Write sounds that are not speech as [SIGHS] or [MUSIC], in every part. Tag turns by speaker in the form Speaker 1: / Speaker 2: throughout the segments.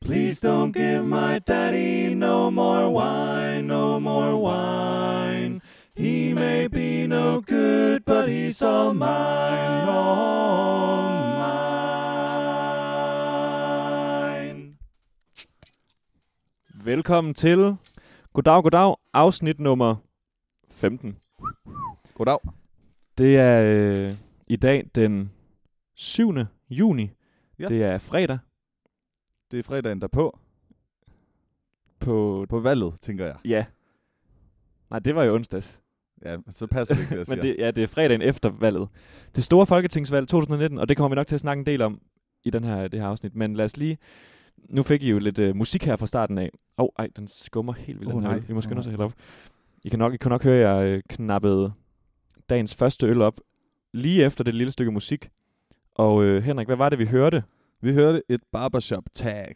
Speaker 1: Please don't give my daddy no more wine, no more wine. He may be no good, but he's all mine, all mine. Velkommen til Goddag, Goddag, afsnit nummer 15.
Speaker 2: Goddag.
Speaker 1: Det er øh, i dag den 7. juni. Ja.
Speaker 2: Ja.
Speaker 1: Det er fredag
Speaker 2: Det er fredagen derpå.
Speaker 1: på
Speaker 2: På valget, tænker jeg.
Speaker 1: Ja. Nej, det var jo onsdags.
Speaker 2: Ja, men så passer det ikke, det jeg
Speaker 1: [LAUGHS]
Speaker 2: siger.
Speaker 1: Men det, ja, det er fredagen efter valget. Det store folketingsvalg 2019, og det kommer vi nok til at snakke en del om i den her, det her afsnit. Men lad os lige... Nu fik I jo lidt øh, musik her fra starten af. Åh, oh, ej, den skummer helt vildt.
Speaker 2: Åh,
Speaker 1: den her
Speaker 2: nej.
Speaker 1: øl. Vi må
Speaker 2: Åh,
Speaker 1: skynde os at
Speaker 2: nej.
Speaker 1: hælde op. I kan nok, I kan nok høre, at jeg øh, knappede dagens første øl op lige efter det lille stykke musik. Og øh, Henrik, hvad var det, vi hørte?
Speaker 2: Vi hørte et barbershop tag.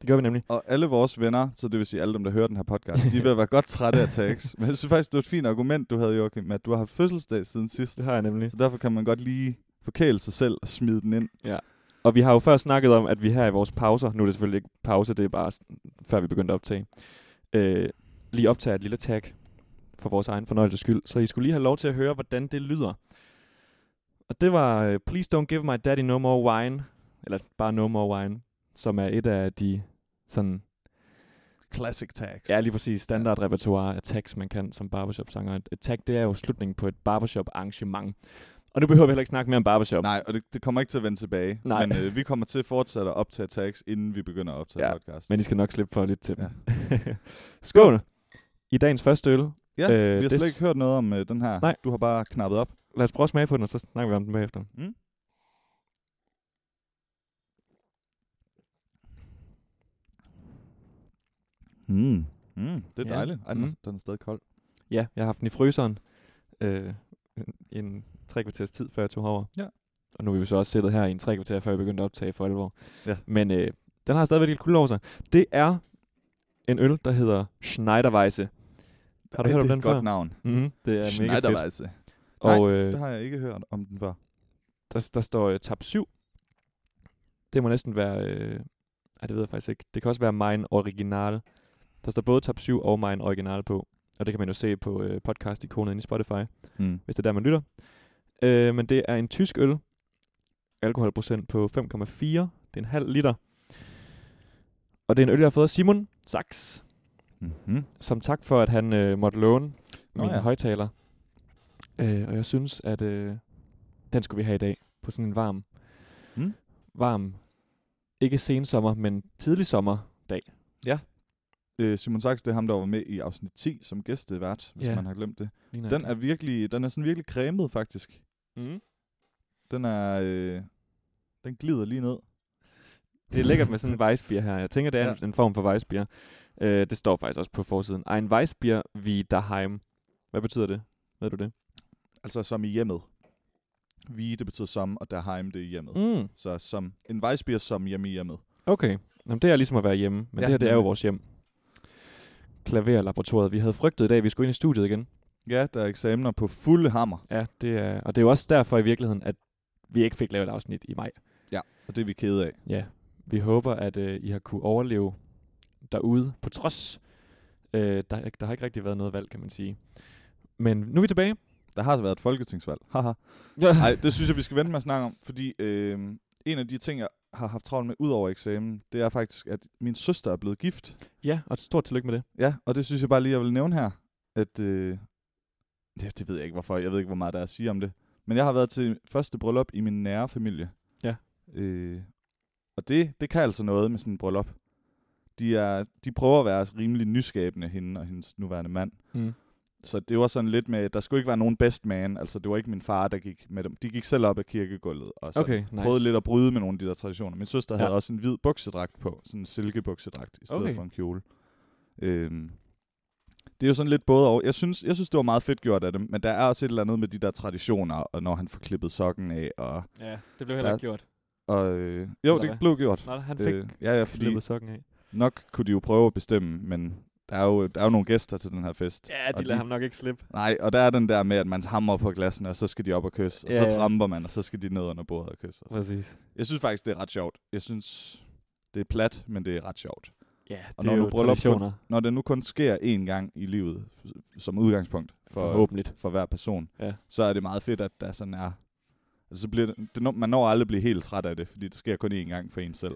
Speaker 1: Det gør vi nemlig.
Speaker 2: Og alle vores venner, så det vil sige alle dem, der hører den her podcast, de vil være godt trætte af tags. Men jeg synes faktisk, det var et fint argument, du havde, Joachim, med at du har haft fødselsdag siden sidst.
Speaker 1: Det har jeg nemlig.
Speaker 2: Så derfor kan man godt lige forkæle sig selv og smide den ind.
Speaker 1: Og vi har jo før snakket om, at vi her i vores pauser, nu er det selvfølgelig ikke pause, det er bare s- før vi begyndte at optage, øh, lige optager et lille tag for vores egen fornøjelses skyld. Så I skulle lige have lov til at høre, hvordan det lyder. Og det var øh, Please Don't Give My Daddy No More Wine, eller bare No More Wine, som er et af de sådan,
Speaker 2: Classic tags.
Speaker 1: ja lige præcis, standardrepertoire af tags, man kan som barbershop-sanger. Et, et tag, det er jo slutningen på et barbershop-arrangement. Og nu behøver vi heller ikke snakke mere om barbershop.
Speaker 2: Nej, og det, det kommer ikke til at vende tilbage.
Speaker 1: Nej.
Speaker 2: Men øh, vi kommer til fortsat at optage tags, inden vi begynder at optage
Speaker 1: Ja,
Speaker 2: podcast.
Speaker 1: Men I skal nok slippe for at lytte til dem.
Speaker 2: Ja.
Speaker 1: Ja. [LAUGHS] Skål! I dagens første øl.
Speaker 2: Ja,
Speaker 1: Øh,
Speaker 2: øh, vi har
Speaker 1: det
Speaker 2: slet
Speaker 1: s-
Speaker 2: ikke hørt noget om øh, den her.
Speaker 1: Nej.
Speaker 2: Du har bare knappet op.
Speaker 1: Lad os prøve at smage på den, og så snakker vi om den bagefter.
Speaker 2: Mm. Mm. Mm, det er
Speaker 1: Ja.
Speaker 2: dejligt. Ej, den,
Speaker 1: Mm.
Speaker 2: er, den er stadig kold.
Speaker 1: Ja, jeg har haft den i fryseren øh, en, en tre kvarters tid, før jeg tog over.
Speaker 2: Ja.
Speaker 1: Og nu er vi jo så også siddet her i en tre kvarter, før jeg begyndte at optage for alvor.
Speaker 2: Ja.
Speaker 1: Men øh, den har stadigvæk lidt kulde over sig. Det er en øl, der hedder Schneiderweisse. Har du
Speaker 2: Ej,
Speaker 1: hørt om
Speaker 2: det er
Speaker 1: den
Speaker 2: et godt
Speaker 1: før?
Speaker 2: navn.
Speaker 1: Mm, det er mega fedt.
Speaker 2: Schneiderweise.
Speaker 1: Og øh,
Speaker 2: Det har jeg ikke hørt om den før.
Speaker 1: der, der står øh, tab 7. Det må næsten være... Øh, ej, det ved jeg faktisk ikke. Det kan også være Mine Original. Der står både tab 7 og Mine Original på. Og det kan man jo se på øh, podcast-ikonet inde i Spotify,
Speaker 2: Mm.
Speaker 1: hvis det er der, man lytter. Øh, men det er en tysk øl. Alkoholprocent på 5,4. Det er en halv liter. Og det er en øl, jeg har fået af Simon Sachs.
Speaker 2: Mm-hmm.
Speaker 1: Som tak for, at han øh, måtte låne
Speaker 2: Nå
Speaker 1: min ja.
Speaker 2: ja.
Speaker 1: højtaler. Øh, og jeg synes, at øh, den skulle vi have i dag på sådan en varm,
Speaker 2: Mm.
Speaker 1: varm, ikke sensommer, men tidlig sommerdag.
Speaker 2: Øh, Simon Sachs, det er ham, der var med i afsnit 10 som gæstevært, hvis
Speaker 1: Ja.
Speaker 2: man har glemt det.
Speaker 1: Lige
Speaker 2: Den er virkelig, den er sådan virkelig cremet, faktisk.
Speaker 1: mm.
Speaker 2: Den er, øh, den glider lige ned.
Speaker 1: Det er lækkert med sådan en weissbier her. Jeg tænker, det er ja.
Speaker 2: Ja.
Speaker 1: en, en form for weissbier. Øh, det står faktisk også på forsiden. Ein Weissbier wie daheim. Hvad betyder det? Ved du det?
Speaker 2: Altså som i hjemmet. Vi, det betyder som, og derheim, det er hjemmet. Mm.
Speaker 1: Mm.
Speaker 2: Så som en vejsbier som hjemme i hjemmet.
Speaker 1: Okay. Jamen, det er ligesom at være hjemme. Men ja,
Speaker 2: Ja,
Speaker 1: det her, det er jo
Speaker 2: nemlig.
Speaker 1: vores hjem. Klaverlaboratoriet. Vi havde frygtet i dag, at vi skulle ind i studiet igen.
Speaker 2: Ja, der er eksamener på fulde hammer.
Speaker 1: Ja, det er, og det er jo også derfor i virkeligheden, at vi ikke fik lavet et afsnit i maj.
Speaker 2: Og det er vi kede af.
Speaker 1: Ja. Vi håber, at øh, I har kunne overleve derude, på trods. Øh, der, der har ikke rigtig været noget valg, kan man sige. Men nu er vi tilbage.
Speaker 2: Der har så været et folketingsvalg. Haha.
Speaker 1: Ja.
Speaker 2: Nej, det synes jeg, vi skal vente med at snakke om, fordi øh, en af de ting, jeg har haft travlt med ud over eksamen, det er faktisk, at min søster er blevet gift.
Speaker 1: ja, og et stort tillykke med det.
Speaker 2: Ja, og det synes jeg bare lige, jeg vil nævne her, at... Øh, det, det ved jeg ikke, hvorfor. Jeg ved ikke, hvor meget der er at sige om det. Men jeg har været til første bryllup i min nære familie.
Speaker 1: Ja.
Speaker 2: Øh, og det, det kan altså noget med sådan en bryllup. De, er, de prøver at være rimelig nyskabende, hende og hendes nuværende mand.
Speaker 1: Mm.
Speaker 2: Så det var sådan lidt med, der skulle ikke være nogen best man, altså det var ikke min far, der gik med dem. De gik selv op af kirkegulvet, og så
Speaker 1: Okay, nice.
Speaker 2: prøvede lidt at bryde med nogle af de der traditioner. Min søster
Speaker 1: Ja.
Speaker 2: ja. havde også en hvid buksedragt på, sådan en silkebuksedragt, i stedet
Speaker 1: Okay.
Speaker 2: okay. for en kjole. Øhm, det er jo sådan lidt både og. Jeg synes, jeg synes, det var meget fedt gjort af dem, men der er også et eller andet med de der traditioner, og når han får klippet sokken af, og,
Speaker 1: Ja, det blev
Speaker 2: heller
Speaker 1: heller
Speaker 2: Ja.
Speaker 1: ikke
Speaker 2: ikke
Speaker 1: gjort.
Speaker 2: og øh,
Speaker 1: Eller
Speaker 2: jo,
Speaker 1: hvad?
Speaker 2: det blev gjort.
Speaker 1: Nej, han fik øh,
Speaker 2: ja, ja, fordi
Speaker 1: klippet sokken af.
Speaker 2: nok kunne de jo prøve at bestemme, men Der er jo, der er jo nogle gæster til den her fest.
Speaker 1: Ja, de
Speaker 2: Og
Speaker 1: lader
Speaker 2: de-
Speaker 1: ham nok ikke slippe.
Speaker 2: Nej, og der er den der med, at man hammer på glassene, og så skal de op og kysse, og
Speaker 1: Ja,
Speaker 2: så
Speaker 1: ja.
Speaker 2: tramper man, og så skal de ned under bordet og kysse. Og så.
Speaker 1: Præcis.
Speaker 2: Jeg synes faktisk, det er ret sjovt. Jeg synes, det er plat, men det er ret sjovt.
Speaker 1: Ja, det
Speaker 2: Og når
Speaker 1: er
Speaker 2: du
Speaker 1: jo
Speaker 2: bryllup på-
Speaker 1: traditioner.
Speaker 2: Når det nu kun sker én gang i livet, som udgangspunkt for,
Speaker 1: Forhåbentlig.
Speaker 2: for hver person,
Speaker 1: Ja.
Speaker 2: så er det meget fedt, at der sådan er... Altså, så bliver det, det, når- man når aldrig at blive helt træt af det, fordi det sker kun én gang for en selv.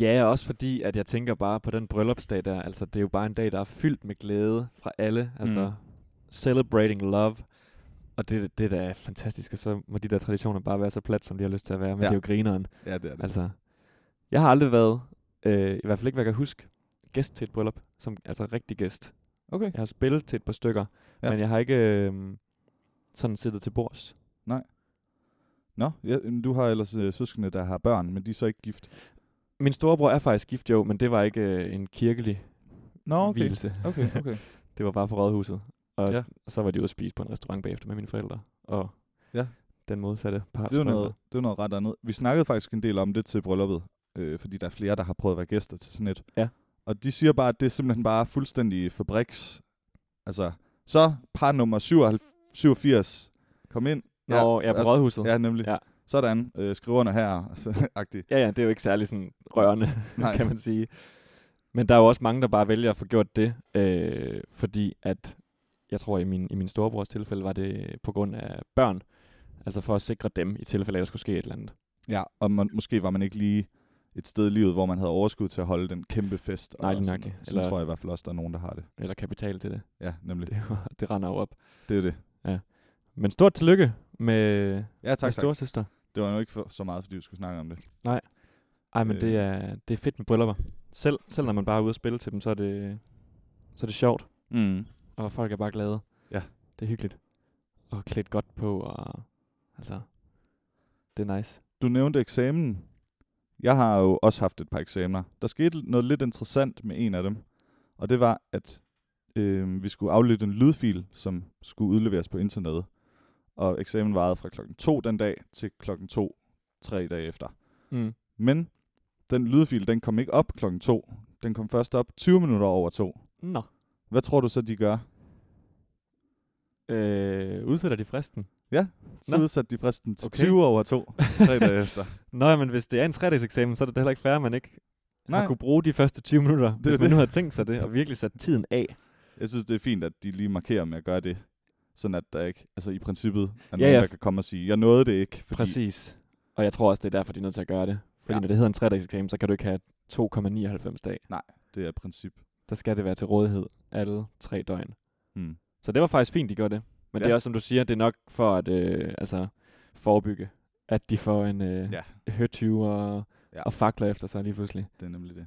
Speaker 1: Ja, og også fordi, at jeg tænker bare på den bryllupsdag der. Altså, det er jo bare en dag, der er fyldt med glæde fra alle. Altså,
Speaker 2: Mm.
Speaker 1: mm. celebrating love. Og det, det er da fantastisk, og så må de der traditioner bare være så plat, som de har lyst til at være. Men
Speaker 2: Ja.
Speaker 1: ja. det er jo grineren.
Speaker 2: Ja, det er det.
Speaker 1: Altså, jeg har aldrig været, øh, i hvert fald ikke, hvad jeg kan huske, gæst til et bryllup. Som, altså, rigtig gæst.
Speaker 2: Okay.
Speaker 1: Jeg har spillet til et par stykker,
Speaker 2: Ja.
Speaker 1: ja. men jeg har ikke øh, sådan siddet til bords.
Speaker 2: Nå, ja, men du har ellers øh, søskende, der har børn, men de er så ikke gift.
Speaker 1: Min storebror er faktisk gift, jo, men det var ikke øh, en kirkelig
Speaker 2: Nå, okay.
Speaker 1: hvilelse.
Speaker 2: Okay, okay.
Speaker 1: Det var bare på rådhuset. Og
Speaker 2: Ja.
Speaker 1: ja. så var de ude at spise på en restaurant bagefter med mine forældre. Og
Speaker 2: Ja.
Speaker 1: den modsatte par.
Speaker 2: det er jo noget, det er noget ret andet. Vi snakkede faktisk en del om det til brylluppet, øh, fordi der er flere, der har prøvet at være gæster til sådan et.
Speaker 1: Ja.
Speaker 2: Og de siger bare, at det er simpelthen bare fuldstændig fabriks. Altså, så par nummer 77, 87, kom ind.
Speaker 1: Nå, ja, på
Speaker 2: altså,
Speaker 1: rådhuset. Ja.
Speaker 2: Ja, nemlig.
Speaker 1: Ja.
Speaker 2: Sådan, øh, skriverne her, [LAUGHS] altså, agtigt.
Speaker 1: ja, ja, det er jo ikke særlig sådan rørende,
Speaker 2: [LAUGHS] Nej.
Speaker 1: kan man sige. Men der er jo også mange, der bare vælger at få gjort det, øh, fordi at, jeg tror i min, i min storebrors tilfælde, var det på grund af børn. Altså for at sikre dem, i tilfælde af, at der skulle ske et eller andet.
Speaker 2: Ja, og man, måske var man ikke lige et sted i livet, hvor man havde overskud til at holde den kæmpe fest.
Speaker 1: Nej,
Speaker 2: og
Speaker 1: lige
Speaker 2: sådan
Speaker 1: nøjagtigt.
Speaker 2: noget. Sådan
Speaker 1: Eller-
Speaker 2: tror jeg i hvert fald også, der er nogen, der har det.
Speaker 1: Eller kapital til det. [LAUGHS]
Speaker 2: Ja, nemlig.
Speaker 1: Det, det render jo op.
Speaker 2: Det er det.
Speaker 1: Men stort tillykke med,
Speaker 2: Ja, tak,
Speaker 1: med
Speaker 2: tak.
Speaker 1: storsøster.
Speaker 2: Det var jo ikke for, så meget, fordi vi skulle snakke om det.
Speaker 1: Ej, men
Speaker 2: Øh.
Speaker 1: øh. det, er, det er fedt med bryllupper. Selv, selv når man bare er ude og spille til dem, så er det, så er det sjovt,
Speaker 2: Mm.
Speaker 1: og folk er bare glade.
Speaker 2: Ja.
Speaker 1: Det er hyggeligt. Og klædt godt på, og altså, det er nice.
Speaker 2: Du nævnte eksamen. Jeg har jo også haft et par eksamener. Der skete noget lidt interessant med en af dem. Og det var, at øh, vi skulle aflytte en lydfil, som skulle udleveres på internettet. Og eksamen varede fra klokken 2 den dag til klokken 2 tre dage efter.
Speaker 1: Mm.
Speaker 2: Men den lydfil, den kom ikke op klokken 2. Den kom først op 20 minutter over 2.
Speaker 1: Nå.
Speaker 2: Hvad tror du så, de gør?
Speaker 1: Øh, udsætter de fristen?
Speaker 2: Så
Speaker 1: Nå.
Speaker 2: udsatte de fristen til okay.
Speaker 1: Okay.
Speaker 2: 20 over 2, tre dage efter.
Speaker 1: Nå, ja, men hvis det er en 3 eksamen, så er det da heller ikke fair, at man ikke Nej.
Speaker 2: Nej.
Speaker 1: har kunne bruge de første 20 minutter, det hvis
Speaker 2: jo
Speaker 1: man
Speaker 2: det.
Speaker 1: det. nu havde tænkt sig det, og virkelig sat tiden af.
Speaker 2: Jeg synes, det er fint, at de lige markerer med at gøre det. Sådan at der ikke, altså i princippet, er ja,
Speaker 1: Ja,
Speaker 2: nogen,
Speaker 1: ja.
Speaker 2: der kan komme og sige, jeg nåede det ikke. Fordi,
Speaker 1: Præcis. Og jeg tror også, det er derfor, de er nødt til at gøre det. Fordi
Speaker 2: Ja.
Speaker 1: ja. når det hedder en 3 eksamen, så kan du ikke have 2,99 dag.
Speaker 2: Det er et princip.
Speaker 1: der skal det være til rådighed alle tre døgn.
Speaker 2: Mm.
Speaker 1: Så det var faktisk fint, de gør det. Men ja. det
Speaker 2: Ja.
Speaker 1: er også, som du siger, det er nok for at øh, altså, forebygge, at de får en øh,
Speaker 2: Ja.
Speaker 1: ja. høtyve og,
Speaker 2: Ja.
Speaker 1: ja. og fakler efter sig lige pludselig.
Speaker 2: Det er nemlig det.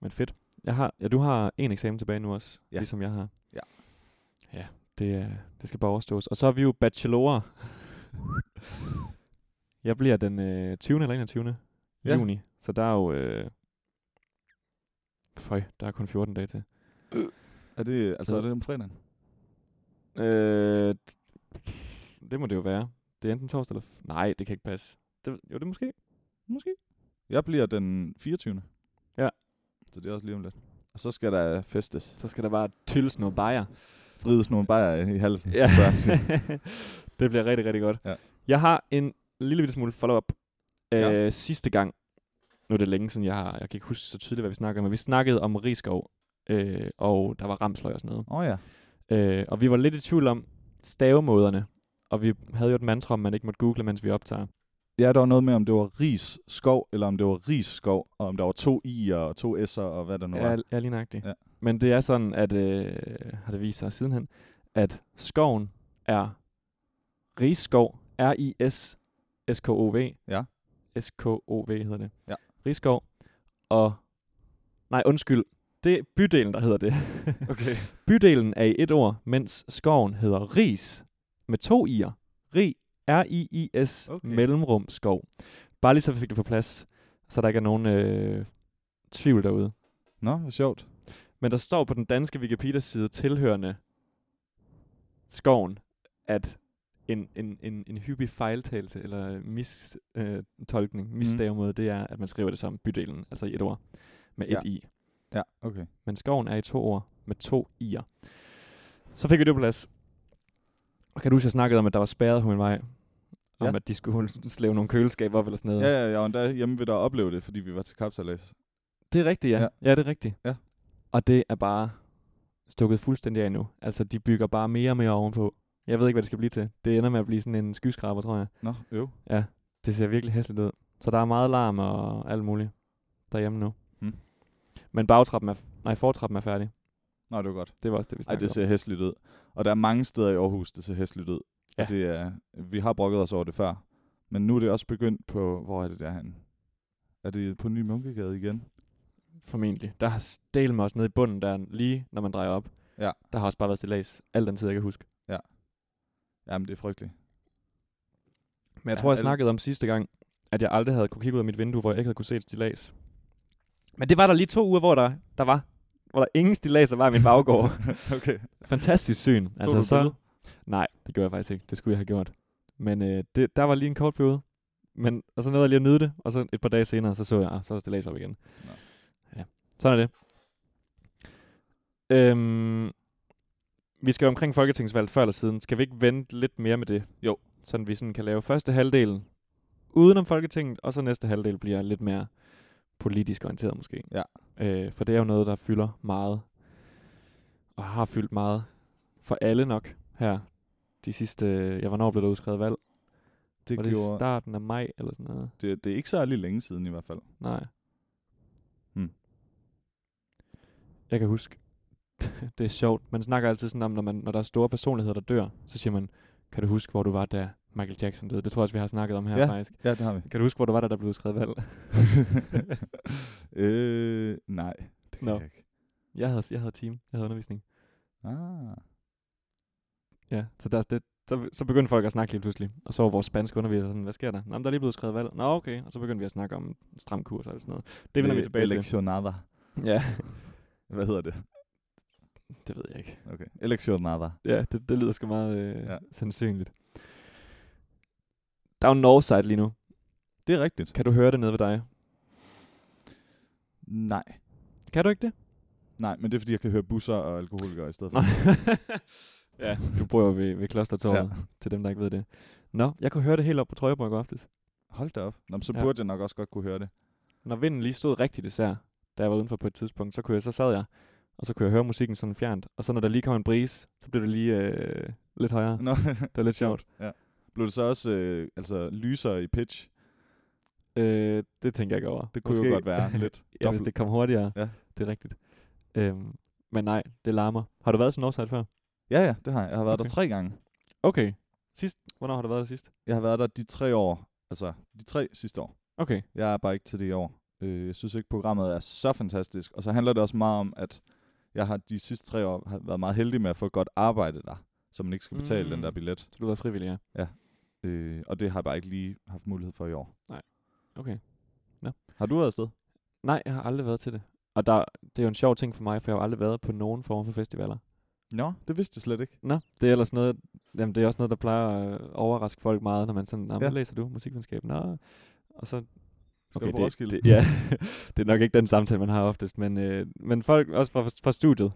Speaker 1: Men fedt. Jeg har, ja, du har en eksamen tilbage nu også,
Speaker 2: Ja.
Speaker 1: ja. ligesom jeg har.
Speaker 2: Ja.
Speaker 1: Ja, det, er- det skal bare overstås. Og så er vi jo bachelorer. jeg bliver den øh, 20. eller 21.
Speaker 2: Ja.
Speaker 1: Ja. juni, så der er jo... Øh, føj, der er kun 14 dage til.
Speaker 2: Er det, altså,
Speaker 1: Så-
Speaker 2: er det om fredagen?
Speaker 1: Øh, det må det jo være. Det er enten torsdag eller... F- Nej, det kan ikke passe. Det, jo, det er måske.
Speaker 2: Måske. Jeg bliver den 24.
Speaker 1: Ja.
Speaker 2: Så det er også lige om lidt. Og så skal der festes.
Speaker 1: Så skal der bare tylles noget
Speaker 2: [LAUGHS]
Speaker 1: bajer.
Speaker 2: Frides nogle bajer i halsen.
Speaker 1: Ja.
Speaker 2: skulle jeg sige.
Speaker 1: [LAUGHS] det bliver rigtig, rigtig godt.
Speaker 2: Ja.
Speaker 1: Jeg har en lille bitte smule follow-up. Øh,
Speaker 2: Ja.
Speaker 1: Sidste gang, nu er det længe siden, jeg har... Jeg kan ikke huske så tydeligt, hvad vi snakkede om, men vi snakkede om Rigskov, øh, og der var ramsløg og sådan noget.
Speaker 2: Åh oh, ja.
Speaker 1: Øh, og vi var lidt i tvivl om stavemåderne, og vi havde jo et mantra, om man ikke måtte google, mens vi optager.
Speaker 2: Ja, der var noget med, om det var ris skov, eller om det var ris skov, og om der var to i'er og to s'er, og hvad der nu
Speaker 1: Ja,
Speaker 2: var.
Speaker 1: ja lige nøjagtigt.
Speaker 2: Ja.
Speaker 1: Ja. Men det er sådan, at øh, har det vist sig sidenhen, at skoven er Rigskov, R-I-S-S-K-O-V.
Speaker 2: Ja.
Speaker 1: S-K-O-V hedder det.
Speaker 2: Ja.
Speaker 1: Rigskov. Og, nej undskyld, det er bydelen, der hedder det. [LAUGHS]
Speaker 2: Okay.
Speaker 1: bydelen er i et ord, mens skoven hedder Ris med to i'er. Rig, R-I-I-S,
Speaker 2: Okay.
Speaker 1: okay. mellemrum skov. Bare lige så vi fik det på plads, så der ikke er nogen øh, tvivl derude.
Speaker 2: Nå, hvor sjovt.
Speaker 1: Men der står på den danske Wikipedia-side tilhørende skoven, at en, en, en, en hyppig fejltagelse eller
Speaker 2: Mm.
Speaker 1: mistolkning, øh, tolkning, misstavemåde, det er, at man skriver det som bydelen, altså i et ord, med et
Speaker 2: Ja.
Speaker 1: i.
Speaker 2: Ja, okay.
Speaker 1: Men skoven er i to ord med to i'er. Så fik vi det på plads. Og kan du huske, jeg snakkede om, at der var spærret på min vej? Om
Speaker 2: Ja.
Speaker 1: at de skulle [LAUGHS] slæve nogle køleskaber op eller sådan noget.
Speaker 2: Ja, ja, jeg var endda hjemme ved dig og opleve det, fordi vi var til kapsalæs.
Speaker 1: Det er rigtigt, ja.
Speaker 2: Ja.
Speaker 1: ja. Ja, det er rigtigt.
Speaker 2: Ja.
Speaker 1: Og det er bare stukket fuldstændig af nu. Altså, de bygger bare mere og mere ovenpå. Jeg ved ikke, hvad det skal blive til. Det ender med at blive sådan en skyskraber, tror jeg.
Speaker 2: Nå, jo.
Speaker 1: Det ser virkelig hæsligt ud. Så der er meget larm og alt muligt derhjemme nu.
Speaker 2: Mm.
Speaker 1: Men bagtrappen er, nej, fortrappen er færdig.
Speaker 2: Nå, det var godt.
Speaker 1: Det var også det, vi
Speaker 2: Ej,
Speaker 1: snakkede
Speaker 2: det ser hæsligt ud. Og der er mange steder i Aarhus, det ser hæsligt ud.
Speaker 1: Ja.
Speaker 2: Og det er, vi har brokket os over det før. Men nu er det også begyndt på, hvor er det der han? Er det på Ny Munkegade igen?
Speaker 1: om. Formentlig. Der har stælet mig også nede i bunden der, lige når man drejer op.
Speaker 2: Ja.
Speaker 1: Der har også bare været stillads, alt den tid, jeg kan huske.
Speaker 2: Jamen, det er
Speaker 1: [LAUGHS]
Speaker 2: frygteligt.
Speaker 1: Men jeg
Speaker 2: Ja,
Speaker 1: ja, tror, jeg
Speaker 2: alle-
Speaker 1: snakkede om sidste gang, at jeg aldrig havde kunne kigge ud af mit vindue, hvor jeg ikke havde kunne se et stillads. Men det var der lige to uger, hvor der, der var hvor der ingen stilladser var i min baggård.
Speaker 2: okay.
Speaker 1: Fantastisk syn. Altså,
Speaker 2: du et billede?
Speaker 1: Nej, det gjorde jeg faktisk ikke. Det skulle jeg have gjort. Men øh, det, der var lige en kort periode. Men, og så nåede jeg lige at nyde det, og så et par dage senere, så så jeg, ah, så er der stilladser op igen.
Speaker 2: Nå.
Speaker 1: Ja, sådan er det. Øhm, vi skal jo omkring folketingsvalget før eller siden. Skal vi ikke vente lidt mere med det?
Speaker 2: Jo.
Speaker 1: Sådan vi sådan kan lave første halvdel udenom Folketinget, og så næste halvdel bliver lidt mere politisk orienteret måske.
Speaker 2: Ja.
Speaker 1: Øh, for det er jo noget, der fylder meget, og har fyldt meget for alle nok her de sidste, ja, hvornår blev der udskrevet valg?
Speaker 2: Det,
Speaker 1: Var det i
Speaker 2: gjorde,
Speaker 1: starten af maj eller sådan noget?
Speaker 2: det, det er ikke særlig længe siden i hvert fald.
Speaker 1: Nej.
Speaker 2: Hmm.
Speaker 1: Jeg kan huske. [LAUGHS] det er sjovt. Man snakker altid sådan om, når, man, når der er store personligheder, der dør, så siger man, kan du huske, hvor du var, da Michael Jackson døde? Det tror jeg også, vi har snakket om her
Speaker 2: Ja.
Speaker 1: faktisk.
Speaker 2: Ja, det har vi.
Speaker 1: Kan du huske, hvor du var, da der blev udskrevet valg?
Speaker 2: [LAUGHS] øh, nej, det kan
Speaker 1: Nå.
Speaker 2: no. jeg ikke.
Speaker 1: Jeg havde, jeg havde team. Jeg havde undervisning.
Speaker 2: Ah.
Speaker 1: Ja, så, der, det, så, så begyndte folk at snakke lige pludselig. Og så var vores spanske underviser sådan, hvad sker der? Nå, men der er lige blevet skrevet valg. Nå, okay. Og så begyndte vi at snakke om stram kurs og alt sådan noget. Det vender vi
Speaker 2: Øh,
Speaker 1: tilbage til.
Speaker 2: Electionada.
Speaker 1: Ja, [LAUGHS]
Speaker 2: Hvad hedder det?
Speaker 1: det ved jeg ikke.
Speaker 2: Okay. Electionada.
Speaker 1: Ja, det, det lyder sgu meget øh,
Speaker 2: Ja.
Speaker 1: ja. sandsynligt. Der er jo Northside lige nu.
Speaker 2: Det er rigtigt.
Speaker 1: Kan du høre det nede ved dig?
Speaker 2: Nej.
Speaker 1: Kan du ikke det?
Speaker 2: Nej, men det er fordi, jeg kan høre busser og alkoholikere i stedet for.
Speaker 1: Nå. [LAUGHS] ja, du bor jo ved, ved klostertorvet, ja. til dem, der ikke ved det. Nå, jeg kunne høre det helt op på Trøjeborg i går aftes.
Speaker 2: Hold da op. Nå, men så
Speaker 1: Ja.
Speaker 2: burde jeg nok også godt kunne høre det.
Speaker 1: Når vinden lige stod rigtigt især, da jeg var udenfor på et tidspunkt, så, kunne jeg, så sad jeg, og så kunne jeg høre musikken sådan fjernt. Og så når der lige kom en brise, så blev det lige øh, lidt
Speaker 2: [LAUGHS]
Speaker 1: højere.
Speaker 2: Nå.
Speaker 1: Det var lidt sjovt.
Speaker 2: Blev det så også øh, altså, lyser i pitch?
Speaker 1: Øh, det tænker jeg ikke over.
Speaker 2: Det kunne
Speaker 1: Måske-
Speaker 2: Måske. jo godt [LAUGHS] være lidt.
Speaker 1: Ja, hvis
Speaker 2: dobbelt-
Speaker 1: det kom hurtigere.
Speaker 2: Ja.
Speaker 1: Det er rigtigt. Øhm, men nej, det larmer. Har du været til Northside før?
Speaker 2: Ja, ja, det har jeg. Jeg har været okay. der
Speaker 1: Okay.
Speaker 2: tre gange.
Speaker 1: Okay. Sidst? Hvornår har du været der sidst?
Speaker 2: Jeg har været der de tre år. Altså, de tre sidste år.
Speaker 1: Okay.
Speaker 2: Jeg er bare ikke til det i år. Øh, jeg synes ikke, programmet er så fantastisk. Og så handler det også meget om, at jeg har de sidste tre år har været meget heldig med at få et godt arbejde der, så man ikke skal betale mm. den
Speaker 1: Mm.
Speaker 2: der billet.
Speaker 1: Så du har været frivillig, ja.
Speaker 2: Øh, og det har jeg bare ikke lige haft mulighed for i år.
Speaker 1: Okay.
Speaker 2: Har du været afsted?
Speaker 1: Nej, jeg har aldrig været til det. Og der, det er jo en sjov ting for mig, for jeg har jo aldrig været på nogen form for festivaler.
Speaker 2: Nå, det vidste jeg slet ikke.
Speaker 1: Nå, det er ellers noget, jamen det er også noget, der plejer at øh, overraske folk meget, når man sådan, "Nå,
Speaker 2: Ja.
Speaker 1: ja. læser du musikvidenskab? Nå. Og så
Speaker 2: Skal du på
Speaker 1: det,
Speaker 2: Roskilde?
Speaker 1: det, ja, [LAUGHS] det er nok ikke den samtale, man har oftest, men, øh, men folk også fra, fra studiet,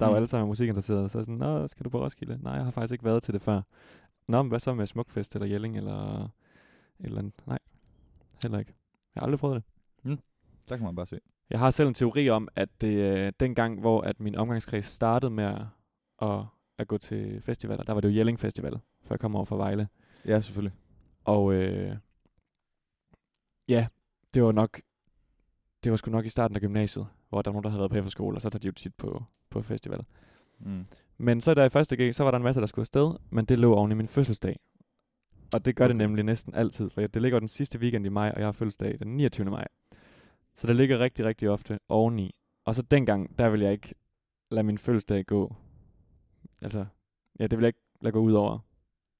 Speaker 1: der er jo
Speaker 2: Mm.
Speaker 1: alle sammen musikinteresserede, så er sådan, Nå, skal du på Roskilde? Nej, jeg har faktisk ikke været til det før. Nå, men hvad så med Smukfest eller Jelling eller et eller andet? Nej, heller ikke. Jeg har aldrig prøvet det.
Speaker 2: Der kan man bare se.
Speaker 1: Jeg har selv en teori om, at det øh, dengang, hvor at min omgangskreds startede med at, at, at gå til festivaler, der var det jo Jelling Festival, før jeg kom over fra Vejle.
Speaker 2: Ja, selvfølgelig.
Speaker 1: Og øh, ja, det var nok, det var sgu nok i starten af gymnasiet, hvor der var nogen, der havde været på efterskole, og så tager de jo tit på, på festivaler.
Speaker 2: Mm.
Speaker 1: Men så der i første G, så var der en masse, der skulle afsted, men det lå oven i min fødselsdag. Og det gør okay. det
Speaker 2: Okay.
Speaker 1: nemlig næsten altid, for jeg- det ligger den sidste weekend i maj, og jeg har fødselsdag den 29. maj. Så det ligger rigtig, rigtig ofte oveni. Og så dengang, der vil jeg ikke lade min fødselsdag gå. Altså, ja, det vil jeg ikke lade gå ud over.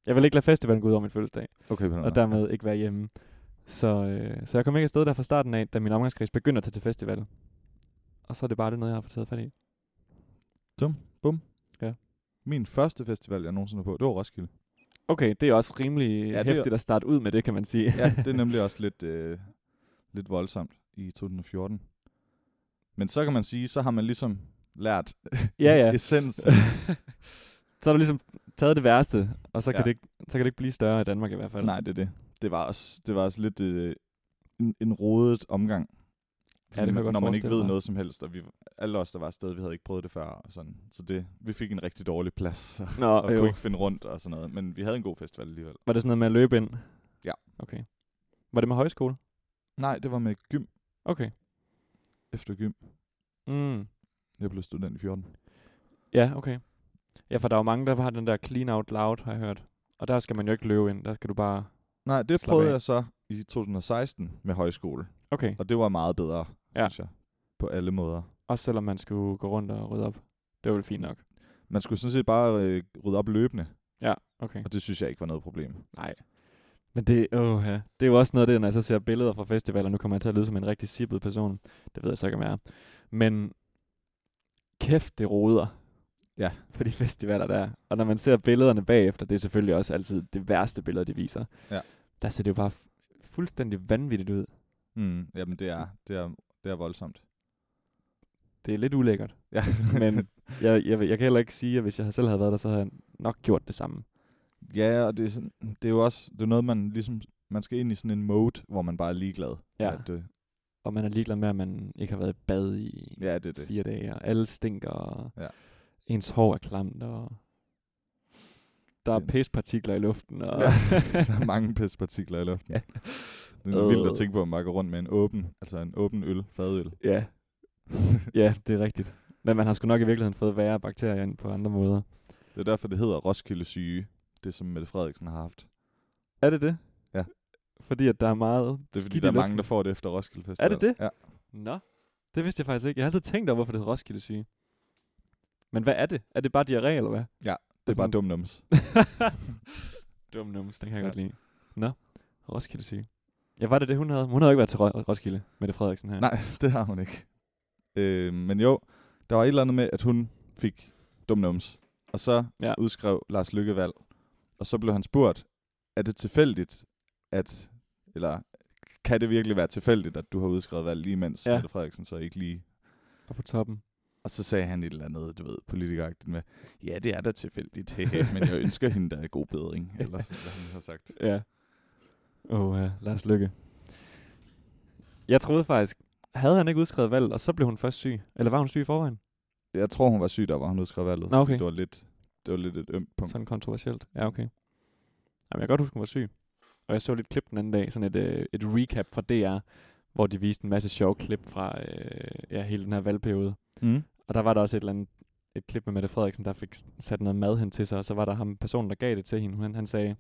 Speaker 1: Jeg vil ikke lade festivalen gå ud over min fødselsdag
Speaker 2: Okay, på den
Speaker 1: og
Speaker 2: måde.
Speaker 1: dermed ikke være hjemme. Så, øh, så jeg kom ikke afsted der fra starten af, da min omgangskreds begyndte at tage til festival. Og så er det bare det noget, jeg har fået taget fat i.
Speaker 2: Min første festival, jeg nogensinde var på, det var Roskilde.
Speaker 1: Okay, det er også rimelig
Speaker 2: Ja,
Speaker 1: ja,
Speaker 2: det er-
Speaker 1: hæftigt at starte ud med det, kan man
Speaker 2: [LAUGHS]
Speaker 1: sige. [LAUGHS]
Speaker 2: ja, det er nemlig også lidt, øh, lidt voldsomt i 2014. Men så kan man sige, så har man ligesom lært
Speaker 1: Ja, ja.
Speaker 2: [LAUGHS] essensen.
Speaker 1: [LAUGHS] så har du ligesom taget det værste, og så kan,
Speaker 2: Ja.
Speaker 1: det ikke, så kan det ikke blive større i Danmark i hvert fald.
Speaker 2: Nej, det er det. Det var også, det var også lidt øh, en, en rodet omgang.
Speaker 1: Ja, det kan jeg godt
Speaker 2: når man ikke
Speaker 1: forestille
Speaker 2: ved
Speaker 1: mig.
Speaker 2: noget som helst, og vi, alle os, der var afsted, vi havde ikke prøvet det før. Og sådan. Så det, vi fik en rigtig dårlig plads, [LAUGHS] og,
Speaker 1: Nå,
Speaker 2: og
Speaker 1: jo.
Speaker 2: kunne ikke finde rundt og sådan noget. Men vi havde en god festival alligevel.
Speaker 1: Var det sådan noget med at løbe ind?
Speaker 2: Ja.
Speaker 1: Okay. Var det med højskole?
Speaker 2: Nej, det var med gym
Speaker 1: Okay.
Speaker 2: efter gym.
Speaker 1: Mm.
Speaker 2: Jeg blev student i 14.
Speaker 1: Ja, okay. Ja, for der er jo mange, der har den der clean out loud, har jeg hørt. Og der skal man jo ikke løbe ind. Der skal du bare...
Speaker 2: Nej, det
Speaker 1: Slap
Speaker 2: Slap prøvede
Speaker 1: af.
Speaker 2: af. jeg så i 2016 med højskole.
Speaker 1: Okay.
Speaker 2: Og det var meget bedre,
Speaker 1: Ja.
Speaker 2: ja. synes jeg. På alle måder.
Speaker 1: Også selvom man skulle gå rundt og rydde op. Det var vel fint nok.
Speaker 2: Man skulle sådan set bare øh, rydde op løbende,
Speaker 1: Ja, okay.
Speaker 2: og det synes jeg ikke var noget problem.
Speaker 1: Nej. Men det, åh, ja. det er jo også noget af det, når jeg så ser billeder fra festivaler. Nu kommer jeg til at lyde som en rigtig sippet person. Det ved jeg så ikke, om jeg er. Men kæft, det roder.
Speaker 2: Ja.
Speaker 1: [LAUGHS] På de festivaler der. Og når man ser billederne bagefter, det er selvfølgelig også altid det værste billede, de viser.
Speaker 2: Ja.
Speaker 1: Der ser det jo bare fu- fuldstændig vanvittigt ud.
Speaker 2: Mm, jamen, det er, det, er, det er voldsomt.
Speaker 1: Det er lidt ulækkert.
Speaker 2: Ja.
Speaker 1: Men jeg, jeg, jeg kan heller ikke sige, at hvis jeg selv havde været der, så havde jeg nok gjort det samme.
Speaker 2: [LAUGHS] ja, og det er, sådan, det er jo også det er noget, man ligesom... Man skal ind i sådan en mode, hvor man bare er ligeglad.
Speaker 1: Ja.
Speaker 2: At, øh,
Speaker 1: Og man er ligeglad med, at man ikke har været i bad i
Speaker 2: ja, det er det.
Speaker 1: fire dage, og alle stinker, og ja.
Speaker 2: Ja.
Speaker 1: ens hår er klamt, og der er
Speaker 2: Det-
Speaker 1: pispartikler i luften. Og
Speaker 2: [LAUGHS] Ja. Der er mange pispartikler i luften.
Speaker 1: Ja.
Speaker 2: Ja. Det er vildt
Speaker 1: Øh.
Speaker 2: at tænke på, at man går rundt med en åben, altså en åben øl, fadøl.
Speaker 1: [LAUGHS] ja. ja, det er rigtigt. Men man har sgu nok i virkeligheden fået værre bakterier ind på andre måder.
Speaker 2: Det er derfor, det hedder Roskilde syge. Det som Mette Frederiksen har haft.
Speaker 1: Er det det?
Speaker 2: Ja.
Speaker 1: Fordi at der er meget
Speaker 2: Det er fordi,
Speaker 1: skidt
Speaker 2: der
Speaker 1: i
Speaker 2: er mange, der
Speaker 1: luften.
Speaker 2: får det efter Roskilde Festival.
Speaker 1: det det?
Speaker 2: Ja.
Speaker 1: Nå, det vidste jeg faktisk ikke. Jeg har altid tænkt over, hvorfor det hedder Roskilde syge. Men hvad er det? Er det bare diarré, eller hvad? Altså
Speaker 2: Det er bare
Speaker 1: Sådan-
Speaker 2: dum nums.
Speaker 1: [LAUGHS] Dum nums, den kan jeg
Speaker 2: Ja.
Speaker 1: godt lide. Nå, Roskilde syge. Ja, var det det, hun havde? Hun havde jo ikke været til Ro- Roskilde, Mette Frederiksen her.
Speaker 2: Nej, [LAUGHS] det har hun ikke. Øh, men jo, der var et eller andet med, at hun fik dum nums. Og så
Speaker 1: Ja.
Speaker 2: ja. udskrev Lars Lykkevalg. Og så blev han spurgt, er det tilfældigt, at... Eller kan det virkelig være tilfældigt, at du har udskrevet valg lige mens
Speaker 1: Ja.
Speaker 2: ja. Mette Frederiksen så ikke lige...
Speaker 1: Og på toppen.
Speaker 2: Og så sagde han et eller andet, du ved, politikeragtigt med, ja, det er da tilfældigt, hehe, men jeg ønsker hende der god [LAUGHS] bedring, eller sådan, hvad han har sagt.
Speaker 1: Ja. Åh, oh, ja. Lars Lykke. Jeg troede faktisk, havde han ikke udskrevet valg, og så blev hun først syg? Eller var hun syg i forvejen?
Speaker 2: Jeg tror, hun var syg, der var hun udskrev valget.
Speaker 1: Nå, okay.
Speaker 2: Det var lidt, det var lidt et ømt punkt.
Speaker 1: Sådan kontroversielt. Ja, okay. Jamen, jeg kan godt huske, hun var syg. Og jeg så lidt klip den anden dag, sådan et, øh, et recap fra DR, hvor de viste en masse sjove klip fra øh, ja, hele den her valgperiode.
Speaker 2: Mm.
Speaker 1: Og der var der også et eller andet et klip med Mette Frederiksen, der fik s- sat noget mad hen til sig, og så var der ham personen, der gav det til hende. Han, han sagde,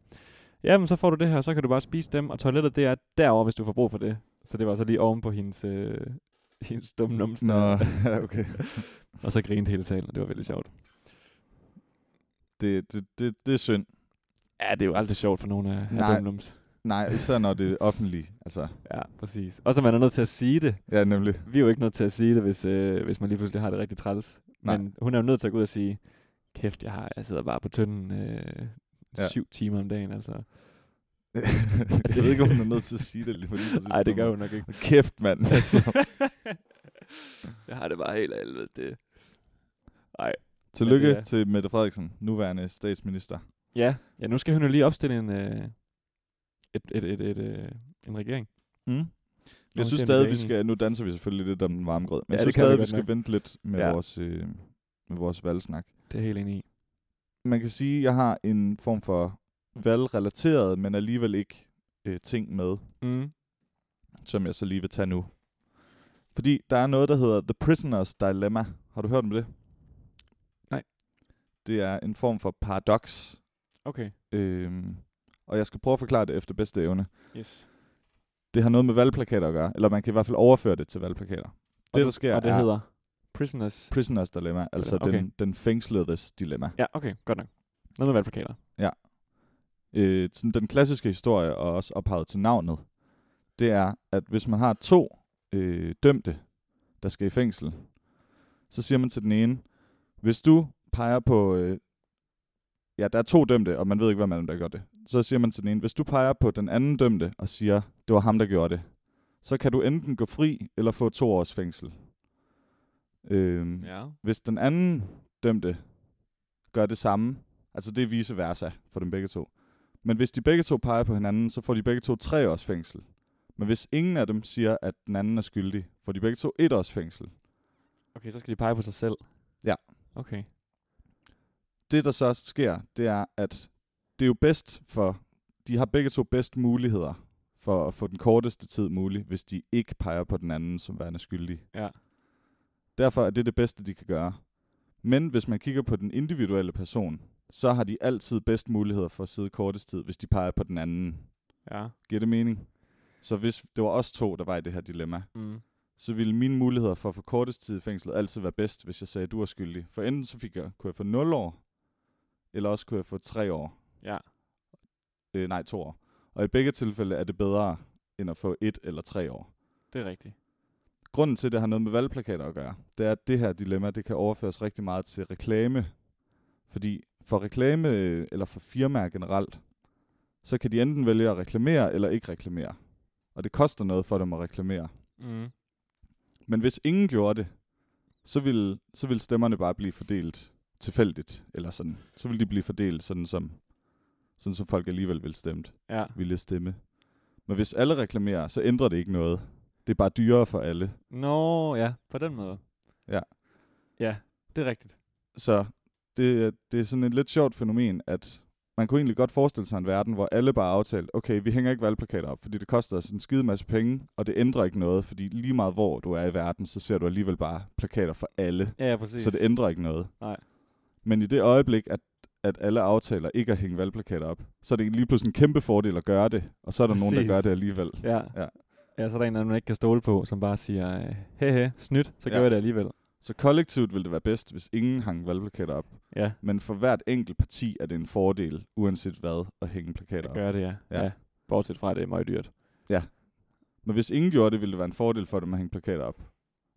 Speaker 1: jamen så får du det her, så kan du bare spise dem, og toilettet det er derovre, hvis du får brug for det. Så det var så lige oven på hendes, øh, [LAUGHS] hendes dumme numse.
Speaker 2: Nå, [LAUGHS]
Speaker 1: der.
Speaker 2: ja, okay.
Speaker 1: og så grinte hele salen, og det var veldig sjovt.
Speaker 2: Det, det, det, det er synd.
Speaker 1: Ja, det er jo aldrig sjovt for nogen af, af
Speaker 2: Nej.
Speaker 1: dumme nums.
Speaker 2: Nej, især når det er offentligt. Altså,
Speaker 1: Ja, præcis. Og så man er nødt til at sige det.
Speaker 2: ja, nemlig.
Speaker 1: Vi er jo ikke nødt til at sige det, hvis, øh, hvis man lige pludselig har det rigtig træls.
Speaker 2: Nej.
Speaker 1: Men hun er jo nødt til at gå ud og sige, kæft, jeg, har, jeg sidder bare på tynden øh,
Speaker 2: Ja.
Speaker 1: syv timer om dagen. Altså.
Speaker 2: [LAUGHS] jeg ved ikke, om hun er nødt til at sige det lige på lige præcis
Speaker 1: Nej, det
Speaker 2: på
Speaker 1: gør
Speaker 2: mig.
Speaker 1: hun nok ikke.
Speaker 2: Kæft, [LAUGHS] mand. Altså.
Speaker 1: jeg har det bare helt af helvede. Det. Ej.
Speaker 2: Tillykke
Speaker 1: Ja,
Speaker 2: ja,
Speaker 1: det er-
Speaker 2: til Mette Frederiksen, nuværende statsminister.
Speaker 1: Ja. ja, nu skal hun jo lige opstille en, øh, et, et, et, et, øh, en regering.
Speaker 2: Mm.
Speaker 1: hun
Speaker 2: Jeg synes
Speaker 1: tjener
Speaker 2: stadig,
Speaker 1: penge
Speaker 2: vi
Speaker 1: i.
Speaker 2: skal... Nu danser vi selvfølgelig lidt om den varme grød. Men
Speaker 1: Ja,
Speaker 2: ja, jeg
Speaker 1: det
Speaker 2: synes
Speaker 1: kan vi
Speaker 2: stadig, vi
Speaker 1: godt
Speaker 2: skal
Speaker 1: nok.
Speaker 2: vente lidt med,
Speaker 1: Ja.
Speaker 2: ja. vores, øh, med vores valgsnak.
Speaker 1: Det er jeg helt enig i.
Speaker 2: Man kan sige, at jeg har en form for valgrelateret, men alligevel ikke øh, ting med.
Speaker 1: Mm.
Speaker 2: som jeg så lige vil tage nu. Fordi der er noget, der hedder The Prisoner's Dilemma. Har du hørt om det?
Speaker 1: Nej.
Speaker 2: Det er en form for paradoks.
Speaker 1: Okay.
Speaker 2: Øhm, og jeg skal prøve at forklare det efter bedste evne.
Speaker 1: Yes.
Speaker 2: Det har noget med valgplakater at gøre, eller man kan i hvert fald overføre det til valgplakater. Det, der sker,
Speaker 1: og det
Speaker 2: er
Speaker 1: hedder Prisoners.
Speaker 2: Prisoner's Dilemma, altså
Speaker 1: Okay.
Speaker 2: okay. den, den fængsledes dilemma.
Speaker 1: Ja, okay. Godt nok. Noget med valgplakater.
Speaker 2: øh, sådan den klassiske historie, og også ophavet til navnet, det er, at hvis man har to øh, dømte, der skal i fængsel, så siger man til den ene, hvis du peger på... Øh, ja, der er to dømte, og man ved ikke, hvem af dem, der gør det. Så siger man til den ene, hvis du peger på den anden dømte og siger, det var ham, der gjorde det, så kan du enten gå fri eller få to års fængsel. Øhm,
Speaker 1: Ja.
Speaker 2: Hvis den anden dømte gør det samme, altså det er vice versa for dem begge to. Men hvis de begge to peger på hinanden, så får de begge to tre års fængsel. Men hvis ingen af dem siger, at den anden er skyldig, får de begge to et års fængsel.
Speaker 1: Okay, så skal de pege på sig selv.
Speaker 2: Ja.
Speaker 1: Okay.
Speaker 2: Det, der så sker, det er, at det er jo bedst for... De har begge to bedst muligheder for at få den korteste tid mulig, hvis de ikke peger på den anden som værende skyldig.
Speaker 1: Ja.
Speaker 2: Derfor er det det bedste, de kan gøre. Men hvis man kigger på den individuelle person, så har de altid bedst muligheder for at sidde kortest tid, hvis de peger på den anden.
Speaker 1: Ja.
Speaker 2: Giver det mening? Så hvis det var os to, der var i det her dilemma,
Speaker 1: Mm.
Speaker 2: så ville mine muligheder for at få kortest tid i fængslet altid være bedst, hvis jeg sagde, at du er skyldig. For enten så fik jeg, kunne jeg få 0 år, eller også kunne jeg få 3 år.
Speaker 1: Ja.
Speaker 2: Øh, nej, 2 år. Og i begge tilfælde er det bedre, end at få 1 eller 3 år.
Speaker 1: Det er rigtigt.
Speaker 2: Grunden til, at det har noget med valgplakater at gøre, det er, at det her dilemma, det kan overføres rigtig meget til reklame. Fordi for reklame, øh, eller for firmaer generelt, så kan de enten vælge at reklamere eller ikke reklamere. Og det koster noget for dem at reklamere.
Speaker 1: Mm.
Speaker 2: Men hvis ingen gjorde det, så ville, så ville stemmerne bare blive fordelt tilfældigt. Eller sådan. Så ville de blive fordelt sådan som, sådan som folk alligevel ville stemme.
Speaker 1: Ja.
Speaker 2: Ville stemme. Men hvis alle reklamerer, så ændrer det ikke noget. Det er bare dyrere for alle.
Speaker 1: Nå, ja. På den måde.
Speaker 2: Ja.
Speaker 1: Ja, det er rigtigt.
Speaker 2: Så det, er- det er sådan et lidt sjovt fænomen, at man kunne egentlig godt forestille sig en verden, hvor alle bare aftalte, okay, vi hænger ikke valgplakater op, fordi det koster os en skide masse penge, og det ændrer ikke noget, fordi lige meget hvor du er i verden, så ser du alligevel bare plakater for alle.
Speaker 1: Ja, ja præcis.
Speaker 2: Så det ændrer ikke noget.
Speaker 1: Nej.
Speaker 2: Men i det øjeblik, at, at alle aftaler ikke at hænge valgplakater op, så er det lige pludselig en kæmpe fordel at gøre det, og så er der Præcis. nogen,
Speaker 1: Præcis.
Speaker 2: der gør det alligevel.
Speaker 1: Ja.
Speaker 2: Ja.
Speaker 1: Ja, så er der en eller anden, man ikke kan stole på, som bare siger, øh, he he, snydt, så
Speaker 2: Ja.
Speaker 1: ja. gør jeg det alligevel.
Speaker 2: Så kollektivt ville det være bedst, hvis ingen hang valgplakater op.
Speaker 1: Ja,
Speaker 2: Men for hvert enkelt parti er det en fordel, uanset hvad, at hænge plakater
Speaker 1: jeg
Speaker 2: op.
Speaker 1: gør det, ja.
Speaker 2: Ja.
Speaker 1: ja. ja. Bortset fra, at det er meget dyrt.
Speaker 2: Men hvis ingen gjorde det, ville det være en fordel for dem at hænge plakater op.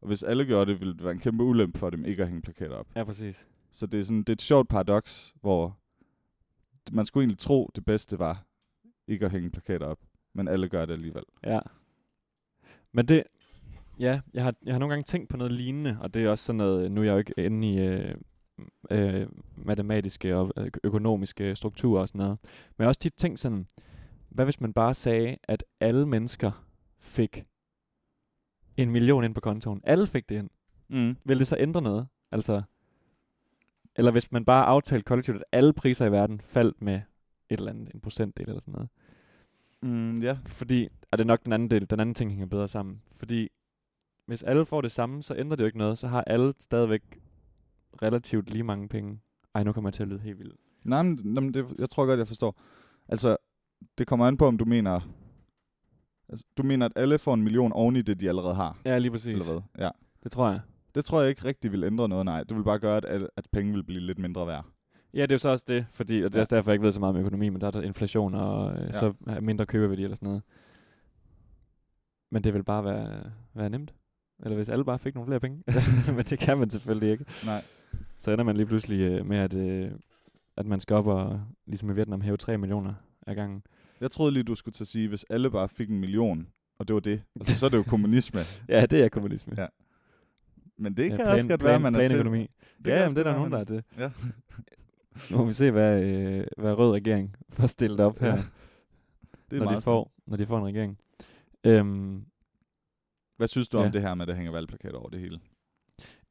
Speaker 2: Og hvis alle gjorde det, ville det være en kæmpe ulempe for dem ikke at hænge plakater op.
Speaker 1: Ja, præcis.
Speaker 2: Så det er, sådan, det er et sjovt paradoks, hvor man skulle egentlig tro, det bedste var ikke at hænge plakater op. Men alle gør det alligevel.
Speaker 1: Ja. Men det, ja, jeg har, jeg har nogle gange tænkt på noget lignende, og det er også sådan noget, nu er jeg jo ikke inde i øh, øh, matematiske og ø- økonomiske strukturer og sådan noget, men jeg har også tit tænkt sådan, hvad hvis man bare sagde, at alle mennesker fik en million ind på kontoen? Alle fik det ind.
Speaker 2: Mm.
Speaker 1: Vil det så ændre noget? Altså, eller hvis man bare aftalte kollektivt, at alle priser i verden faldt med et eller andet, en procentdel eller sådan noget.
Speaker 2: Mm, ja.
Speaker 1: Fordi, og det er nok den anden del, den anden ting hænger bedre sammen. Fordi hvis alle får det samme, så ændrer det jo ikke noget. Så har alle stadigvæk relativt lige mange penge. Ej, nu kommer jeg til at lyde helt vildt.
Speaker 2: Nej, men, nej, men det, jeg tror godt, jeg forstår. Altså, det kommer an på, om du mener... Altså, du mener, at alle får en million oven i det, de allerede har,
Speaker 1: Ja, lige præcis.
Speaker 2: eller hvad? Ja.
Speaker 1: Det tror jeg.
Speaker 2: Det tror jeg ikke rigtig vil ændre noget, nej. Det vil bare gøre, at, at, at penge vil blive lidt mindre værd.
Speaker 1: Ja, det er jo så også det, fordi, og det er
Speaker 2: Ja.
Speaker 1: også derfor, jeg ikke ved så meget om økonomi, men der er der inflation, og øh,
Speaker 2: Ja.
Speaker 1: ja. så er mindre købeværdi eller sådan noget. Men det vil bare være, være nemt. Eller hvis alle bare fik nogle flere
Speaker 2: [LAUGHS]
Speaker 1: penge. [LAUGHS] men det kan man selvfølgelig ikke.
Speaker 2: Nej.
Speaker 1: Så ender man lige pludselig øh, med, at, øh, at man skal op og, ligesom i Vietnam, hæve 3 millioner ad gangen.
Speaker 2: Jeg troede lige, du skulle til at sige, hvis alle bare fik en million, og det var det. Altså, så er det jo kommunisme.
Speaker 1: [LAUGHS] Ja, det er kommunisme.
Speaker 2: Ja, Men det
Speaker 1: ja,
Speaker 2: kan også godt være, man er til.
Speaker 1: økonomi.
Speaker 2: Det kan
Speaker 1: Ja,
Speaker 2: også
Speaker 1: jamen, det er der
Speaker 2: godt
Speaker 1: nogen, der
Speaker 2: være,
Speaker 1: er til.
Speaker 2: Ja.
Speaker 1: [LAUGHS] Nu må vi se, hvad, øh, hvad rød regering får stillet op her,
Speaker 2: Ja,
Speaker 1: ja,
Speaker 2: Det er
Speaker 1: når, de
Speaker 2: meget
Speaker 1: får, når de får en regering. Øhm,
Speaker 2: Hvad synes du om
Speaker 1: Ja.
Speaker 2: det her med, at der hænger valgplakater over det hele?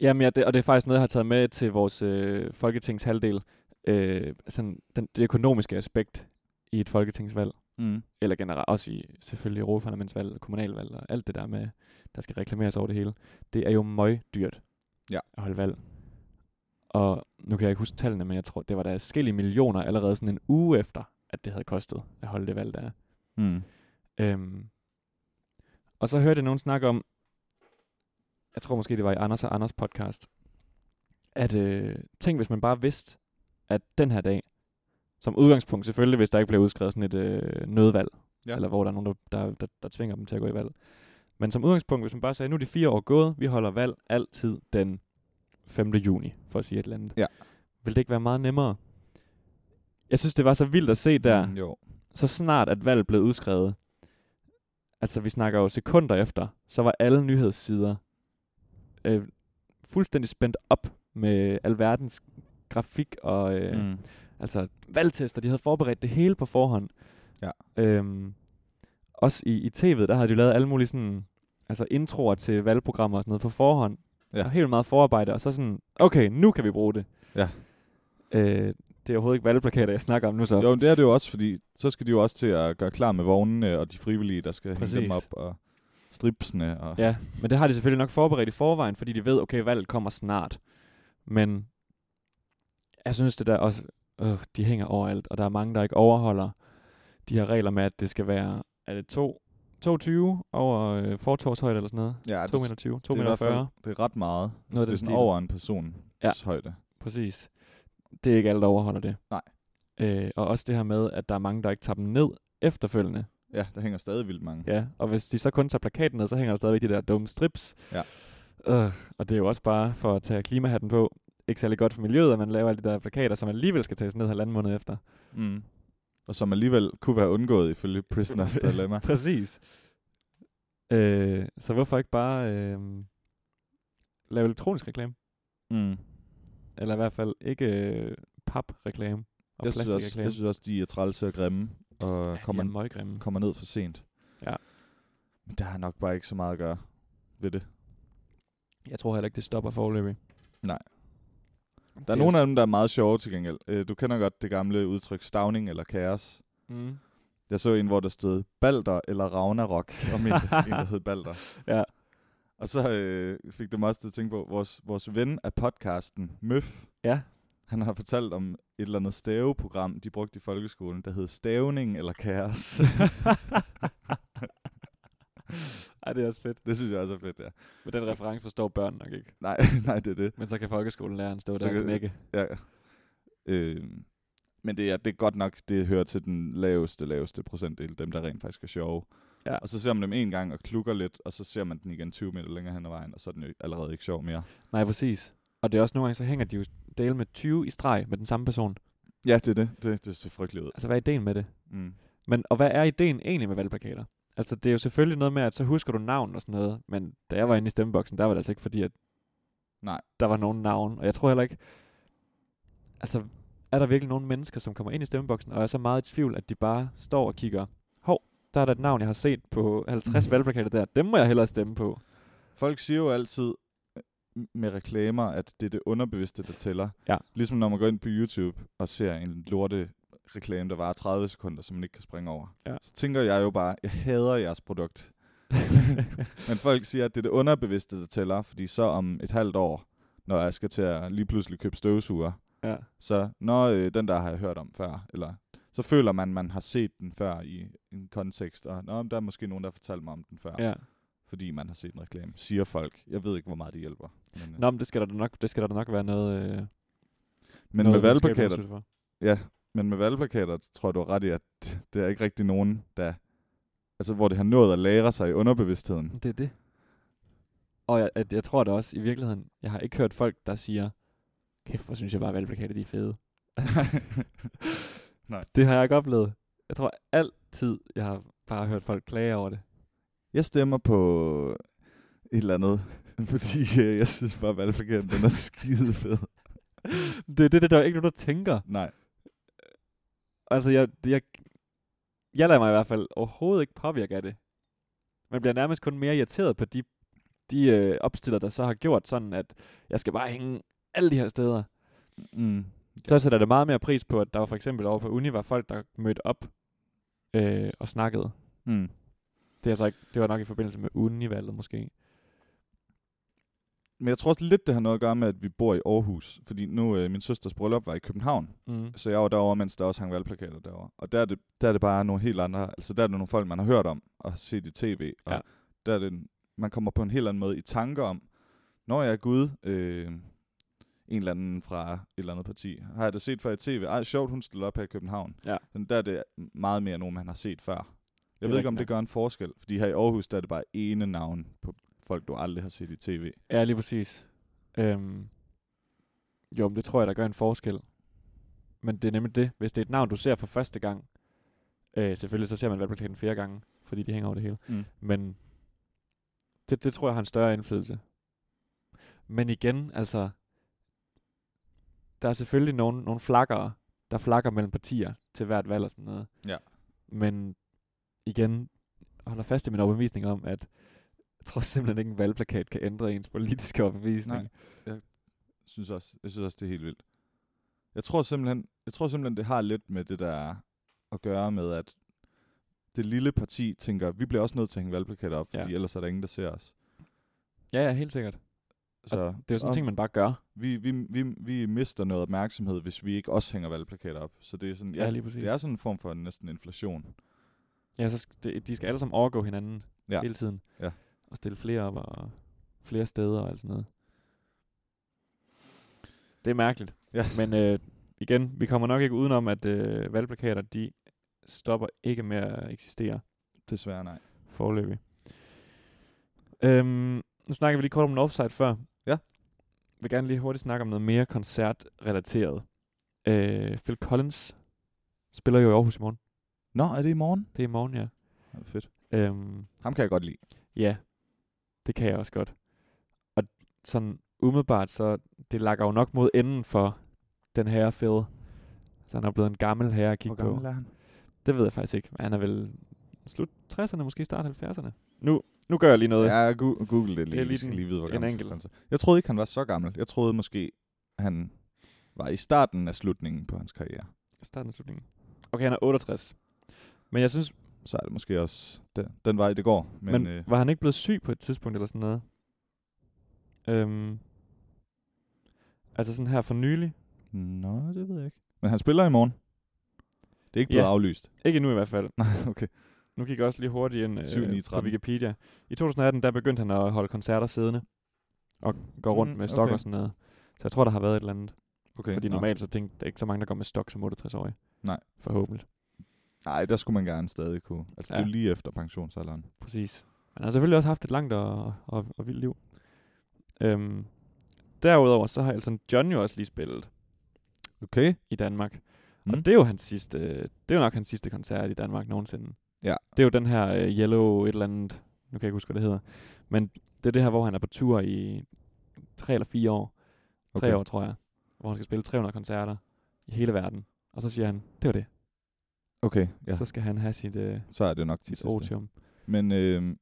Speaker 1: jamen, ja, det, og det er faktisk noget, jeg har taget med til vores øh, folketingshalvdel. Øh, sådan, den, det økonomiske aspekt i et folketingsvalg.
Speaker 2: Mm.
Speaker 1: eller generelt også i selvfølgelig Europaparlamentsvalg, kommunalvalg og alt det der med, der skal reklameres over det hele, det er jo møg dyrt
Speaker 2: Ja.
Speaker 1: at holde valg. Og nu kan jeg ikke huske tallene, men jeg tror, det var der forskellige millioner allerede sådan en uge efter, at det havde kostet at holde det valg der.
Speaker 2: Mm.
Speaker 1: Øhm. Og så hørte jeg nogen snakke om, jeg tror måske det var i Anders og Anders podcast, at øh, tænk hvis man bare vidste, at den her dag, som udgangspunkt selvfølgelig, hvis der ikke bliver udskrevet sådan et øh, nødvalg,
Speaker 2: Ja.
Speaker 1: ja. eller hvor der er nogen, der, der, der, der tvinger dem til at gå i valg. Men som udgangspunkt, hvis man bare sagde, nu er de fire år gået, vi holder valg altid den 5. juni, for at sige et eller andet.
Speaker 2: Ja.
Speaker 1: Vil det ikke være meget nemmere? Jeg synes, det var så vildt at se der,
Speaker 2: Mm, jo.
Speaker 1: så snart at valget blev udskrevet, altså vi snakker jo sekunder efter, så var alle nyhedssider øh, fuldstændig spændt op med alverdens grafik og øh, mm.
Speaker 2: Mm.
Speaker 1: altså valgtester. De havde forberedt det hele på forhånd.
Speaker 2: Ja.
Speaker 1: Øhm, også i, i tv'et, der havde de lavet alle mulige sådan, altså introer til valgprogrammer og sådan noget på forhånd.
Speaker 2: Ja.
Speaker 1: Og helt meget forarbejde, og så sådan, okay, nu kan vi bruge det.
Speaker 2: Ja.
Speaker 1: Øh, det er overhovedet ikke valgplakater, jeg snakker om nu så.
Speaker 2: Jo, men det er det jo også, fordi så skal de jo også til at gøre klar med vognene og de frivillige, der skal Præcis. hænge dem
Speaker 1: Præcis.
Speaker 2: op og stripsene. Og,
Speaker 1: Ja, men det har de selvfølgelig nok forberedt i forvejen, fordi de ved, okay, valget kommer snart. Men jeg synes det der også, øh, de hænger overalt, og der er mange, der ikke overholder de her regler med, at det skal være, er det 2, 2,20 over øh, fortorvshøjde eller sådan noget?
Speaker 2: ja det,
Speaker 1: 2 meter 20, 2
Speaker 2: det, er i
Speaker 1: meter
Speaker 2: hvert
Speaker 1: 40.
Speaker 2: fald, det er ret meget.
Speaker 1: Noget
Speaker 2: så
Speaker 1: af
Speaker 2: det
Speaker 1: den
Speaker 2: er sådan
Speaker 1: stil.
Speaker 2: over en person
Speaker 1: Ja.
Speaker 2: ja. højde.
Speaker 1: Præcis. Det er ikke alle, der overholder det.
Speaker 2: Nej.
Speaker 1: Øh, og også det her med, at der er mange, der ikke tager dem ned efterfølgende.
Speaker 2: Ja, der hænger stadig vildt mange.
Speaker 1: Ja, og hvis de så kun tager plakaten ned, så hænger der stadigvæk de der dumme strips.
Speaker 2: Ja.
Speaker 1: Øh, og det er jo også bare for at tage klimahatten på. Ikke særlig godt for miljøet, at man laver alle de der plakater, som alligevel skal tages ned halvanden måned efter.
Speaker 2: Mm. Og som alligevel kunne være undgået ifølge
Speaker 1: [LAUGHS]
Speaker 2: Prisoners Dilemma.
Speaker 1: Præcis. Øh, så hvorfor ikke bare øh, lave elektronisk reklame?
Speaker 2: Mm.
Speaker 1: Eller i hvert fald ikke øh, pap-reklame og
Speaker 2: Jeg, synes også,
Speaker 1: plastikreklame.
Speaker 2: jeg synes også, de er trælse og grimme og
Speaker 1: ja,
Speaker 2: kommer,
Speaker 1: de er møggrimme.
Speaker 2: kommer ned for sent.
Speaker 1: Ja.
Speaker 2: Men der er nok bare ikke så meget at gøre ved det.
Speaker 1: Jeg tror heller ikke, det stopper forløbig.
Speaker 2: Nej.
Speaker 1: Det
Speaker 2: Der er nogle af dem, der er meget sjove til gengæld. Øh, Du kender godt det gamle udtryk stavning eller kaos.
Speaker 1: Mm.
Speaker 2: Jeg så en, hvor der stod Balder eller Ragnarok, om en,
Speaker 1: [LAUGHS]
Speaker 2: en der hed Balder.
Speaker 1: Ja.
Speaker 2: Og så øh, fik det mig også til at tænke på, vores, vores ven af podcasten, Møf,
Speaker 1: Ja.
Speaker 2: han har fortalt om et eller andet staveprogram, de brugte i folkeskolen, der hed Stavning eller
Speaker 1: [LAUGHS]
Speaker 2: Kaos.
Speaker 1: Ej, det er også fedt.
Speaker 2: det synes jeg også er fedt, ja.
Speaker 1: Men den reference forstår børn nok ikke.
Speaker 2: Nej, [LAUGHS] nej, det er det.
Speaker 1: Men så kan folkeskolelæreren stå
Speaker 2: Så
Speaker 1: der og
Speaker 2: kan-
Speaker 1: knække.
Speaker 2: Ja. Øh, men det er, det er godt nok, det hører til den laveste, laveste procentdel, dem der rent faktisk er sjove.
Speaker 1: Ja.
Speaker 2: Og så ser man dem en gang og klukker lidt, og så ser man den igen 20 meter længere hen ad vejen, og så er den jo allerede ikke sjov mere.
Speaker 1: Nej, præcis. Og det er også nogle gange, så hænger de jo dele med 20 i streg med den samme person.
Speaker 2: Ja, det er det. Det, det ser frygteligt ud.
Speaker 1: Altså, hvad er ideen med det?
Speaker 2: Mm.
Speaker 1: Men, og hvad er ideen egentlig med valgplakater? Altså, det er jo selvfølgelig noget med, at så husker du navn og sådan noget, men da jeg var inde i stemmeboksen, der var det altså ikke fordi, at
Speaker 2: Nej.
Speaker 1: der var nogen navn. Og jeg tror heller ikke, altså, er der virkelig nogen mennesker, som kommer ind i stemmeboksen og er så meget i tvivl, at de bare står og kigger, hov, der er der et navn, jeg har set på
Speaker 2: [LAUGHS]
Speaker 1: 50 valgplakater der, dem må jeg hellere stemme på.
Speaker 2: Folk siger jo altid øh, med reklamer, at det er det underbevidste, der tæller.
Speaker 1: Ja.
Speaker 2: Ligesom når man går ind på YouTube og ser en lorte reklame, der varer 30 sekunder, som man ikke kan springe over.
Speaker 1: Ja.
Speaker 2: Så tænker jeg jo bare, jeg hader jeres
Speaker 1: [LAUGHS]
Speaker 2: produkt. Men folk siger, at det er det underbevidste, der tæller, fordi så om et halvt år, når jeg skal til at lige pludselig købe støvsuger,
Speaker 1: ja.
Speaker 2: så når øh, den der har jeg hørt om før, eller så føler man, man har set den før i en kontekst, og Nå, men der er måske nogen, der har fortalt mig om den før.
Speaker 1: ja.
Speaker 2: fordi man har set en reklame, siger folk. Jeg ved ikke, hvor meget det hjælper. Men, øh,
Speaker 1: Nå, men det skal der da nok, det skal der da nok være noget... Øh,
Speaker 2: men,
Speaker 1: noget
Speaker 2: med
Speaker 1: videnskabeligt
Speaker 2: valgplakater,
Speaker 1: undersøgelse for.
Speaker 2: ja, men med valgplakater tror jeg, du har ret i, at det er ikke rigtig nogen, der... Altså, hvor det har nået at lære sig i underbevidstheden.
Speaker 1: [LAUGHS] Det er det. Og jeg, at jeg tror da også, i virkeligheden, jeg har ikke hørt folk, der siger, kæft, hvor synes jeg bare, at valgplakater de er fede.
Speaker 2: Nej.
Speaker 1: Det har jeg ikke oplevet. Jeg tror altid, jeg har bare hørt folk klage over det.
Speaker 2: Jeg stemmer på et eller andet, [LAUGHS] fordi øh, jeg synes bare, at valgplakaten den er skide fed.
Speaker 1: Det er det, det der er ikke nogen, der tænker.
Speaker 2: Nej.
Speaker 1: Altså, jeg, jeg, jeg lader mig i hvert fald overhovedet ikke påvirke af det. Man bliver nærmest kun mere irriteret på de, de øh, opstillere, der så har gjort sådan, at jeg skal bare hænge alle de her steder.
Speaker 2: Mm.
Speaker 1: Så sætter det meget mere pris på, at der var for eksempel over på uni, var folk, der mødte op øh, og snakkede.
Speaker 2: Mm.
Speaker 1: Det, er altså ikke, det var nok i forbindelse med univalget måske.
Speaker 2: Men jeg tror også lidt, det har noget at gøre med, at vi bor i Aarhus. Fordi nu, øh, min søsters bryllup var i København.
Speaker 1: Mm.
Speaker 2: Så jeg var derovre, mens der også hang valgplakater derovre. Og der er, det, der er det bare nogle helt andre... Altså, der er det nogle folk, man har hørt om og har set i tv. Og
Speaker 1: Ja.
Speaker 2: der er det, en- man kommer på en helt anden måde i tanker om, når jeg er gud, øh, en eller anden fra et eller andet parti, har jeg da set før i tv. Ej, sjovt, hun stiller op her i København.
Speaker 1: Ja.
Speaker 2: Men der er det meget mere nogen, man har set før. Jeg
Speaker 1: er
Speaker 2: ved ikke, om
Speaker 1: rigtigt
Speaker 2: det gør en forskel. Fordi her i Aarhus, der er det bare ene navn på folk, du aldrig har set i tv.
Speaker 1: Ja, lige præcis. Øhm, jo, men det tror jeg, der gør en forskel. Men det er nemlig det. Hvis det er et navn, du ser for første gang, øh, selvfølgelig så ser man valgplakaten flere gange, fordi de hænger over det hele.
Speaker 2: Mm.
Speaker 1: Men det, det tror jeg har en større indflydelse. Men igen, altså, der er selvfølgelig nogle, nogle flakker, der flakker mellem partier til hvert valg og sådan noget.
Speaker 2: Ja.
Speaker 1: Men igen, holder fast i min overbevisning om, at jeg tror simpelthen ikke, en valgplakat kan ændre ens politiske overbevisning.
Speaker 2: Nej. synes også, jeg synes også, det er helt vildt. Jeg tror simpelthen, jeg tror simpelthen det har lidt med det der at gøre med, at det lille parti tænker, vi bliver også nødt til at hænge valgplakater op,
Speaker 1: Ja.
Speaker 2: fordi ellers er der ingen, der ser os.
Speaker 1: Ja, ja, helt sikkert.
Speaker 2: Så
Speaker 1: Det er jo sådan en
Speaker 2: og
Speaker 1: ting, man bare gør.
Speaker 2: vi, vi, vi, vi mister noget opmærksomhed, hvis vi ikke også hænger valgplakater op. Så det er sådan, ja,
Speaker 1: lige præcis.
Speaker 2: det er sådan en form for næsten inflation.
Speaker 1: Ja, så sk- det, de skal alle sammen overgå hinanden
Speaker 2: Ja.
Speaker 1: ja. hele tiden.
Speaker 2: Ja.
Speaker 1: Og stille flere op og flere steder og alt sådan noget. Det er mærkeligt.
Speaker 2: Ja.
Speaker 1: Men øh, igen, vi kommer nok ikke udenom, at øh, valgplakater, de stopper ikke med at eksistere
Speaker 2: Desværre nej.
Speaker 1: forløbig. Øhm, nu snakker vi lige kort om en offside før.
Speaker 2: Ja.
Speaker 1: Jeg vil gerne lige hurtigt snakke om noget mere koncertrelateret. Øh, Phil Collins spiller jo i Aarhus i morgen.
Speaker 2: Nå, er det i morgen?
Speaker 1: Det er i morgen, ja.
Speaker 2: Ja, fedt.
Speaker 1: Øhm,
Speaker 2: Ham kan jeg godt lide.
Speaker 1: Ja, det kan jeg også godt. Og sådan umiddelbart, så det lakker jo nok mod enden for den her fede. Så han er blevet en gammel herre at kigge på.
Speaker 2: er han?
Speaker 1: Det ved jeg faktisk ikke. Men han er vel slut 60'erne, måske start 70'erne. Nu, nu gør jeg lige noget.
Speaker 2: Ja, gu- google det
Speaker 1: er
Speaker 2: lige. Det
Speaker 1: lige
Speaker 2: lige, skal
Speaker 1: den-
Speaker 2: lige vide, hvor
Speaker 1: en
Speaker 2: gammel
Speaker 1: enkelt.
Speaker 2: han er. Jeg troede ikke, han var så gammel. Jeg troede måske, han var i starten af slutningen på hans karriere.
Speaker 1: Starten og slutningen. Okay, han er 68. Men jeg synes,
Speaker 2: Så er det måske også den, den vej, det går. Men,
Speaker 1: men,
Speaker 2: øh,
Speaker 1: var han ikke blevet syg på et tidspunkt eller sådan noget? Øhm, altså sådan her for nylig.
Speaker 2: nå, det ved jeg ikke. Men han spiller i morgen. Det er ikke blevet
Speaker 1: Ja.
Speaker 2: aflyst.
Speaker 1: Ikke endnu i hvert fald.
Speaker 2: Nej, [LAUGHS] okay.
Speaker 1: Nu gik jeg også lige hurtigt ind
Speaker 2: 7, 9,
Speaker 1: øh, på
Speaker 2: 13.
Speaker 1: Wikipedia. I 2018, der begyndte han at holde koncerter siddende. Og gå rundt
Speaker 2: Mm,
Speaker 1: mm, med stok
Speaker 2: okay.
Speaker 1: okay. og sådan noget. Så jeg tror, der har været et eller andet.
Speaker 2: okay.
Speaker 1: Okay, Fordi
Speaker 2: nå.
Speaker 1: normalt så tænkte der er ikke så mange, der går med stok som 68-årige.
Speaker 2: Nej.
Speaker 1: Forhåbentlig.
Speaker 2: Nej, der skulle man gerne stadig kunne. Altså, ja. det
Speaker 1: Ja.
Speaker 2: er jo lige efter pensionsalderen.
Speaker 1: Præcis. Han har selvfølgelig også haft et langt og, og, og vildt liv. Øhm, derudover så har Elton John jo også lige spillet
Speaker 2: Okay.
Speaker 1: i Danmark. Mm.
Speaker 2: Mm.
Speaker 1: Og det er jo hans sidste, det er jo nok hans sidste koncert i Danmark nogensinde.
Speaker 2: Ja.
Speaker 1: Det er jo den her øh, Yellow et eller andet, nu kan jeg ikke huske, hvad det hedder. Men det er det her, hvor han er på tur i tre eller fire år. Tre
Speaker 2: Okay.
Speaker 1: år, tror jeg. Hvor han skal spille 300 koncerter i hele verden. Og så siger han, det var det.
Speaker 2: Okay, ja.
Speaker 1: Ja. Så skal han have sit, øh,
Speaker 2: Så er det nok det
Speaker 1: sit
Speaker 2: sidste.
Speaker 1: otium.
Speaker 2: Men øh,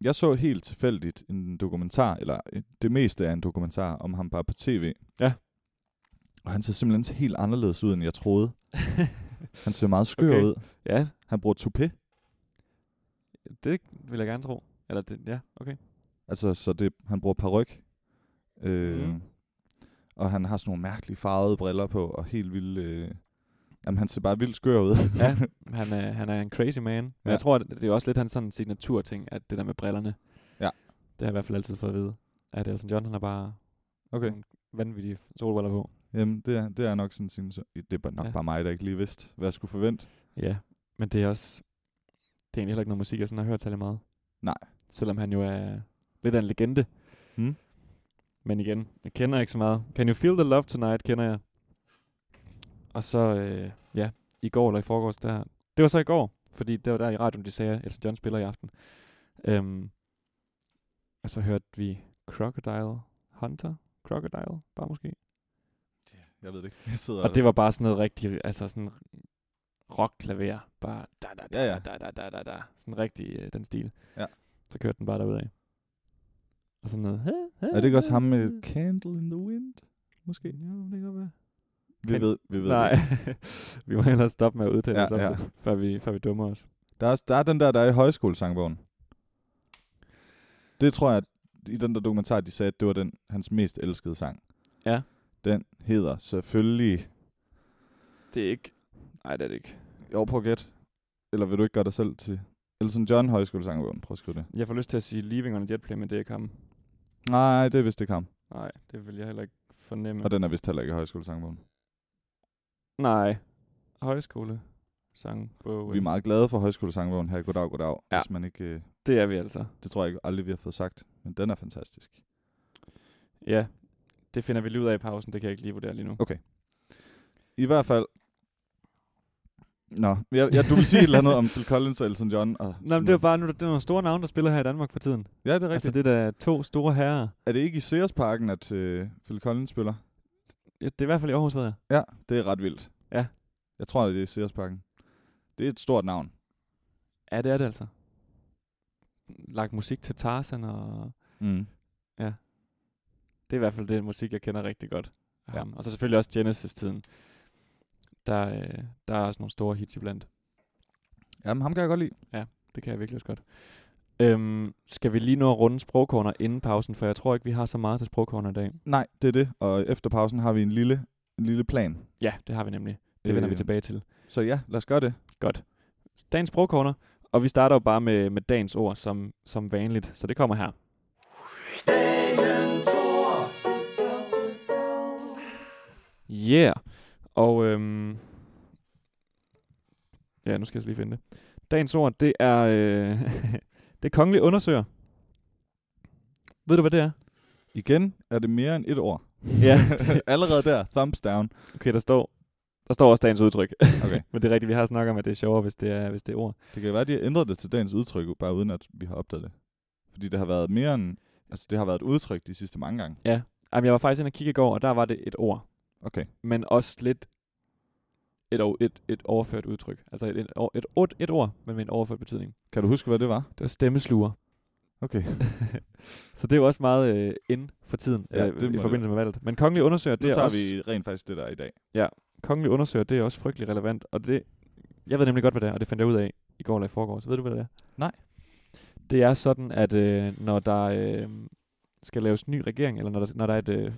Speaker 2: jeg så helt tilfældigt en dokumentar, eller øh, det meste er en dokumentar om ham bare på tv.
Speaker 1: Ja.
Speaker 2: Og han ser simpelthen helt anderledes ud, end jeg troede. [LAUGHS] Han ser meget skør
Speaker 1: Okay.
Speaker 2: okay. ud.
Speaker 1: ja,
Speaker 2: Han bruger toupet,
Speaker 1: det vil jeg gerne tro. Eller det, ja, okay.
Speaker 2: altså så det, han bruger paryk. Øh,
Speaker 1: Mhm.
Speaker 2: mm. Og han har sådan nogle mærkelige farvede briller på, og helt vildt... Øh, jamen, han ser bare vildt skør ud. [LAUGHS]
Speaker 1: Ja, han er, han er en crazy man. Men ja.
Speaker 2: Ja.
Speaker 1: jeg tror, at det er jo også lidt hans sådan signaturting, at det der med brillerne.
Speaker 2: Ja.
Speaker 1: Det har jeg i hvert fald altid fået at vide. At Elton John, han er bare
Speaker 2: okay.
Speaker 1: vanvittige solbriller på.
Speaker 2: Jamen, det er, det er nok sådan sin... Det er bare- nok ja.
Speaker 1: Ja.
Speaker 2: bare mig, der ikke lige vidste, hvad jeg skulle forvente.
Speaker 1: Ja, men det er også... Det er egentlig heller ikke noget musik, jeg sådan har hørt særlig meget.
Speaker 2: Nej.
Speaker 1: Selvom han jo er lidt af en legende.
Speaker 2: Mm.
Speaker 1: Men igen, jeg kender ikke så meget. Can You Feel The Love Tonight kender jeg. Og så, øh, ja, i går eller i forgårs, der... Det var så i går, fordi det var der i radioen, de sagde, at Elton John spiller i aften. Øhm, og så hørte vi Crocodile Hunter. Crocodile, bare måske.
Speaker 2: Jeg ved det ikke. Jeg sidder
Speaker 1: Og det var bare sådan noget rigtig, altså sådan rockklaver, bare da da da
Speaker 2: Ja,
Speaker 1: ja,
Speaker 2: ja.
Speaker 1: ja. da da da da da, sådan rigtig øh, den stil.
Speaker 2: Ja.
Speaker 1: Så kørte den bare derud af. Og sådan noget.
Speaker 2: Er det ikke også ham med Candle in the Wind? Måske.
Speaker 1: Jo, Øh. det kan godt være.
Speaker 2: Vi
Speaker 1: Kan-
Speaker 2: ved, vi ved
Speaker 1: Nej,
Speaker 2: det.
Speaker 1: [LAUGHS] vi må hellere stoppe med at udtale
Speaker 2: Ja,
Speaker 1: os om
Speaker 2: ja.
Speaker 1: det, [LAUGHS] før vi, før vi dummer os.
Speaker 2: Der er, der er den der, der er i højskolesangbogen. Det tror jeg, at i den der dokumentar, de sagde, at det var den, hans mest elskede sang.
Speaker 1: Ja.
Speaker 2: Den hedder selvfølgelig...
Speaker 1: Det er ikke... Nej, det er det ikke.
Speaker 2: Jo, prøv at gætte. Eller vil du ikke gøre dig selv til... Elton John højskolesangbogen, prøv at skrive det.
Speaker 1: Jeg får lyst til at sige Leaving on a Jet Plane, men det er ikke ham.
Speaker 2: Nej, det er vist ikke ham.
Speaker 1: Nej, det vil jeg heller ikke fornemme.
Speaker 2: Og den er vist heller ikke i højskolesangbogen.
Speaker 1: Nej. Højskole. øh, Sangbogen.
Speaker 2: Vi er meget glade for højskolesangbogen her. i Goddag, goddag.
Speaker 1: Ja.
Speaker 2: Hvis man ikke, øh,
Speaker 1: Det er vi altså.
Speaker 2: det tror jeg ikke aldrig, vi har fået sagt. Men den er fantastisk.
Speaker 1: Ja. Det finder vi lige ud af i pausen, det kan jeg ikke lige vurdere lige nu.
Speaker 2: I hvert fald, Nå, jeg, jeg, du vil sige et eller andet om Phil Collins og Elton John. Og
Speaker 1: Nå, men det er jo bare, nu er der det er nogle store navne, der spiller her i Danmark for tiden. Rigtigt.
Speaker 2: Ja, det er rigtigt.
Speaker 1: Altså,
Speaker 2: Altså,
Speaker 1: det er da to store herrer.
Speaker 2: er det ikke i Sears Parken, at øh, Phil Collins spiller?
Speaker 1: Ja, det er i hvert fald i Aarhus, ved jeg.
Speaker 2: Ja, det er ret vildt.
Speaker 1: Ja.
Speaker 2: Jeg tror, det er i Sears Parken. Det er et stort navn.
Speaker 1: Ja, det er det altså. Lagt musik til Tarzan, og
Speaker 2: Mm.
Speaker 1: det er i hvert fald det musik, jeg kender rigtig godt.
Speaker 2: Ja.
Speaker 1: Ja. Og så selvfølgelig også Genesis-tiden. Der, øh, der er også nogle store hits iblandt.
Speaker 2: Jamen, ham kan jeg godt lide.
Speaker 1: Det kan jeg virkelig også godt. Øhm, skal vi lige nå at runde sprogkorner inden pausen, for jeg tror ikke, vi har så meget til sprogkorner i dag.
Speaker 2: Nej, det er det. Og efter pausen har vi en lille, en lille plan.
Speaker 1: Ja, det har vi nemlig. Det vender vi
Speaker 2: Øh,
Speaker 1: tilbage til.
Speaker 2: Så ja, lad os gøre det.
Speaker 1: Godt. Dagens sprogkorner, og vi starter jo bare med, med dagens ord som, som vanligt, så det kommer her. Yeah. Og øhm, ja, nu skal jeg så lige finde det. Dagens ord, det er øh, [LAUGHS] det er kongelige undersøger. Ved du, hvad det er?
Speaker 2: Igen er det mere end et ord.
Speaker 1: ja,
Speaker 2: [LAUGHS] Allerede der, thumbs down.
Speaker 1: okay, der står, der står også dagens udtryk. [LAUGHS]
Speaker 2: Okay.
Speaker 1: Men det er rigtigt, vi har snakket om, at det er sjovere, hvis det er, hvis det er ord.
Speaker 2: Det kan være, at de har ændret det til dagens udtryk, bare uden at vi har opdaget det. Fordi det har været mere end... Altså, det har været et udtryk de sidste mange gange.
Speaker 1: Jamen, jeg var faktisk inde og kigge i går, og der var det et ord.
Speaker 2: Okay.
Speaker 1: men også lidt et, o- et, et overført udtryk. Altså et, et, et, et, et ord, men med en overført betydning.
Speaker 2: Kan du huske, hvad det var?
Speaker 1: Det var stemmesluger.
Speaker 2: Okay.
Speaker 1: [LAUGHS] Så det er jo også meget øh, ind for tiden
Speaker 2: Ja,
Speaker 1: ja,
Speaker 2: det
Speaker 1: øh,
Speaker 2: må
Speaker 1: i
Speaker 2: det
Speaker 1: forbindelse med valget. Men kongelige undersøger,
Speaker 2: Det
Speaker 1: det
Speaker 2: nu
Speaker 1: er
Speaker 2: tager
Speaker 1: også,
Speaker 2: også... vi rent faktisk det der er i dag.
Speaker 1: kongelige undersøger, det er også frygtelig relevant. Og det, jeg ved nemlig godt, hvad det er, og det fandt jeg ud af i går eller i forgårs. Ved du, hvad det er?
Speaker 2: Nej.
Speaker 1: Det er sådan, at øh, når der øh, skal laves ny regering, eller når der, når der er et øh,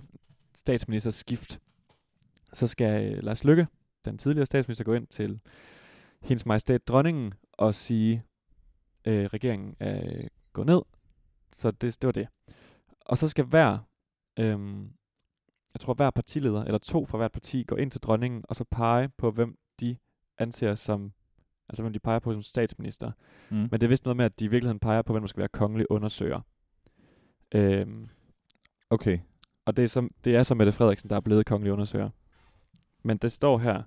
Speaker 1: statsministerskift, så skal øh, Lars Lykke, den tidligere statsminister, gå ind til hendes majestæt dronningen og sige, øh, regeringen er øh, gået ned. Så det, det var det. Og så skal hver, øh, jeg tror hver partileder, eller to fra hvert parti, går ind til dronningen og så pege på, hvem de anser som, altså hvem de peger på som statsminister.
Speaker 2: Mm.
Speaker 1: Men det er vist noget med, at de i virkeligheden peger på, hvem der skal være kongelig undersøger. Øhm,
Speaker 2: Okay.
Speaker 1: og det er, som, det er så Mette Frederiksen, der er blevet kongelig undersøger. Men det står her,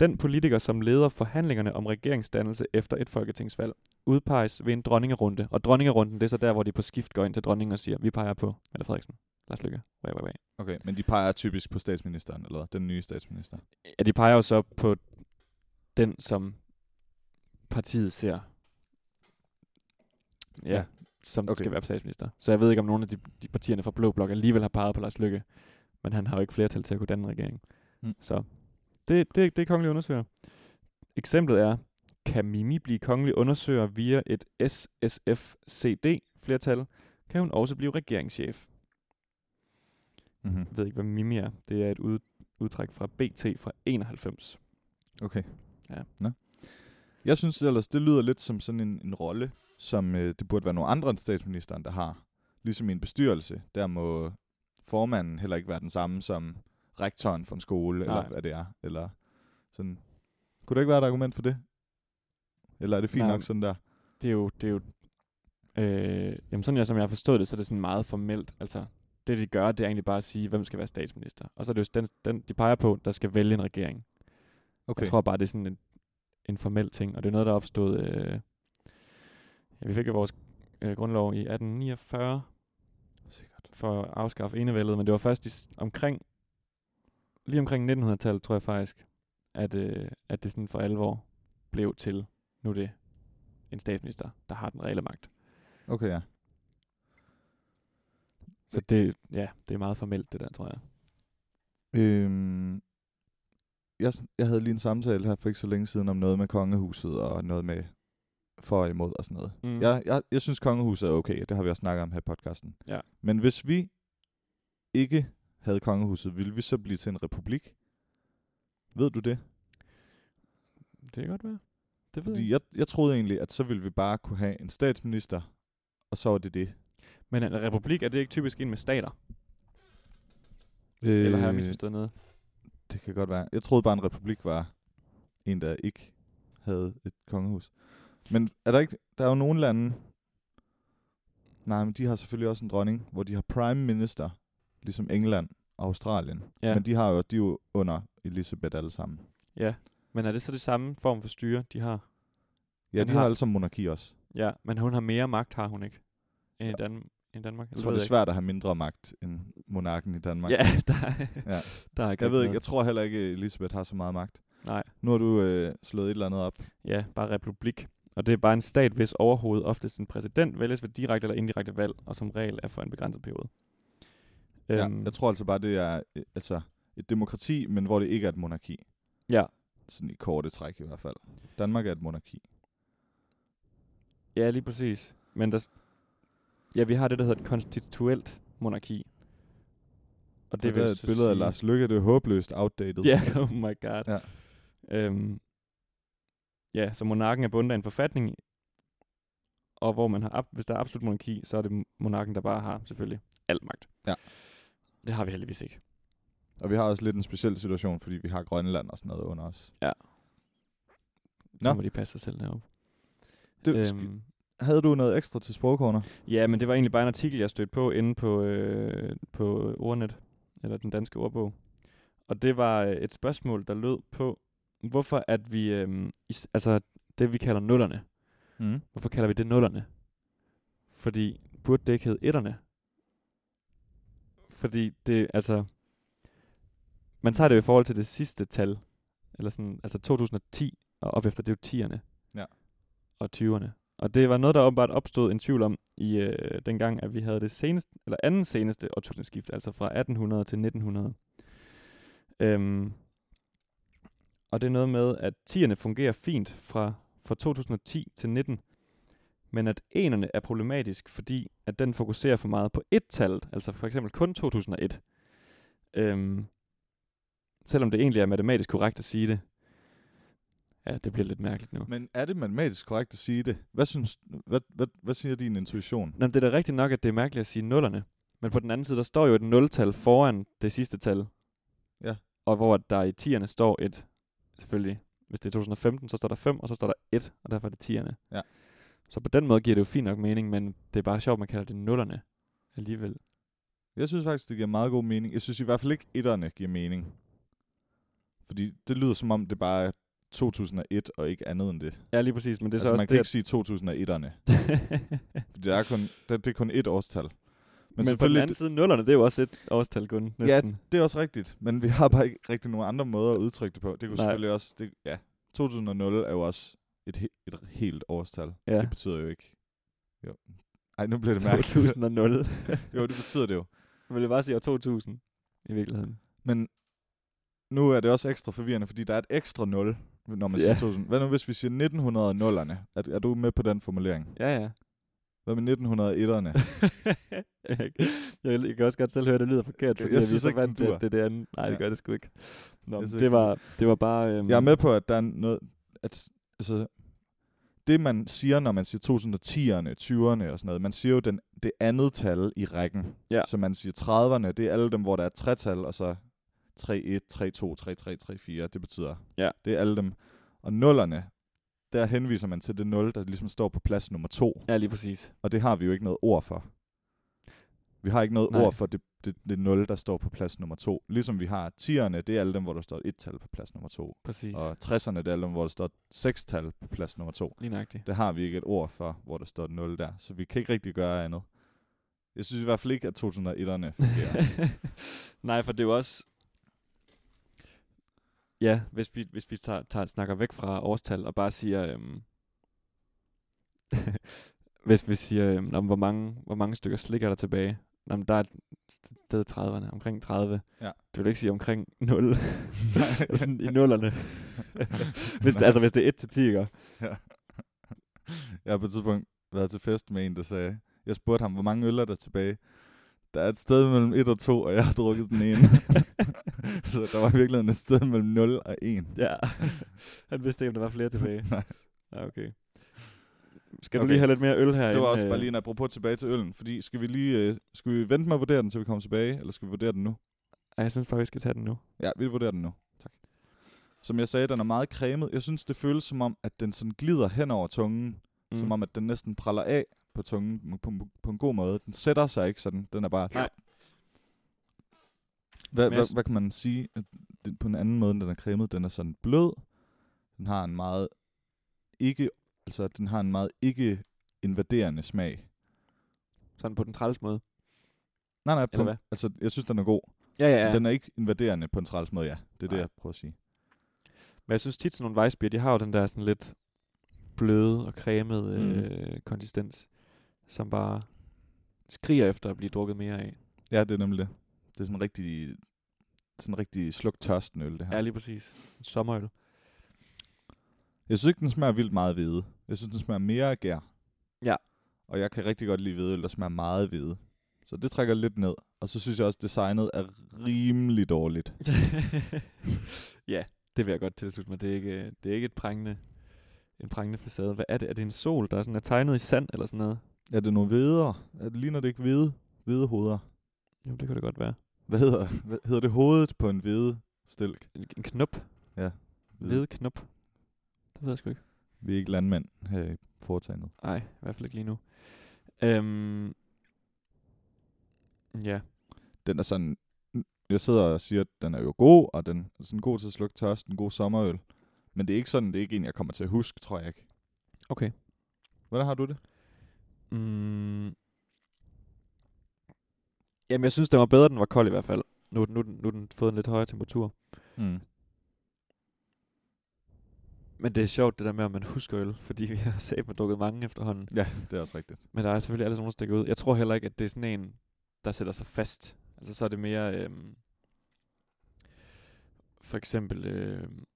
Speaker 1: den politiker, som leder forhandlingerne om regeringsdannelse efter et folketingsvalg, udpeges ved en dronningerunde. Og dronningerunden, det er så der, hvor de på skift går ind til dronningen og siger, vi peger på Mette Frederiksen. Lars Lykke. Way, way, way.
Speaker 2: Okay, men de peger typisk på statsministeren, eller hvad? den nye statsminister.
Speaker 1: Ja, de peger jo så på den, som partiet ser, ja,
Speaker 2: Ja.
Speaker 1: ja. som
Speaker 2: Okay.
Speaker 1: okay. skal være statsminister. Så jeg ved ikke, om nogle af de, de partierne fra Blå Blok alligevel har peget på Lars Lykke, men han har jo ikke flertal til at kunne danne en regering.
Speaker 2: Mm.
Speaker 1: Mm. Så det, det, det er kongelig undersøger. Eksemplet er, kan Mimi blive kongelig undersøger via et SSFCD-flertal, kan hun også blive regeringschef.
Speaker 2: Mm-hmm.
Speaker 1: Jeg ved ikke, hvad Mimi er. Det er et ud, udtræk fra BT fra 91.
Speaker 2: Okay.
Speaker 1: Ja.
Speaker 2: Nå. Jeg synes ellers, det lyder lidt som sådan en, en rolle, som øh, det burde være nogle andre end statsministeren, der har. Ligesom i en bestyrelse, der må formanden heller ikke være den samme som rektoren for en skole,
Speaker 1: Nej.
Speaker 2: eller hvad det er. Eller sådan. Kunne der ikke være et argument for det? Eller er det fint
Speaker 1: Nej.
Speaker 2: nok sådan der?
Speaker 1: det er jo, det er jo øh, jamen sådan jeg, som jeg har forstået det, så er det sådan meget formelt. Altså, det de gør, det er egentlig bare at sige, hvem skal være statsminister. Og så er det jo den, den de peger på, der skal vælge en regering. Okay.
Speaker 2: Okay.
Speaker 1: Jeg tror bare, det er sådan en, en formel ting, og det er noget, der opstod... Øh, ja, vi fik jo vores øh, grundlov i 1849
Speaker 2: Sikkert.
Speaker 1: for at afskaffe enevældet, men det var først i, s- omkring, lige omkring 1900-tallet, tror jeg faktisk, at, øh, at det sådan for alvor blev til, nu er det en statsminister, der har den reelle magt.
Speaker 2: Okay, ja.
Speaker 1: Så det, ja, det er meget formelt, det der, tror jeg.
Speaker 2: Øhm, jeg, s- jeg havde lige en samtale her for ikke så længe siden om noget med kongehuset og noget med for og imod og sådan noget. Mm. Jeg, jeg, jeg synes, kongehuset er okay. Det har vi også snakket om her i podcasten.
Speaker 1: Ja.
Speaker 2: Men hvis vi ikke havde kongehuset, ville vi så blive til en republik? Ved du det?
Speaker 1: Det kan godt være. Det ved jeg.
Speaker 2: Fordi
Speaker 1: ikke.
Speaker 2: jeg, jeg troede egentlig, at så ville vi bare kunne have en statsminister, og så var det det.
Speaker 1: Men en republik, er det ikke typisk en med stater? Øh, Eller har jeg misforstået noget?
Speaker 2: Det kan godt være. Jeg troede bare, en republik var en, der ikke havde et kongehus. Men er der ikke... Der er jo nogle lande... Nej, men de har selvfølgelig også en dronning, hvor de har prime minister, ligesom England og Australien.
Speaker 1: Ja.
Speaker 2: Men de har jo, de er jo under Elisabeth alle sammen.
Speaker 1: Ja. Men er det så det samme form for styre, de har?
Speaker 2: Ja,
Speaker 1: Han
Speaker 2: de har
Speaker 1: har-
Speaker 2: alle sammen monarki også.
Speaker 1: Ja, men hun har mere magt, har hun ikke, end i, Dan- end i Danmark?
Speaker 2: Jeg tror, det er svært at have mindre magt end monarken i Danmark.
Speaker 1: Ja, [LAUGHS] der er,
Speaker 2: Ja.
Speaker 1: der er ikke
Speaker 2: Jeg
Speaker 1: rigtig
Speaker 2: ved ikke, jeg
Speaker 1: noget.
Speaker 2: tror heller ikke, Elisabeth har så meget magt.
Speaker 1: Nej.
Speaker 2: Nu har du øh, slået et eller andet op.
Speaker 1: Ja, bare republik. Og det er bare en stat, hvis overhovedet oftest en præsident vælges ved direkte eller indirekte valg, og som regel er for en begrænset periode.
Speaker 2: Ja,
Speaker 1: Øhm,
Speaker 2: jeg tror altså bare, det er øh, altså et demokrati, men hvor det ikke er et monarki.
Speaker 1: Ja.
Speaker 2: Sådan i korte træk i hvert fald. Danmark er et monarki.
Speaker 1: Ja, lige præcis. Men der, s- ja, vi har det, der hedder et konstituelt monarki. Og
Speaker 2: Det, det er et
Speaker 1: så
Speaker 2: billede af
Speaker 1: sige-
Speaker 2: Lars Lykke, det er håbløst outdated.
Speaker 1: [LAUGHS] Ja, yeah, oh my god.
Speaker 2: Ja.
Speaker 1: Øhm, ja, så monarken er bundet af en forfatning, og hvor man har, ab- hvis der er absolut monarki, så er det monarken, der bare har selvfølgelig al magt.
Speaker 2: Ja.
Speaker 1: Det har vi heldigvis ikke.
Speaker 2: Og vi har også lidt en speciel situation, fordi vi har Grønland og sådan noget under os.
Speaker 1: Nå.
Speaker 2: Nå.
Speaker 1: Så må de passe sig selv deroppe.
Speaker 2: Det, øhm.
Speaker 1: Øhm,
Speaker 2: Havde du noget ekstra til sprogkorner?
Speaker 1: ja, men det var egentlig bare en artikel, jeg stødte på inde på, øh, på ordnet, eller den danske ordbog. Og det var øh, et spørgsmål, der lød på, hvorfor at vi, øh, is- altså det vi kalder nullerne,
Speaker 2: Mm.
Speaker 1: Hvorfor kalder vi det nullerne? Fordi burde det ikke hedde etterne? Fordi det, altså... Man tager det jo i forhold til det sidste tal. Eller sådan, altså 2010 og op efter, det er jo tierne.
Speaker 2: Ja.
Speaker 1: Og 20'erne. Og det var noget, der åbenbart opstod en tvivl om i øh, dengang, at vi havde det seneste, eller anden seneste årtusindskift, altså fra 1800 til 1900. Øhm, og det er noget med, at tierne fungerer fint fra, fra 2010 til 19, men at enerne er problematisk, fordi at den fokuserer for meget på et tal, altså for eksempel kun 2001. Øhm, selvom det egentlig er matematisk korrekt at sige det. Ja, det bliver lidt mærkeligt nu.
Speaker 2: Men er det matematisk korrekt at sige det? Hvad, synes, hvad, hvad, hvad siger din intuition?
Speaker 1: Nå, men det er da rigtigt nok, at det er mærkeligt at sige nullerne. Men på den anden side, der står jo et nultal foran det sidste tal.
Speaker 2: Ja.
Speaker 1: Og hvor der i tierne står et, selvfølgelig, hvis det er 2015, så står der 5, og så står der 1, og derfor er det tierne.
Speaker 2: Ja.
Speaker 1: Så på den måde giver det jo fint nok mening, men det er bare sjovt, man kalder det nullerne alligevel.
Speaker 2: Jeg synes faktisk, det giver meget god mening. Jeg synes i hvert fald ikke, etterne giver mening. Fordi det lyder som om, det bare er 2001 og ikke andet end det. det
Speaker 1: Ja, lige præcis, men det er
Speaker 2: altså,
Speaker 1: så
Speaker 2: man
Speaker 1: også
Speaker 2: kan
Speaker 1: det,
Speaker 2: ikke sige 2001'erne.
Speaker 1: [LAUGHS] at-
Speaker 2: Fordi der er kun, der, det er kun et årstal. Men,
Speaker 1: men, men på den
Speaker 2: selvfølgelig,
Speaker 1: anden side, nullerne, det er jo også et årstal kun, næsten. Ja.
Speaker 2: det, det er også rigtigt. Men vi har bare ikke rigtig nogen andre måder at udtrykke det på. Det
Speaker 1: Nej.
Speaker 2: kunne Nej. selvfølgelig også... Det, ja, 2000 er jo også et, he- et helt årstal.
Speaker 1: Ja.
Speaker 2: Det betyder jo ikke... Jo. Ej, nu bliver det
Speaker 1: [LAUGHS]
Speaker 2: mærkeligt.
Speaker 1: 2000
Speaker 2: [LAUGHS] jo, det betyder det jo.
Speaker 1: Vil jeg bare sige år 2000 i virkeligheden.
Speaker 2: Men nu er det også ekstra forvirrende, fordi der er et ekstra 0, når man
Speaker 1: Ja.
Speaker 2: ja. siger 2000. Hvad nu, hvis vi siger 1900'erne? Er, er du med på den formulering?
Speaker 1: Ja, ja.
Speaker 2: Hvad med 1901'erne?
Speaker 1: jeg, [LAUGHS] jeg kan også godt selv høre, at det lyder forkert,
Speaker 2: Jeg
Speaker 1: fordi jeg, jeg
Speaker 2: synes
Speaker 1: så
Speaker 2: ikke,
Speaker 1: vant
Speaker 2: den
Speaker 1: til,
Speaker 2: dur.
Speaker 1: at det er det andet. Nej, det
Speaker 2: Ja.
Speaker 1: gør det sgu ikke. Nå,
Speaker 2: Jeg
Speaker 1: men
Speaker 2: synes
Speaker 1: det,
Speaker 2: ikke, den
Speaker 1: var, det var bare... Øhm,
Speaker 2: Jeg er med på, at der er noget... At, altså, det, man siger, når man siger 2010'erne, 20'erne og sådan noget, man siger jo den, det andet tal i rækken.
Speaker 1: Ja.
Speaker 2: Så man siger 30'erne, det er alle dem, hvor der er et tretal, og så 3, 1, 3, 2, 3, 3, 3, 4. Det betyder,
Speaker 1: Ja.
Speaker 2: det er alle dem. Og nullerne, der henviser man til det 0, der ligesom står på plads nummer 2.
Speaker 1: Ja, lige præcis.
Speaker 2: Og det har vi jo ikke noget ord for. Vi har ikke noget
Speaker 1: Nej.
Speaker 2: Nej. ord for det, det, det 0, der står på plads nummer 2. Ligesom vi har 10'erne, det er alle dem, hvor der står et tal på plads nummer 2.
Speaker 1: Præcis.
Speaker 2: Og 60'erne, det er alle dem, hvor der står seks tal på plads nummer 2.
Speaker 1: Lige nøjagtigt.
Speaker 2: Det har vi ikke et ord for, hvor der står 0 der. Så vi kan ikke rigtig gøre andet. Jeg synes i hvert fald ikke, at 2001'erne fungerer.
Speaker 1: Nej, for det er jo også... Ja, hvis vi, hvis vi tager, tager, snakker væk fra årstal og bare siger... Øhm, [LAUGHS] hvis vi siger, øhm, nå, men hvor, mange, hvor mange stykker slik er der tilbage? Nå, men der er et sted i 30'erne, omkring 30.
Speaker 2: Ja.
Speaker 1: Du vil ikke sige omkring 0.
Speaker 2: [LAUGHS]
Speaker 1: Eller [LAUGHS] [LAUGHS] sådan i nullerne. hvis, det, altså, hvis det er 1 til 10, ikke?
Speaker 2: Jeg har på et tidspunkt været til fest med en, der sagde, jeg spurgte ham, hvor mange øl er der tilbage? Der er et sted mellem 1 og 2, og jeg har drukket den ene. så der var virkelig et sted mellem 0 og 1.
Speaker 1: Ja. [LAUGHS] Han vidste ikke, om der var flere tilbage.
Speaker 2: Nej.
Speaker 1: Ja, okay. Skal okay. du
Speaker 2: Okay.
Speaker 1: lige have lidt mere øl her? øh?
Speaker 2: Det var også bare lige en apropos tilbage til øllen, fordi skal vi lige øh, skal vi vente med at vurdere den, til vi kommer tilbage, eller skal vi vurdere den nu?
Speaker 1: Ej, jeg synes faktisk, vi skal tage den nu.
Speaker 2: Ja, vi vurderer den nu. Tak. Som jeg sagde, den er meget cremet. Jeg synes, det føles som om, at den sådan glider hen over tungen, mm. som om, at den næsten praller af på tungen på, på, på en god måde. Den sætter sig ikke sådan, den er bare...
Speaker 1: Nej.
Speaker 2: Hvad,
Speaker 1: Men jeg
Speaker 2: hvad,
Speaker 1: s-
Speaker 2: hvad kan man sige at det, på en anden måde, end den er cremet? Den er sådan blød, Den har en meget ikke, altså den har en meget ikke invaderende smag.
Speaker 1: Sådan på den træls måde.
Speaker 2: Nej, nej, på,
Speaker 1: Eller hvad?
Speaker 2: altså jeg synes, den er god.
Speaker 1: Ja, ja,
Speaker 2: Ja.
Speaker 1: ja.
Speaker 2: Den er ikke invaderende på en træls måde, ja. Det er nej.
Speaker 1: Nej.
Speaker 2: det, jeg prøver at sige.
Speaker 1: Men jeg synes tit sådan nogle weissbier, de har jo den der sådan lidt bløde og cremede
Speaker 2: Mm.
Speaker 1: øh, konsistens, som bare skriger efter at blive drukket mere af.
Speaker 2: Ja, det er nemlig det. Det er sådan en rigtig, sådan en rigtig sluk tørsten øl, det her.
Speaker 1: Ja, lige præcis. En sommerøl.
Speaker 2: Jeg synes ikke, den smager vildt meget af hvide. Jeg synes, den smager mere af gær.
Speaker 1: Ja.
Speaker 2: Og jeg kan rigtig godt lide hvedeøl, der smager meget af hvide. Så det trækker lidt ned. Og så synes jeg også, at designet er rimelig dårligt.
Speaker 1: [LAUGHS] ja, det vil jeg godt tilslutte mig. Det er ikke, det er ikke et prangende, en prangende facade. Hvad er det? Er det en sol, der er sådan er tegnet i sand eller sådan noget?
Speaker 2: Er det nogle hveder? Er det, ligner det ikke hvide, hvide hoveder?
Speaker 1: Jo, det kan det godt være.
Speaker 2: Hvad hedder, hvad hedder det hovedet på en hvide stilk?
Speaker 1: En, en knop.
Speaker 2: Ja.
Speaker 1: Ved knop. Det ved jeg sgu ikke.
Speaker 2: Vi er ikke landmænd her i foretagendet.
Speaker 1: Nej, i hvert fald ikke lige nu. Øhm, ja,
Speaker 2: Den er sådan... Jeg sidder og siger, at den er jo god, og den er sådan god til at slukke tørst, en god sommerøl. Men det er ikke sådan, det er ikke en, jeg kommer til at huske, tror jeg ikke.
Speaker 1: okay.
Speaker 2: Hvordan har du det?
Speaker 1: Mm. Jamen, jeg synes, den var bedre, den var kold i hvert fald. Nu, er den- nu, er den- nu er den fået en lidt højere temperatur.
Speaker 2: Mm.
Speaker 1: Men det er sjovt, det der med, om man husker øl, fordi vi har [LAUGHS] set, man drukket mange efterhånden.
Speaker 2: Ja, det er også rigtigt.
Speaker 1: Men der er selvfølgelig altid nogen, der stikker ud. Jeg tror heller ikke, at det er sådan en, der sætter sig fast. Altså, så er det mere... Øhm, for eksempel... Øhm,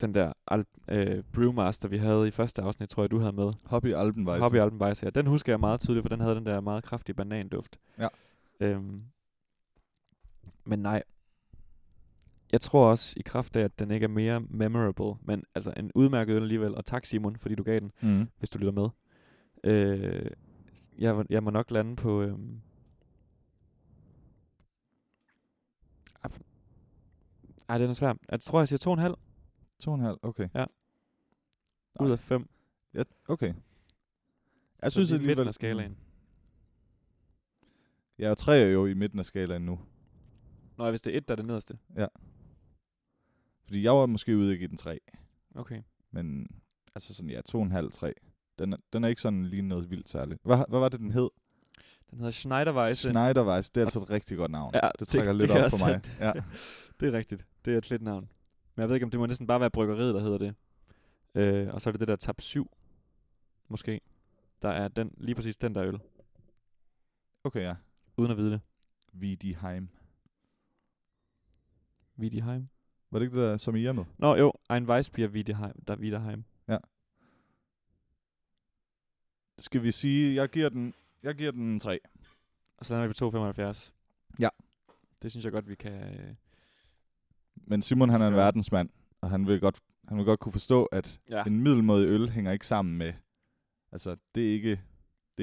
Speaker 1: den der Alp, øh, Brewmaster, vi havde i første afsnit, tror jeg, du havde med.
Speaker 2: Hobby Alpenweise.
Speaker 1: Hobby Alpenweis her. Den husker jeg meget tydeligt, for den havde den der meget kraftige bananduft.
Speaker 2: Ja.
Speaker 1: Øhm, men nej. Jeg tror også, i kraft af, at den ikke er mere memorable, men altså en udmærket øl alligevel, og tak Simon, fordi du gav den,
Speaker 2: Mm.
Speaker 1: hvis du lytter med. Øh, jeg, vil- jeg må nok lande på... Øhm, ap- ej, den er svær. Jeg tror, jeg siger 2,5
Speaker 2: To og en halv, okay.
Speaker 1: ud
Speaker 2: Nej.
Speaker 1: af 5.
Speaker 2: Ja, okay. Jeg synes
Speaker 1: det er midten
Speaker 2: alligevel...
Speaker 1: af skalaen.
Speaker 2: Ja, og tre er jo i midten af skalaen nu.
Speaker 1: Nå, hvis det er 1, der er det nederste.
Speaker 2: Fordi jeg var måske ude ikke i den tre.
Speaker 1: Okay.
Speaker 2: Men altså sådan, ja, to og en halv, tre. Den er, den er ikke sådan lige noget vildt særligt. Hvad, hvad var det, den hed?
Speaker 1: Den hedder Schneiderweise.
Speaker 2: Schneiderweiss. Det er altså et rigtig godt navn.
Speaker 1: Ja,
Speaker 2: det
Speaker 1: det-
Speaker 2: trækker
Speaker 1: det
Speaker 2: lidt
Speaker 1: kan
Speaker 2: op
Speaker 1: jeg
Speaker 2: for mig.
Speaker 1: også-
Speaker 2: Ja.
Speaker 1: [LAUGHS] Det er rigtigt. Det er et fedt navn. Men jeg ved ikke, om det må næsten bare være bryggeriet, der hedder det. Øh, og så er det det der tab 7, måske. Der er den, lige præcis den der øl,
Speaker 2: Okay, ja.
Speaker 1: uden at vide det.
Speaker 2: V.D. Heim.
Speaker 1: Wiederheim.
Speaker 2: Var det ikke det der, som I er med?
Speaker 1: Nå jo, Ein Weissbier Wiederheim, der er Wiederheim.
Speaker 2: Skal vi sige, jeg giver den, jeg giver den en tre.
Speaker 1: Og så lander vi på 2,75.
Speaker 2: Ja.
Speaker 1: Det synes jeg godt, vi kan... Øh,
Speaker 2: Men Simon, han er en
Speaker 1: Ja.
Speaker 2: verdensmand, og han vil godt, han vil godt kunne forstå, at
Speaker 1: ja.
Speaker 2: en middelmådig øl hænger ikke sammen med... Altså, det er ikke det,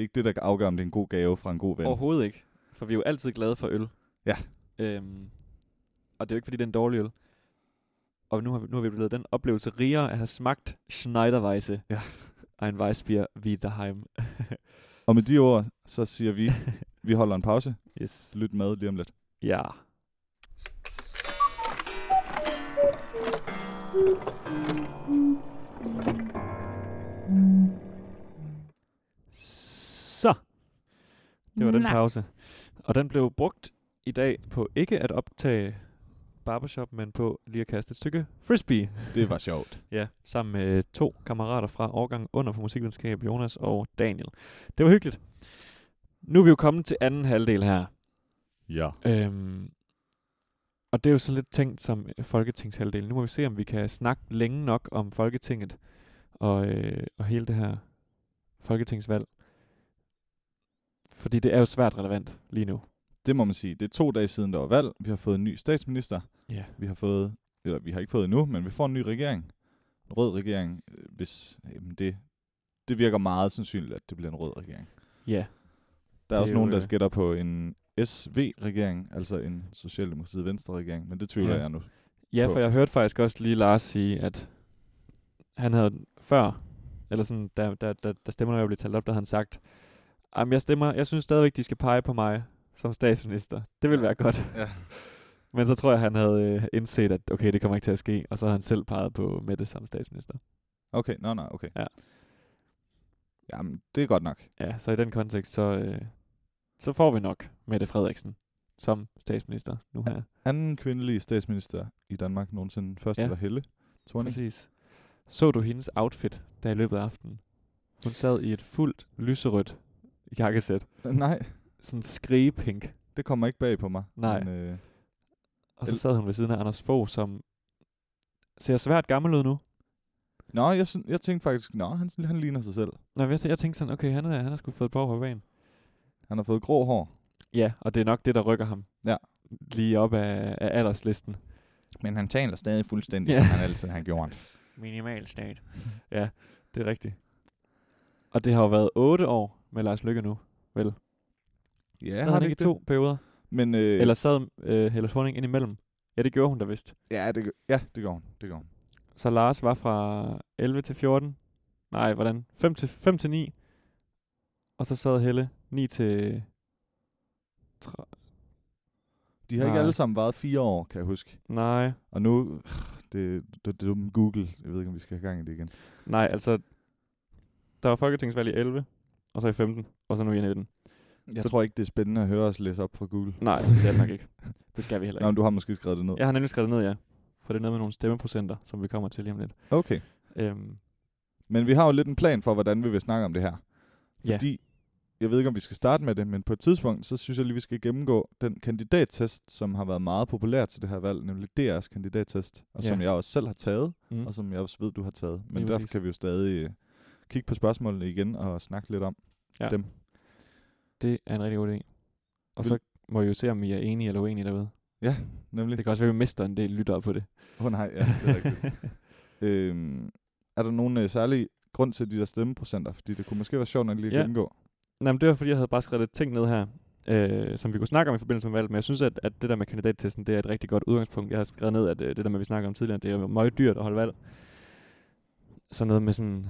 Speaker 2: er ikke det der afgør, om det er en god gave fra en god ven.
Speaker 1: Overhovedet ikke. For vi er jo altid glade for øl.
Speaker 2: Ja.
Speaker 1: Øhm, og det er jo ikke, fordi det er en dårlig øl. Og nu har vi, nu har vi blevet den oplevelse rigere at have smagt Schneiderweise.
Speaker 2: Ja.
Speaker 1: Ein Weissbier Wiederheim.
Speaker 2: Og med de ord, så siger vi, [LAUGHS] vi holder en pause.
Speaker 1: yes.
Speaker 2: Lyt med lige om lidt.
Speaker 1: Ja. Så. Det var den
Speaker 3: Nej.
Speaker 1: pause. Og den blev brugt i dag på ikke at optage barbershop, men på lige at kaste et stykke frisbee.
Speaker 2: Det var sjovt.
Speaker 1: Ja, sammen med to kammerater fra årgang under for musikvidenskab, Jonas og Daniel. Det var hyggeligt. Nu er vi jo kommet til anden halvdel her.
Speaker 2: Ja.
Speaker 1: Øhm, og det er jo så lidt tænkt som øh, folketingshalvdelen. Nu må vi se, om vi kan snakke længe nok om Folketinget og, øh, og hele det her folketingsvalg. Fordi det er jo svært relevant lige nu.
Speaker 2: Det må man sige. Det er to dage siden, der var valg. Vi har fået en ny statsminister.
Speaker 1: Ja.
Speaker 2: Vi har fået... Eller vi har ikke fået endnu, men vi får en ny regering. En rød regering, øh, hvis... Jamen det, det virker meget sandsynligt, at det bliver en rød regering.
Speaker 1: Ja.
Speaker 2: Der
Speaker 1: Det
Speaker 2: er
Speaker 1: er
Speaker 2: også
Speaker 1: jo,
Speaker 2: nogen, der
Speaker 1: øh,
Speaker 2: skætter på en SV-regering, altså en Socialdemokratiet Venstre-regering, men det tvivler
Speaker 1: Ja.
Speaker 2: jeg nu.
Speaker 1: Ja,
Speaker 2: på.
Speaker 1: for jeg hørte faktisk også lige Lars sige, at han havde før, eller sådan, da, da, da, da stemmerne jo blev talt op, der havde han sagt, jamen jeg stemmer, jeg synes stadigvæk, de skal pege på mig som statsminister. Det vil være godt.
Speaker 2: Ja.
Speaker 1: [LAUGHS] Men så tror jeg, han havde øh, indset, at okay, det kommer ikke til at ske, og så har han selv peget på Mette som statsminister.
Speaker 2: Okay, nå, nå, okay.
Speaker 1: Ja.
Speaker 2: Jamen, det er godt nok.
Speaker 1: Ja, så i den kontekst, så, øh, så får vi nok Mette Frederiksen som statsminister nu her.
Speaker 2: Anden kvindelige statsminister i Danmark nogensinde. Først
Speaker 1: Ja.
Speaker 2: ja. var Helle Thorning.
Speaker 1: Præcis. Så du hendes outfit, der i løbet af aftenen? Hun sad i et fuldt lyserødt jakkesæt.
Speaker 2: [LAUGHS] Nej,
Speaker 1: Sådan skrigepink.
Speaker 2: det kommer ikke bag på mig.
Speaker 1: Nej.
Speaker 2: Men, øh,
Speaker 1: Og så
Speaker 2: El-
Speaker 1: sad hun ved siden af Anders Fogh, som ser svært gammel ud nu.
Speaker 2: nå, jeg, syn- jeg tænkte faktisk, nå, han, han ligner sig selv.
Speaker 1: Nå, men jeg, jeg tænkte sådan, okay, han, er, han har sgu fået på på banen.
Speaker 2: Han har fået grå hår,
Speaker 1: Ja, og det er nok det, der rykker ham.
Speaker 2: Ja.
Speaker 1: Lige op af, af alderslisten.
Speaker 2: men han taler stadig fuldstændig,
Speaker 1: Ja.
Speaker 2: som han altid har [LAUGHS] gjort.
Speaker 1: Minimal stat. [LAUGHS] ja, det er rigtigt. Og det har jo været otte år med Lars Lykke nu, vel?
Speaker 2: Ja,
Speaker 1: sad han ikke i to perioder?
Speaker 2: Det? Men, øh,
Speaker 1: Eller sad øh, Helle Thorning ind imellem? Ja, det gjorde hun da vist.
Speaker 2: ja, det, gør- ja, det gjorde hun. Det gjorde hun.
Speaker 1: Så Lars var fra 11 til 14. Nej, hvordan? 5 til, 5 til 9. Og så sad Helle 9 til... Tre...
Speaker 2: De har
Speaker 1: Nej.
Speaker 2: ikke alle sammen været fire år, kan jeg huske.
Speaker 1: Nej.
Speaker 2: Og nu, [SIGHS] det, det, det er dumme Google. Jeg ved ikke, om vi skal have gang i det igen.
Speaker 1: Nej, altså... Der var folketingsvalg i 11, og så i 15, og så nu i 19.
Speaker 2: Jeg
Speaker 1: Så-
Speaker 2: så tror ikke, det er spændende at høre os læse op fra Google.
Speaker 1: Nej, det er det nok ikke. Det skal vi heller
Speaker 2: Nå,
Speaker 1: ikke.
Speaker 2: men du har måske skrevet det ned.
Speaker 1: Jeg har nemlig skrevet det ned, ja. For det er noget med nogle stemmeprocenter, som vi kommer til lige om lidt.
Speaker 2: Okay.
Speaker 1: Øhm,
Speaker 2: Men vi har jo lidt en plan for, hvordan vi vil snakke om det her.
Speaker 1: Ja.
Speaker 2: Fordi, jeg ved ikke, om vi skal starte med det, men på et tidspunkt, så synes jeg lige, vi skal gennemgå den kandidattest, som har været meget populær til det her valg, nemlig DR's kandidattest, og
Speaker 1: Ja.
Speaker 2: som jeg også selv har taget,
Speaker 1: mm.
Speaker 2: og som jeg også ved, du har taget. Men
Speaker 1: Lige
Speaker 2: derfor
Speaker 1: præcis.
Speaker 2: kan vi jo stadig øh, kigge på spørgsmålene igen og snakke lidt om
Speaker 1: Ja.
Speaker 2: dem.
Speaker 1: Det er en rigtig god idé. Og
Speaker 2: Vil-
Speaker 1: så må I jo se, om I er enige eller uenige derude.
Speaker 2: Nemlig,
Speaker 1: Det kan også være, at vi mister en del lyttere på det.
Speaker 2: åh oh, nej, ja, det er rigtigt.
Speaker 1: [LAUGHS]
Speaker 2: øhm, er der nogen øh, særlig grund til de der stemmeprocenter? Fordi det kunne måske være sjovt nok lige at
Speaker 1: Ja.
Speaker 2: gennemgå.
Speaker 1: Nej, men det var, fordi jeg havde bare skrevet lidt ting ned her, øh, som vi kunne snakke om i forbindelse med valget. Men jeg synes, at, at det der med kandidattesten, det er et rigtig godt udgangspunkt. Jeg har skrevet ned, at øh, det der med, vi snakker om tidligere, det er jo meget dyrt at holde valg. Så noget med sådan...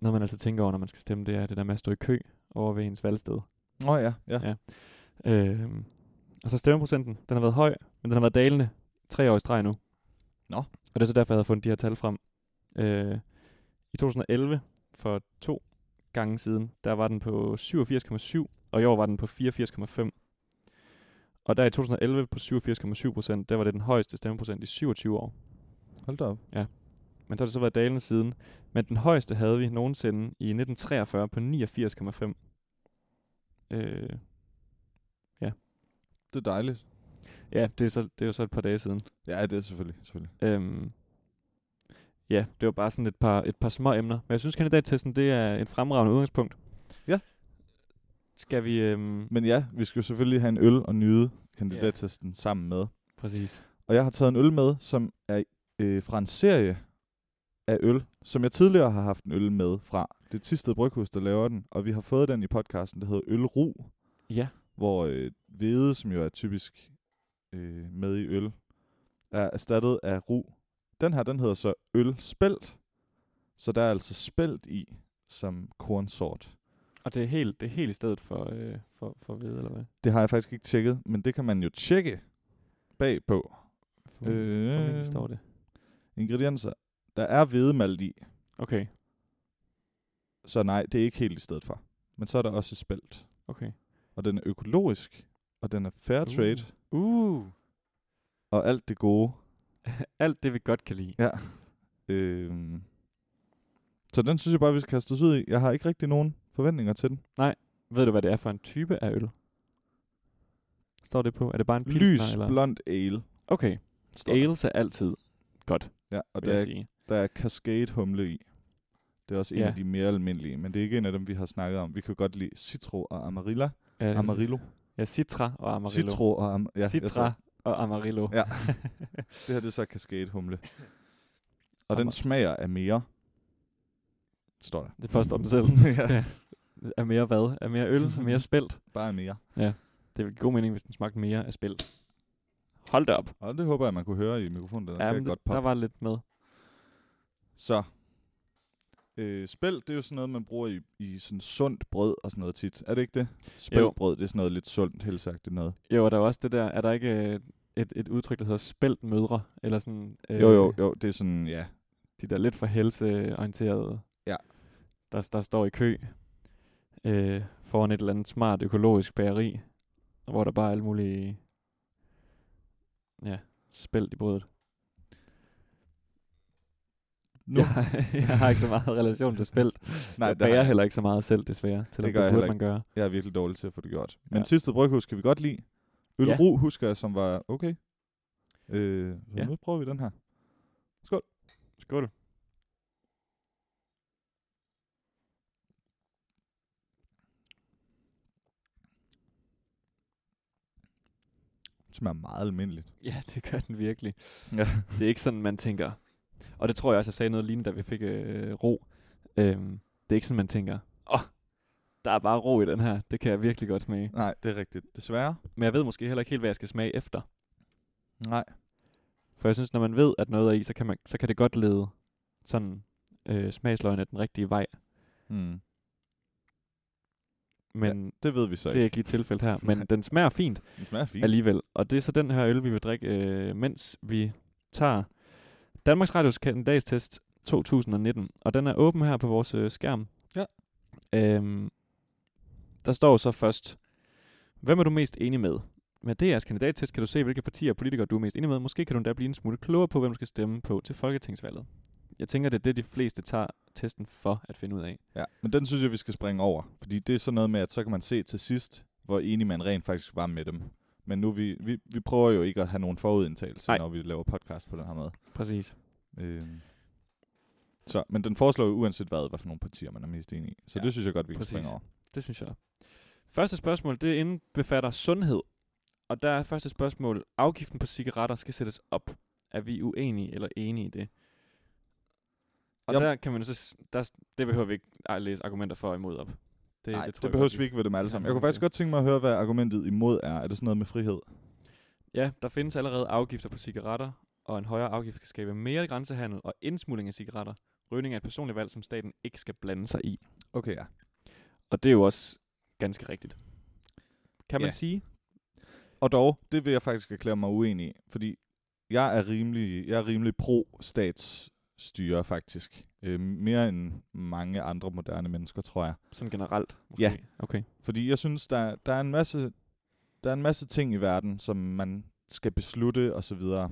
Speaker 1: Noget, man altid tænker over, når man skal stemme, det er det der med at stå i kø over ved ens valgsted.
Speaker 2: Nå ja, ja.
Speaker 1: Øh, og så stemmeprocenten, den har været høj, men den har været dalende tre år i streg nu.
Speaker 2: Nå.
Speaker 1: Og det er så derfor, jeg havde fundet de her tal frem. Øh, I 2011, for to gange siden, der var den på 87,7, og i år var den på 84,5. Og der i 2011 på 87,7 procent, der var det den højeste stemmeprocent i 27 år.
Speaker 2: Hold da op.
Speaker 1: Men så har det så været dalende siden. Men den højeste havde vi nogensinde i 1943 på 89,5. Øh,
Speaker 2: Det er dejligt.
Speaker 1: ja, det er, så, det er jo så et par dage siden.
Speaker 2: Ja, det er selvfølgelig. selvfølgelig.
Speaker 1: Øhm, ja, det var bare sådan et par, et par små emner. Men jeg synes, kandidattesten det er et fremragende udgangspunkt.
Speaker 2: Ja.
Speaker 1: Skal vi... Øhm,
Speaker 2: Men ja, vi skal jo selvfølgelig have en øl og nyde kandidattesten sammen med.
Speaker 1: præcis.
Speaker 2: Og jeg har taget en øl med, som er øh, fra en serie af øl, som jeg tidligere har haft en øl med fra. Det er Tisted Bryghus, der laver den, og vi har fået den i podcasten, der hedder Ølro,
Speaker 1: Ja,
Speaker 2: hvor øh, hvede, som jo er typisk øh, med i øl, er erstattet af ro. Den her, den hedder så ølspelt, så der er altså spelt i som kornsort.
Speaker 1: og det er helt, det er helt i stedet for, øh, for, for ved, eller hvad?
Speaker 2: Det har jeg faktisk ikke tjekket, men det kan man jo tjekke bagpå.
Speaker 1: For, øh, formentlig står det.
Speaker 2: Ingredienser. Der er hvedemalt i,
Speaker 1: Okay,
Speaker 2: så nej, det er ikke helt i stedet for. Men så er der også spelt.
Speaker 1: okay.
Speaker 2: Og den er økologisk, og den er fair
Speaker 1: Uh.
Speaker 2: trade,
Speaker 1: Uh,
Speaker 2: og alt det gode.
Speaker 1: alt det vi godt kan lide.
Speaker 2: Ja. Øhm. Så den synes jeg bare, vi skal kaste os ud i. Jeg har ikke rigtig nogen forventninger til den.
Speaker 1: Ved du, hvad det er for en type af øl? Står det på? Er det bare en pilsner?
Speaker 2: Lys
Speaker 1: eller?
Speaker 2: blond ale.
Speaker 1: Okay,
Speaker 2: står der.
Speaker 1: ales er altid godt,
Speaker 2: Ja, og
Speaker 1: vil
Speaker 2: der
Speaker 1: jeg
Speaker 2: er,
Speaker 1: sige.
Speaker 2: der er cascade humle i. Det er også en
Speaker 1: Ja.
Speaker 2: af de mere almindelige, men det er ikke en af dem, vi har snakket om. Vi kan godt lide citro og amarilla.
Speaker 1: Ja, det er præcis.
Speaker 2: Amarillo.
Speaker 1: Ja, Citra og Amarillo.
Speaker 2: Citro og am- ja, jeg
Speaker 1: Citra
Speaker 2: sagde-
Speaker 1: og Amarillo.
Speaker 2: Ja. Det her det er
Speaker 1: [COUGHS]
Speaker 2: så kaskadehumle. Og
Speaker 1: Amar-
Speaker 2: den smager af mere. Står der.
Speaker 1: Det påstår den selv.
Speaker 2: [LAUGHS] ja.
Speaker 1: Af mere hvad? Af mere øl? Af mere spelt?
Speaker 2: Bare af mere.
Speaker 1: Det ville give god mening, hvis den smagte mere af spelt. Hold da op.
Speaker 2: Og det håber jeg, man kunne høre i mikrofonen. Den ja,
Speaker 1: men
Speaker 2: kan godt
Speaker 1: der
Speaker 2: pop.
Speaker 1: var lidt med.
Speaker 2: Så. Øh, spelt, det er jo sådan noget, man bruger i, i sådan sundt brød og sådan noget tit. Er det ikke det? Spelt brød, det er sådan noget lidt sundt, helt sagt. Det noget.
Speaker 1: Jo, og der er også det der, er der ikke øh, et, et udtryk, der hedder spældt mødre, eller sådan... Øh,
Speaker 2: Jo, jo, jo, det er sådan, ja.
Speaker 1: De der lidt for helseorienterede,
Speaker 2: Ja.
Speaker 1: der, der står i kø øh, foran et eller andet smart økologisk bageri, hvor der bare er alle mulige... Ja, spælt i brødet.
Speaker 2: Nu.
Speaker 1: Jeg, [LAUGHS] jeg har ikke så meget relation til spælt.
Speaker 2: Nej,
Speaker 1: jeg
Speaker 2: det har
Speaker 1: bager
Speaker 2: jeg.
Speaker 1: heller ikke så meget selv, desværre. Selvom
Speaker 2: gør
Speaker 1: det,
Speaker 2: jeg
Speaker 1: det burde
Speaker 2: heller
Speaker 1: man gøre.
Speaker 2: Jeg er virkelig dårlig til at få det gjort. Men
Speaker 1: Ja.
Speaker 2: ja. Tisted Bryghus kan vi godt lide. Øl
Speaker 1: Ja.
Speaker 2: ja. Ru husker jeg, som var okay. Øh, så
Speaker 1: Ja.
Speaker 2: ja. nu prøver vi den her.
Speaker 1: Skål.
Speaker 2: Det smager meget almindeligt.
Speaker 1: Ja, [LAUGHS] det gør den virkelig.
Speaker 2: Ja.
Speaker 1: Det er ikke sådan, man tænker... Og det tror jeg også, jeg sagde noget lignende, da vi fik øh, ro. Øhm, det er ikke sådan, man tænker, åh, oh, der er bare ro i den her. Det kan jeg virkelig godt smage.
Speaker 2: Nej, det er rigtigt. Desværre.
Speaker 1: Men jeg ved måske heller ikke helt, hvad jeg skal smage efter.
Speaker 2: Nej.
Speaker 1: For jeg synes, når man ved, at noget er i, så kan, man, så kan det godt lede sådan øh, smagsløgene den rigtige vej.
Speaker 2: Mm.
Speaker 1: Men ja,
Speaker 2: Det ved vi så
Speaker 1: det er
Speaker 2: ikke.
Speaker 1: ikke lige tilfældet [LAUGHS] her. Men den smager fint.
Speaker 2: Den smager fint.
Speaker 1: alligevel. Og det er så den her øl, vi vil drikke, øh, mens vi tager Danmarks Radios kandidatstest 2019. Og den er åben her på vores øh, skærm.
Speaker 2: Ja.
Speaker 1: Øhm, der står så først, hvem er du mest enig med? Med DR's kandidattest kan du se, hvilke partier og politikere du er mest enig med. Måske kan du endda blive en smule klogere på, hvem du skal stemme på til folketingsvalget. Jeg tænker, det er det, de fleste tager testen for at finde ud af.
Speaker 2: Ja, men den synes jeg, vi skal springe over. Fordi det er sådan noget med, at så kan man se til sidst, hvor enig man rent faktisk var med dem. Men nu, vi, vi, vi prøver jo ikke at have nogen forudindtagelse,
Speaker 1: Nej.
Speaker 2: når vi laver podcast på den her måde.
Speaker 1: Præcis.
Speaker 2: Øhm. Så, men den foreslår jo uanset hvad, hvad for nogle partier man er mest enig i. Så
Speaker 1: Ja,
Speaker 2: ja, det synes jeg godt, vi kan
Speaker 1: præcis.
Speaker 2: springe over.
Speaker 1: Det synes jeg. Første spørgsmål, det indbefatter sundhed. Og der er første spørgsmål, afgiften på cigaretter skal sættes op. Er vi uenige eller enige i det? Og
Speaker 2: Jamen.
Speaker 1: der kan man så, s- der, s- det behøver vi ikke at læse argumenter for og imod op. Det,
Speaker 2: Nej, det,
Speaker 1: tror
Speaker 2: det
Speaker 1: jeg
Speaker 2: behøver
Speaker 1: godt,
Speaker 2: vi ikke ved dem alle
Speaker 1: det har
Speaker 2: sammen.
Speaker 1: vi
Speaker 2: Jeg kunne
Speaker 1: ikke
Speaker 2: faktisk godt tænke mig at høre, hvad argumentet imod er. Er det sådan noget med frihed?
Speaker 1: Ja, der findes allerede afgifter på cigaretter, og en højere afgift kan skabe mere grænsehandel og indsmugling af cigaretter. Rygning er et personligt valg, som staten ikke skal blande sig i.
Speaker 2: Okay, ja.
Speaker 1: Og det er jo også ganske rigtigt. Kan man
Speaker 2: Ja.
Speaker 1: sige?
Speaker 2: Og dog, det vil jeg faktisk erklære mig uenig i, fordi jeg er rimelig, jeg er rimelig pro-statsstyre faktisk. Øh, mere end mange andre moderne mennesker, tror jeg.
Speaker 1: Sådan generelt? Måske.
Speaker 2: Ja.
Speaker 1: Okay.
Speaker 2: Fordi jeg synes, der, der, er en masse, der er en masse ting i verden, som man skal beslutte og så videre.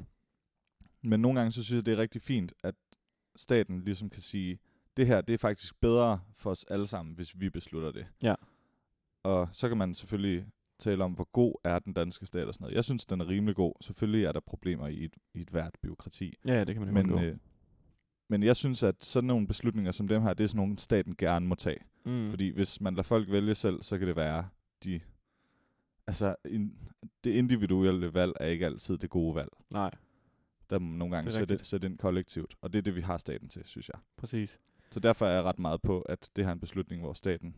Speaker 2: Men nogle gange så synes jeg, det er rigtig fint, at staten ligesom kan sige, det her det er faktisk bedre for os alle sammen, hvis vi beslutter det.
Speaker 1: Ja.
Speaker 2: Og så kan man selvfølgelig tale om, hvor god er den danske stat og sådan noget. Jeg synes, den er rimelig god. Selvfølgelig er der problemer i et, i et hvert byråkrati.
Speaker 1: Ja, ja, det kan man jo
Speaker 2: Men,
Speaker 1: undgå.
Speaker 2: øh, men jeg synes, at sådan nogle beslutninger som dem her, det er sådan nogle, staten gerne må tage.
Speaker 1: Mm.
Speaker 2: øh, Fordi hvis man lader folk vælge selv, så kan det være, de... Altså, in, det individuelle valg er ikke altid det gode valg.
Speaker 1: Nej,
Speaker 2: Der må man nogle gange
Speaker 1: Det er
Speaker 2: sætte,
Speaker 1: rigtigt.
Speaker 2: sætte ind kollektivt. Og det er det, vi har staten til, synes jeg.
Speaker 1: præcis.
Speaker 2: Så derfor er jeg ret meget på, at det her er en beslutning, hvor staten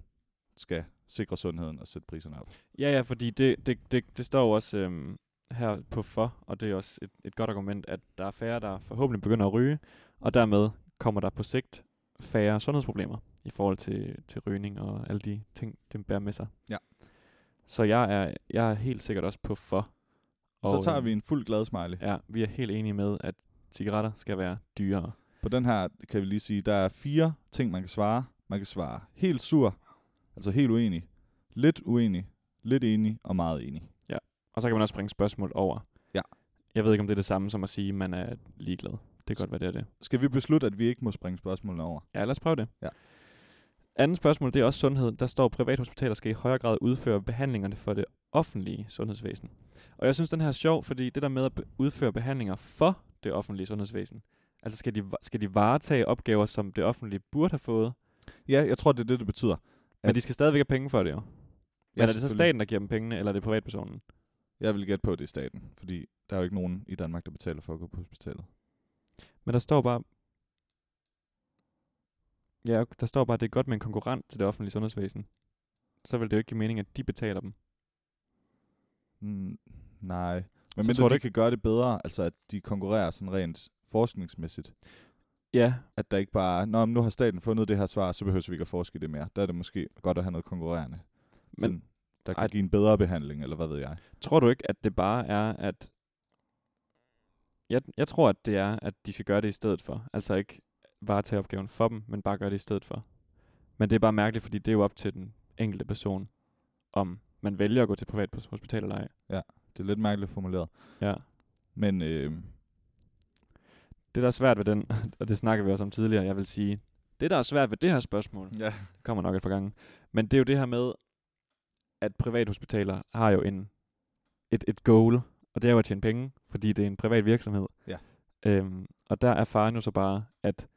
Speaker 2: skal sikre sundheden og sætte priserne op.
Speaker 1: Ja, ja, fordi det, det, det, det står jo også øhm, her på for, og det er også et, et godt argument, at der er færre, der forhåbentlig begynder at ryge, og dermed kommer der på sigt færre sundhedsproblemer i forhold til, til rygning og alle de ting, det bærer med sig.
Speaker 2: Ja.
Speaker 1: Så jeg er, jeg er helt sikkert også på for.
Speaker 2: Og så tager
Speaker 1: øh,
Speaker 2: vi en fuld glad smiley.
Speaker 1: Ja, vi er helt enige med, at cigaretter skal være dyrere.
Speaker 2: På den her kan vi lige sige, der er fire ting, man kan svare. Man kan svare helt sur, altså helt uenig, lidt uenig, lidt enig og meget enig.
Speaker 1: Og så kan man også bringe spørgsmål over.
Speaker 2: Ja.
Speaker 1: Jeg ved ikke, om det er det samme som at sige, at man er ligeglad. Det kan godt være, det er det.
Speaker 2: Skal vi beslutte, at vi ikke må springe spørgsmålene over?
Speaker 1: Ja, lad os prøve det.
Speaker 2: Ja.
Speaker 1: Andet spørgsmål, det er også sundhed. Der står, at privathospitaler skal i højere grad udføre behandlingerne for det offentlige sundhedsvæsen. Og jeg synes, den her er sjov, fordi det der med at be- udføre behandlinger for det offentlige sundhedsvæsen, altså skal de, va- skal de varetage opgaver, som det offentlige burde have fået,
Speaker 2: Ja, jeg tror, det er det, det betyder.
Speaker 1: men de skal stadigvæk have penge for det jo. Men
Speaker 2: Ja,
Speaker 1: er det så
Speaker 2: selvfølgelig.
Speaker 1: staten, der giver dem pengene, eller er det privatpersonen?
Speaker 2: Jeg vil gætte på, at det er staten, fordi der er jo ikke nogen i Danmark, der betaler for at gå på hospitalet.
Speaker 1: Men der står bare... Ja, ok, der står bare, at det er godt med en konkurrent til det offentlige sundhedsvæsen. Så vil det jo ikke give mening, at de betaler dem.
Speaker 2: Mm, nej. Men
Speaker 1: Så tror
Speaker 2: mindre tror
Speaker 1: du
Speaker 2: de
Speaker 1: ikke-
Speaker 2: kan gøre det bedre, altså at de konkurrerer sådan rent forskningsmæssigt.
Speaker 1: Ja,
Speaker 2: At der ikke bare, nå, men nu har staten fundet det her svar, så behøver vi ikke at forske i det mere. Der er det måske godt at have noget konkurrerende.
Speaker 1: Men-
Speaker 2: Men sådan, der kan
Speaker 1: Ej.
Speaker 2: Ej. give en bedre behandling, eller hvad ved jeg.
Speaker 1: Tror du ikke, at det bare er, at jeg, jeg tror, at det er, at de skal gøre det i stedet for. Altså ikke bare tage opgaven for dem, men bare gøre det i stedet for. Men det er bare mærkeligt, fordi det er jo op til den enkelte person, om man vælger at gå til privat på hospital eller ej.
Speaker 2: Det er lidt mærkeligt formuleret.
Speaker 1: Ja.
Speaker 2: Men øh,
Speaker 1: Det, der er svært ved den, [LAUGHS] og det snakker vi også om tidligere, jeg vil sige, det, der er svært ved det her spørgsmål,
Speaker 2: ja.
Speaker 1: kommer nok et par gange. Men det er jo det her med, at privathospitaler har jo en, et, et goal, og det er jo at tjene penge, fordi det er en privat virksomhed.
Speaker 2: Ja.
Speaker 1: Øhm, og der er faren jo så bare, at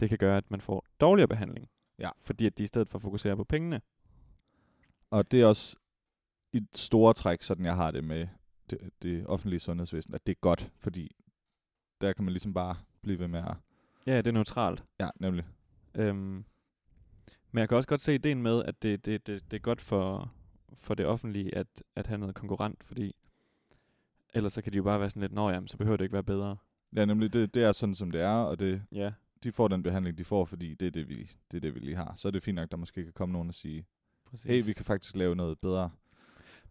Speaker 1: det kan gøre, at man får dårligere behandling.
Speaker 2: Ja.
Speaker 1: Fordi at de i stedet for fokuserer på pengene.
Speaker 2: Og det er også i et store træk, sådan jeg har det med det, det offentlige sundhedsvæsen, at det er godt, fordi der kan man ligesom bare blive ved med at...
Speaker 1: Ja, det er neutralt.
Speaker 2: Ja, nemlig.
Speaker 1: Øhm, men jeg kan også godt se ideen med, at det, det, det, det er godt for, for det offentlige at, at have noget konkurrent, fordi ellers så kan de jo bare være sådan lidt, nå jamen, så behøver det ikke være bedre.
Speaker 2: Ja, nemlig, det, det er sådan, som det er, og det,
Speaker 1: Ja,
Speaker 2: de får den behandling, de får, fordi det er det, vi, det er det, vi lige har. Så er det fint nok, der måske kan komme nogen og sige,
Speaker 1: præcis.
Speaker 2: hey, vi kan faktisk lave noget bedre.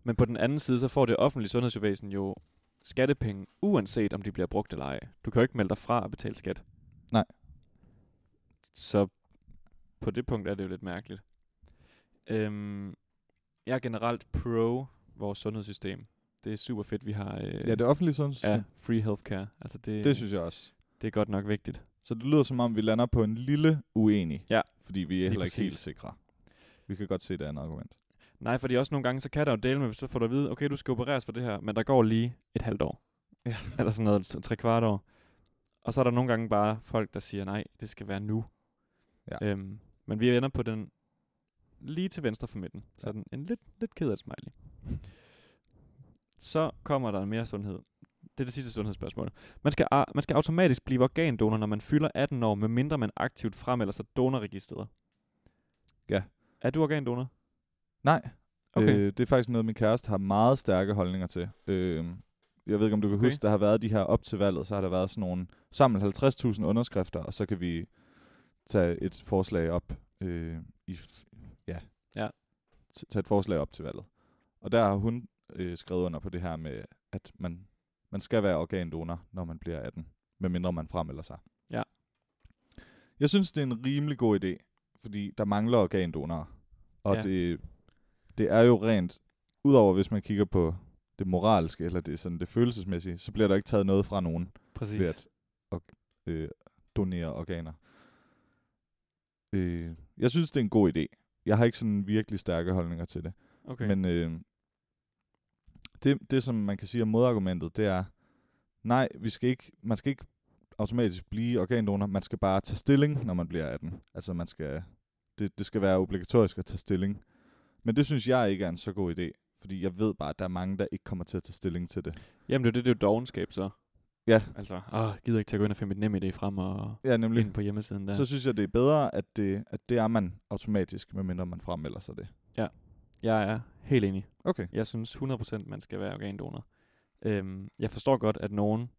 Speaker 1: Men på den anden side, så får det offentlige sundhedsvæsen jo skattepenge, uanset om de bliver brugt eller ej. Du kan jo ikke melde dig fra at betale skat.
Speaker 2: Nej.
Speaker 1: Så på det punkt er det jo lidt mærkeligt. Øhm, jeg er generelt pro vores sundhedssystem. Det er super fedt, vi har øh,
Speaker 2: Ja, det offentlige sundhedssystem,
Speaker 1: ja,
Speaker 2: ja.
Speaker 1: free healthcare. Altså det,
Speaker 2: det synes jeg også.
Speaker 1: det er godt nok vigtigt.
Speaker 2: Så det lyder som om, vi lander på en lille uenig,
Speaker 1: Ja.
Speaker 2: fordi vi er heller ikke
Speaker 1: præcis.
Speaker 2: helt sikre. Vi kan godt se det andet argument.
Speaker 1: Nej, fordi også nogle gange, så kan der jo dele med, så får du at vide, okay, du skal opereres for det her, men der går lige et halvt år.
Speaker 2: Ja.
Speaker 1: Eller sådan noget, sådan tre kvart år. Og så er der nogle gange bare folk, der siger, nej, det skal være nu.
Speaker 2: Ja.
Speaker 1: Øhm, men vi ender på den lige til venstre for midten.
Speaker 2: Ja.
Speaker 1: Sådan en lidt, lidt ked af smiley. Så kommer der mere sundhed. Det er det sidste sundhedsspørgsmål. Man skal, a- man skal automatisk blive organdonor, når man fylder 18 år, medmindre man aktivt fremmelder sig donorregisteret.
Speaker 2: Ja.
Speaker 1: Er du organdonor?
Speaker 2: Nej,
Speaker 1: Okay.
Speaker 2: Øh, det er faktisk noget, min kæreste har meget stærke holdninger til. Øh, jeg ved ikke, om du kan
Speaker 1: Okay.
Speaker 2: okay. huske, der har været de her op til valget, så har der været sådan nogle sammen 50.000 underskrifter, og så kan vi tage et forslag op øh, i, f- ja,
Speaker 1: Ja.
Speaker 2: T- tage et forslag op til valget. Og der har hun øh, skrevet under på det her med, at man, man skal være organdonor, når man bliver 18, medmindre man fremmelder sig.
Speaker 1: Ja.
Speaker 2: Jeg synes, det er en rimelig god idé, fordi der mangler organdonorer. Og
Speaker 1: Ja.
Speaker 2: ja. det, det er jo rent, udover hvis man kigger på det moralske, eller det, sådan det følelsesmæssige, så bliver der ikke taget noget fra nogen
Speaker 1: Præcis.
Speaker 2: ved at og, øh, donere organer. Øh, jeg synes, det er en god idé. Jeg har ikke sådan virkelig stærke holdninger til det.
Speaker 1: Okay.
Speaker 2: Okay. Men øh, det, det, som man kan sige om modargumentet, det er, nej, vi skal ikke, man skal ikke automatisk blive organdonor, man skal bare tage stilling, når man bliver 18. Altså man skal, det, det skal være obligatorisk at tage stilling. Men det synes jeg ikke er en så god idé, fordi jeg ved bare, at der er mange, der ikke kommer til at tage stilling til det.
Speaker 1: Jamen det er jo det, det er jo dogenskab så.
Speaker 2: Ja.
Speaker 1: Altså, åh, gider ikke til at gå ind og finde mit nemme idé frem og
Speaker 2: Ja, nemlig.
Speaker 1: ind på hjemmesiden der.
Speaker 2: Så synes jeg, det er bedre, at det, at det er man automatisk, medmindre man fremmelder sig det.
Speaker 1: Jeg er helt enig.
Speaker 2: Okay.
Speaker 1: Jeg synes 100% man skal være organdonor. Øhm, jeg forstår godt, at nogen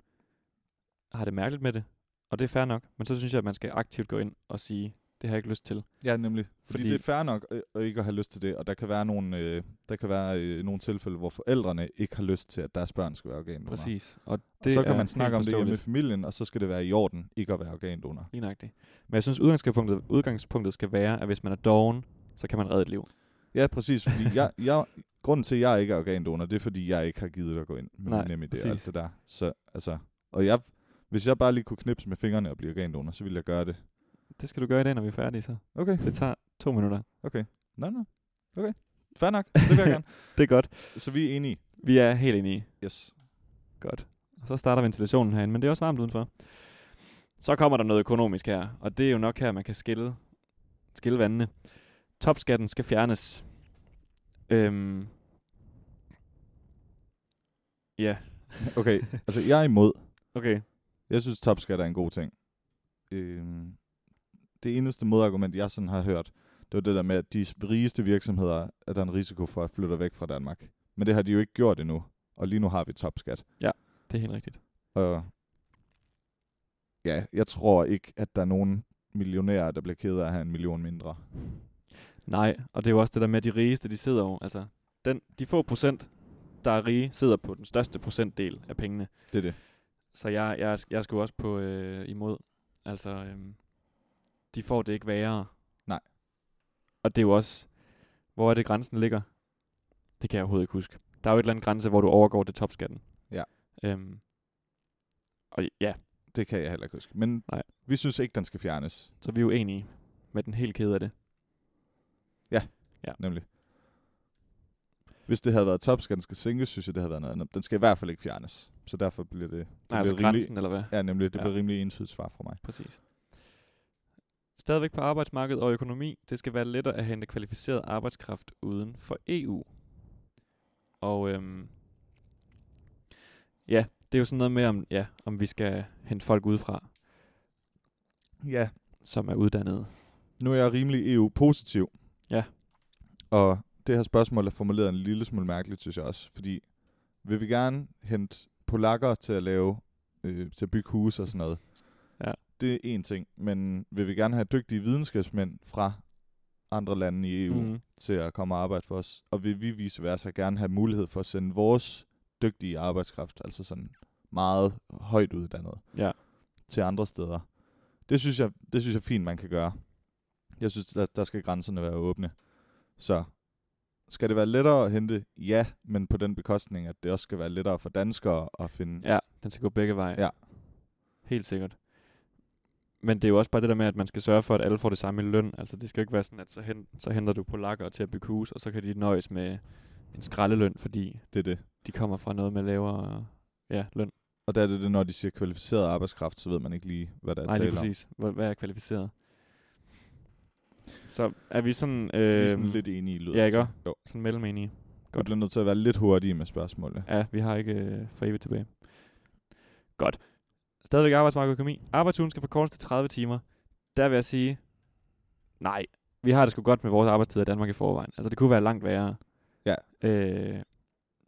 Speaker 1: har det mærkeligt med det, og det er fair nok, men så synes jeg, at man skal aktivt gå ind og sige, det har jeg ikke lyst til.
Speaker 2: Ja, nemlig. Fordi,
Speaker 1: Fordi-
Speaker 2: fordi det er fair nok øh, at ikke at have lyst til det, og der kan være nogle, øh, der kan være øh, nogle tilfælde, hvor forældrene ikke har lyst til, at deres børn skal være organdonorer.
Speaker 1: Præcis. Og
Speaker 2: Det
Speaker 1: det
Speaker 2: så kan
Speaker 1: er
Speaker 2: man snakke om
Speaker 1: helt
Speaker 2: det hjemme i
Speaker 1: forståeligt.
Speaker 2: familien, og så skal det være i orden ikke at være organdonor.
Speaker 1: Lige nøjagtigt. Men jeg synes, udgangspunktet, udgangspunktet skal være, at hvis man er doven, så kan man redde et liv.
Speaker 2: Ja, præcis. Fordi
Speaker 1: [LAUGHS]
Speaker 2: jeg, jeg, grunden til, at jeg ikke er organdonor, det er, fordi jeg ikke har givet at gå ind med
Speaker 1: Nej,
Speaker 2: min nemme idé og
Speaker 1: præcis.
Speaker 2: alt det der. Så, altså, og jeg, hvis jeg bare lige kunne knipse med fingrene og blive organdonor, så ville jeg gøre det.
Speaker 1: Det skal du gøre i dag, når vi er færdige så.
Speaker 2: Okay.
Speaker 1: Det tager to minutter.
Speaker 2: Okay. Nå, nå. Okay. Fair nok. Det vil jeg gerne.
Speaker 1: Det er godt.
Speaker 2: [LAUGHS] Så vi er enige.
Speaker 1: Vi er helt enige.
Speaker 2: Yes.
Speaker 1: Godt. Og så starter ventilationen herinde, men det er også varmt udenfor. Så kommer der noget økonomisk her, og det er jo nok her, man kan skille, skille vandene. Topskatten skal fjernes. Øhm. Ja,
Speaker 2: Okay. Altså, jeg er imod.
Speaker 1: okay.
Speaker 2: Jeg synes, topskat er en god ting. Øhm, det eneste modargument, jeg sådan har hørt, det var det der med, at de rigeste virksomheder, at der er en risiko for, at flytter væk fra Danmark. Men det har de jo ikke gjort endnu. Og lige nu har vi topskat.
Speaker 1: Det er helt rigtigt.
Speaker 2: Og ja, jeg tror ikke, at der er nogen millionærer, der bliver ked af at have en million mindre.
Speaker 1: Nej, og det er jo også det der med, at de rigeste, de sidder jo, altså, den, de få procent, der er rige, sidder på den største procentdel af pengene.
Speaker 2: Det er det.
Speaker 1: Så jeg, jeg, jeg skulle også på øh, imod. Altså, øh, de får det ikke værre.
Speaker 2: Nej.
Speaker 1: Og det er jo også, hvor er det grænsen ligger? Det kan jeg overhovedet ikke huske. Der er jo et eller andet grænse, hvor du overgår det topskatten.
Speaker 2: Ja.
Speaker 1: Øhm, og ja,
Speaker 2: Det kan jeg heller ikke huske. Men
Speaker 1: Nej.
Speaker 2: vi synes ikke, den skal fjernes,
Speaker 1: så er vi jo enige med den helt kede af det.
Speaker 2: nemlig. Hvis det havde været topskat, den skal sænkes, synes jeg, det havde været noget andet. Den skal i hvert fald ikke fjernes. Så derfor bliver det... det
Speaker 1: Nej, altså
Speaker 2: bliver rimelig-
Speaker 1: grænsen, eller hvad?
Speaker 2: Ja, nemlig. Det
Speaker 1: Ja.
Speaker 2: ja. bliver rimelig entydigt svar fra mig.
Speaker 1: Præcis. Stadigvæk på arbejdsmarkedet og økonomi, det skal være lettere at hente kvalificeret arbejdskraft uden for EU. Og øhm, ja, det er jo sådan noget med, om, ja, om vi skal hente folk udefra,
Speaker 2: Ja,
Speaker 1: som er uddannede.
Speaker 2: nu er jeg rimelig EU-positiv.
Speaker 1: Ja.
Speaker 2: Og det her spørgsmål er formuleret en lille smule mærkeligt, synes jeg også. Fordi vil vi gerne hente polakker til at lave, øh, til at bygge huse og sådan noget?
Speaker 1: Ja.
Speaker 2: Det er en ting. Men vil vi gerne have dygtige videnskabsmænd fra andre lande i EU mm.
Speaker 1: Mhm.
Speaker 2: til at komme og arbejde for os? Og vil vi vice versa gerne have mulighed for at sende vores dygtige arbejdskraft, altså sådan meget højt uddannet,
Speaker 1: Ja.
Speaker 2: til andre steder? Det synes jeg, det synes jeg fint, man kan gøre. Jeg synes, der, der skal grænserne være åbne. Så skal det være lettere at hente? Ja, men på den bekostning, at det også skal være lettere for danskere at finde.
Speaker 1: Ja, den skal gå begge veje.
Speaker 2: Ja.
Speaker 1: Helt sikkert. Men det er jo også bare det der med, at man skal sørge for, at alle får det samme i løn. Altså, det skal jo ikke være sådan, at så, hen, så henter du polakker til at bygge hus, og så kan de nøjes med en skraldeløn, fordi
Speaker 2: Det er det.
Speaker 1: de kommer fra noget med lavere ja, løn.
Speaker 2: Og der er det, det, når de siger kvalificeret arbejdskraft, så ved man ikke lige, hvad der er
Speaker 1: Nej,
Speaker 2: tale
Speaker 1: lige
Speaker 2: om.
Speaker 1: præcis. Hvor- Hvad er kvalificeret? Så er vi sådan,
Speaker 2: Vi
Speaker 1: øh,
Speaker 2: er
Speaker 1: sådan,
Speaker 2: sådan lidt enige i lyder.
Speaker 1: ja,
Speaker 2: det
Speaker 1: ikke
Speaker 2: til.
Speaker 1: også?
Speaker 2: Jo.
Speaker 1: sådan mellemenige.
Speaker 2: Vi bliver nødt til at være lidt hurtige med spørgsmålene.
Speaker 1: Ja, vi har ikke øh, for evigt tilbage. Godt. Stadigvæk arbejdsmarked og økonomi. Arbejdsugen skal forkortes til 30 timer. Der vil jeg sige, nej, vi har det sgu godt med vores arbejdstid i Danmark i forvejen. Altså, det kunne være langt værre.
Speaker 2: Ja.
Speaker 1: Øh,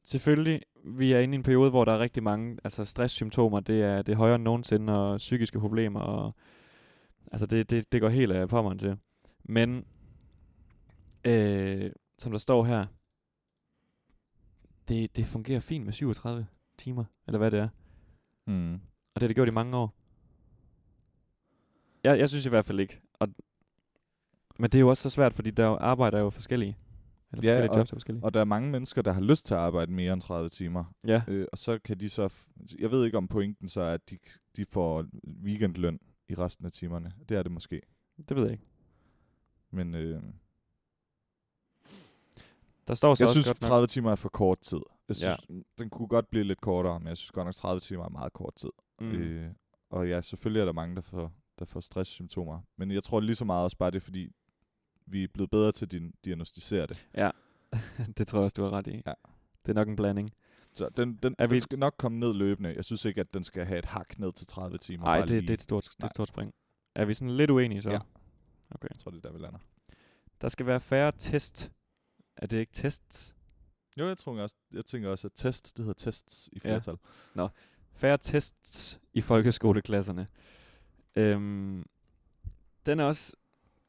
Speaker 1: selvfølgelig, vi er inde i en periode, hvor der er rigtig mange altså stresssymptomer. Det er, det er højere end nogensinde, og psykiske problemer. Og, altså, det, det, det går helt af pommeren til. Men, øh, som der står her, det, det fungerer fint med 37 timer, eller hvad det er.
Speaker 2: Mm.
Speaker 1: Og det har det gjort i mange år. Jeg, jeg synes i hvert fald ikke. Og, men det er jo også så svært, fordi der jo- arbejder er jo forskellige. Eller
Speaker 2: Ja,
Speaker 1: ja, forskellige
Speaker 2: og-
Speaker 1: jobs er forskellige.
Speaker 2: Og der er mange mennesker, der har lyst til at arbejde mere end 30 timer.
Speaker 1: ja,
Speaker 2: Øh, og så kan de så... F- jeg ved ikke om pointen så er, at de, de får weekendløn i resten af timerne. Det er det måske.
Speaker 1: det ved jeg ikke.
Speaker 2: Men øh,
Speaker 1: Der står så
Speaker 2: jeg
Speaker 1: også
Speaker 2: synes,
Speaker 1: godt nok-
Speaker 2: 30 timer er for kort tid. Jeg
Speaker 1: Ja.
Speaker 2: synes, ja. Den kunne godt blive lidt kortere, men jeg synes godt nok, 30 timer er meget kort tid. Mm.
Speaker 1: Mm.
Speaker 2: Øh, og ja, selvfølgelig er der mange, der får, der får stresssymptomer. Men jeg tror lige så meget også bare, det er fordi, vi er blevet bedre til at din- diagnostisere det.
Speaker 1: [LAUGHS] det tror jeg også, du har ret i.
Speaker 2: Ja.
Speaker 1: Det er nok en blanding.
Speaker 2: Så den, den,
Speaker 1: Er
Speaker 2: den
Speaker 1: vi-
Speaker 2: skal nok komme ned løbende. Jeg synes ikke, at den skal have et hak ned til 30 timer.
Speaker 1: Nej,
Speaker 2: bare
Speaker 1: det, det,
Speaker 2: lige.
Speaker 1: er et stort, det er
Speaker 2: Nej.
Speaker 1: et stort spring. Er vi sådan lidt uenige så?
Speaker 2: Ja.
Speaker 1: Okay.
Speaker 2: Jeg tror, det er der, vi lander.
Speaker 1: Der skal være færre test. Er det ikke tests?
Speaker 2: Jo, jeg, tror også, jeg tænker også, at test, det hedder tests i
Speaker 1: Ja.
Speaker 2: flertal. Ja.
Speaker 1: Færre tests i folkeskoleklasserne. Øhm, den er også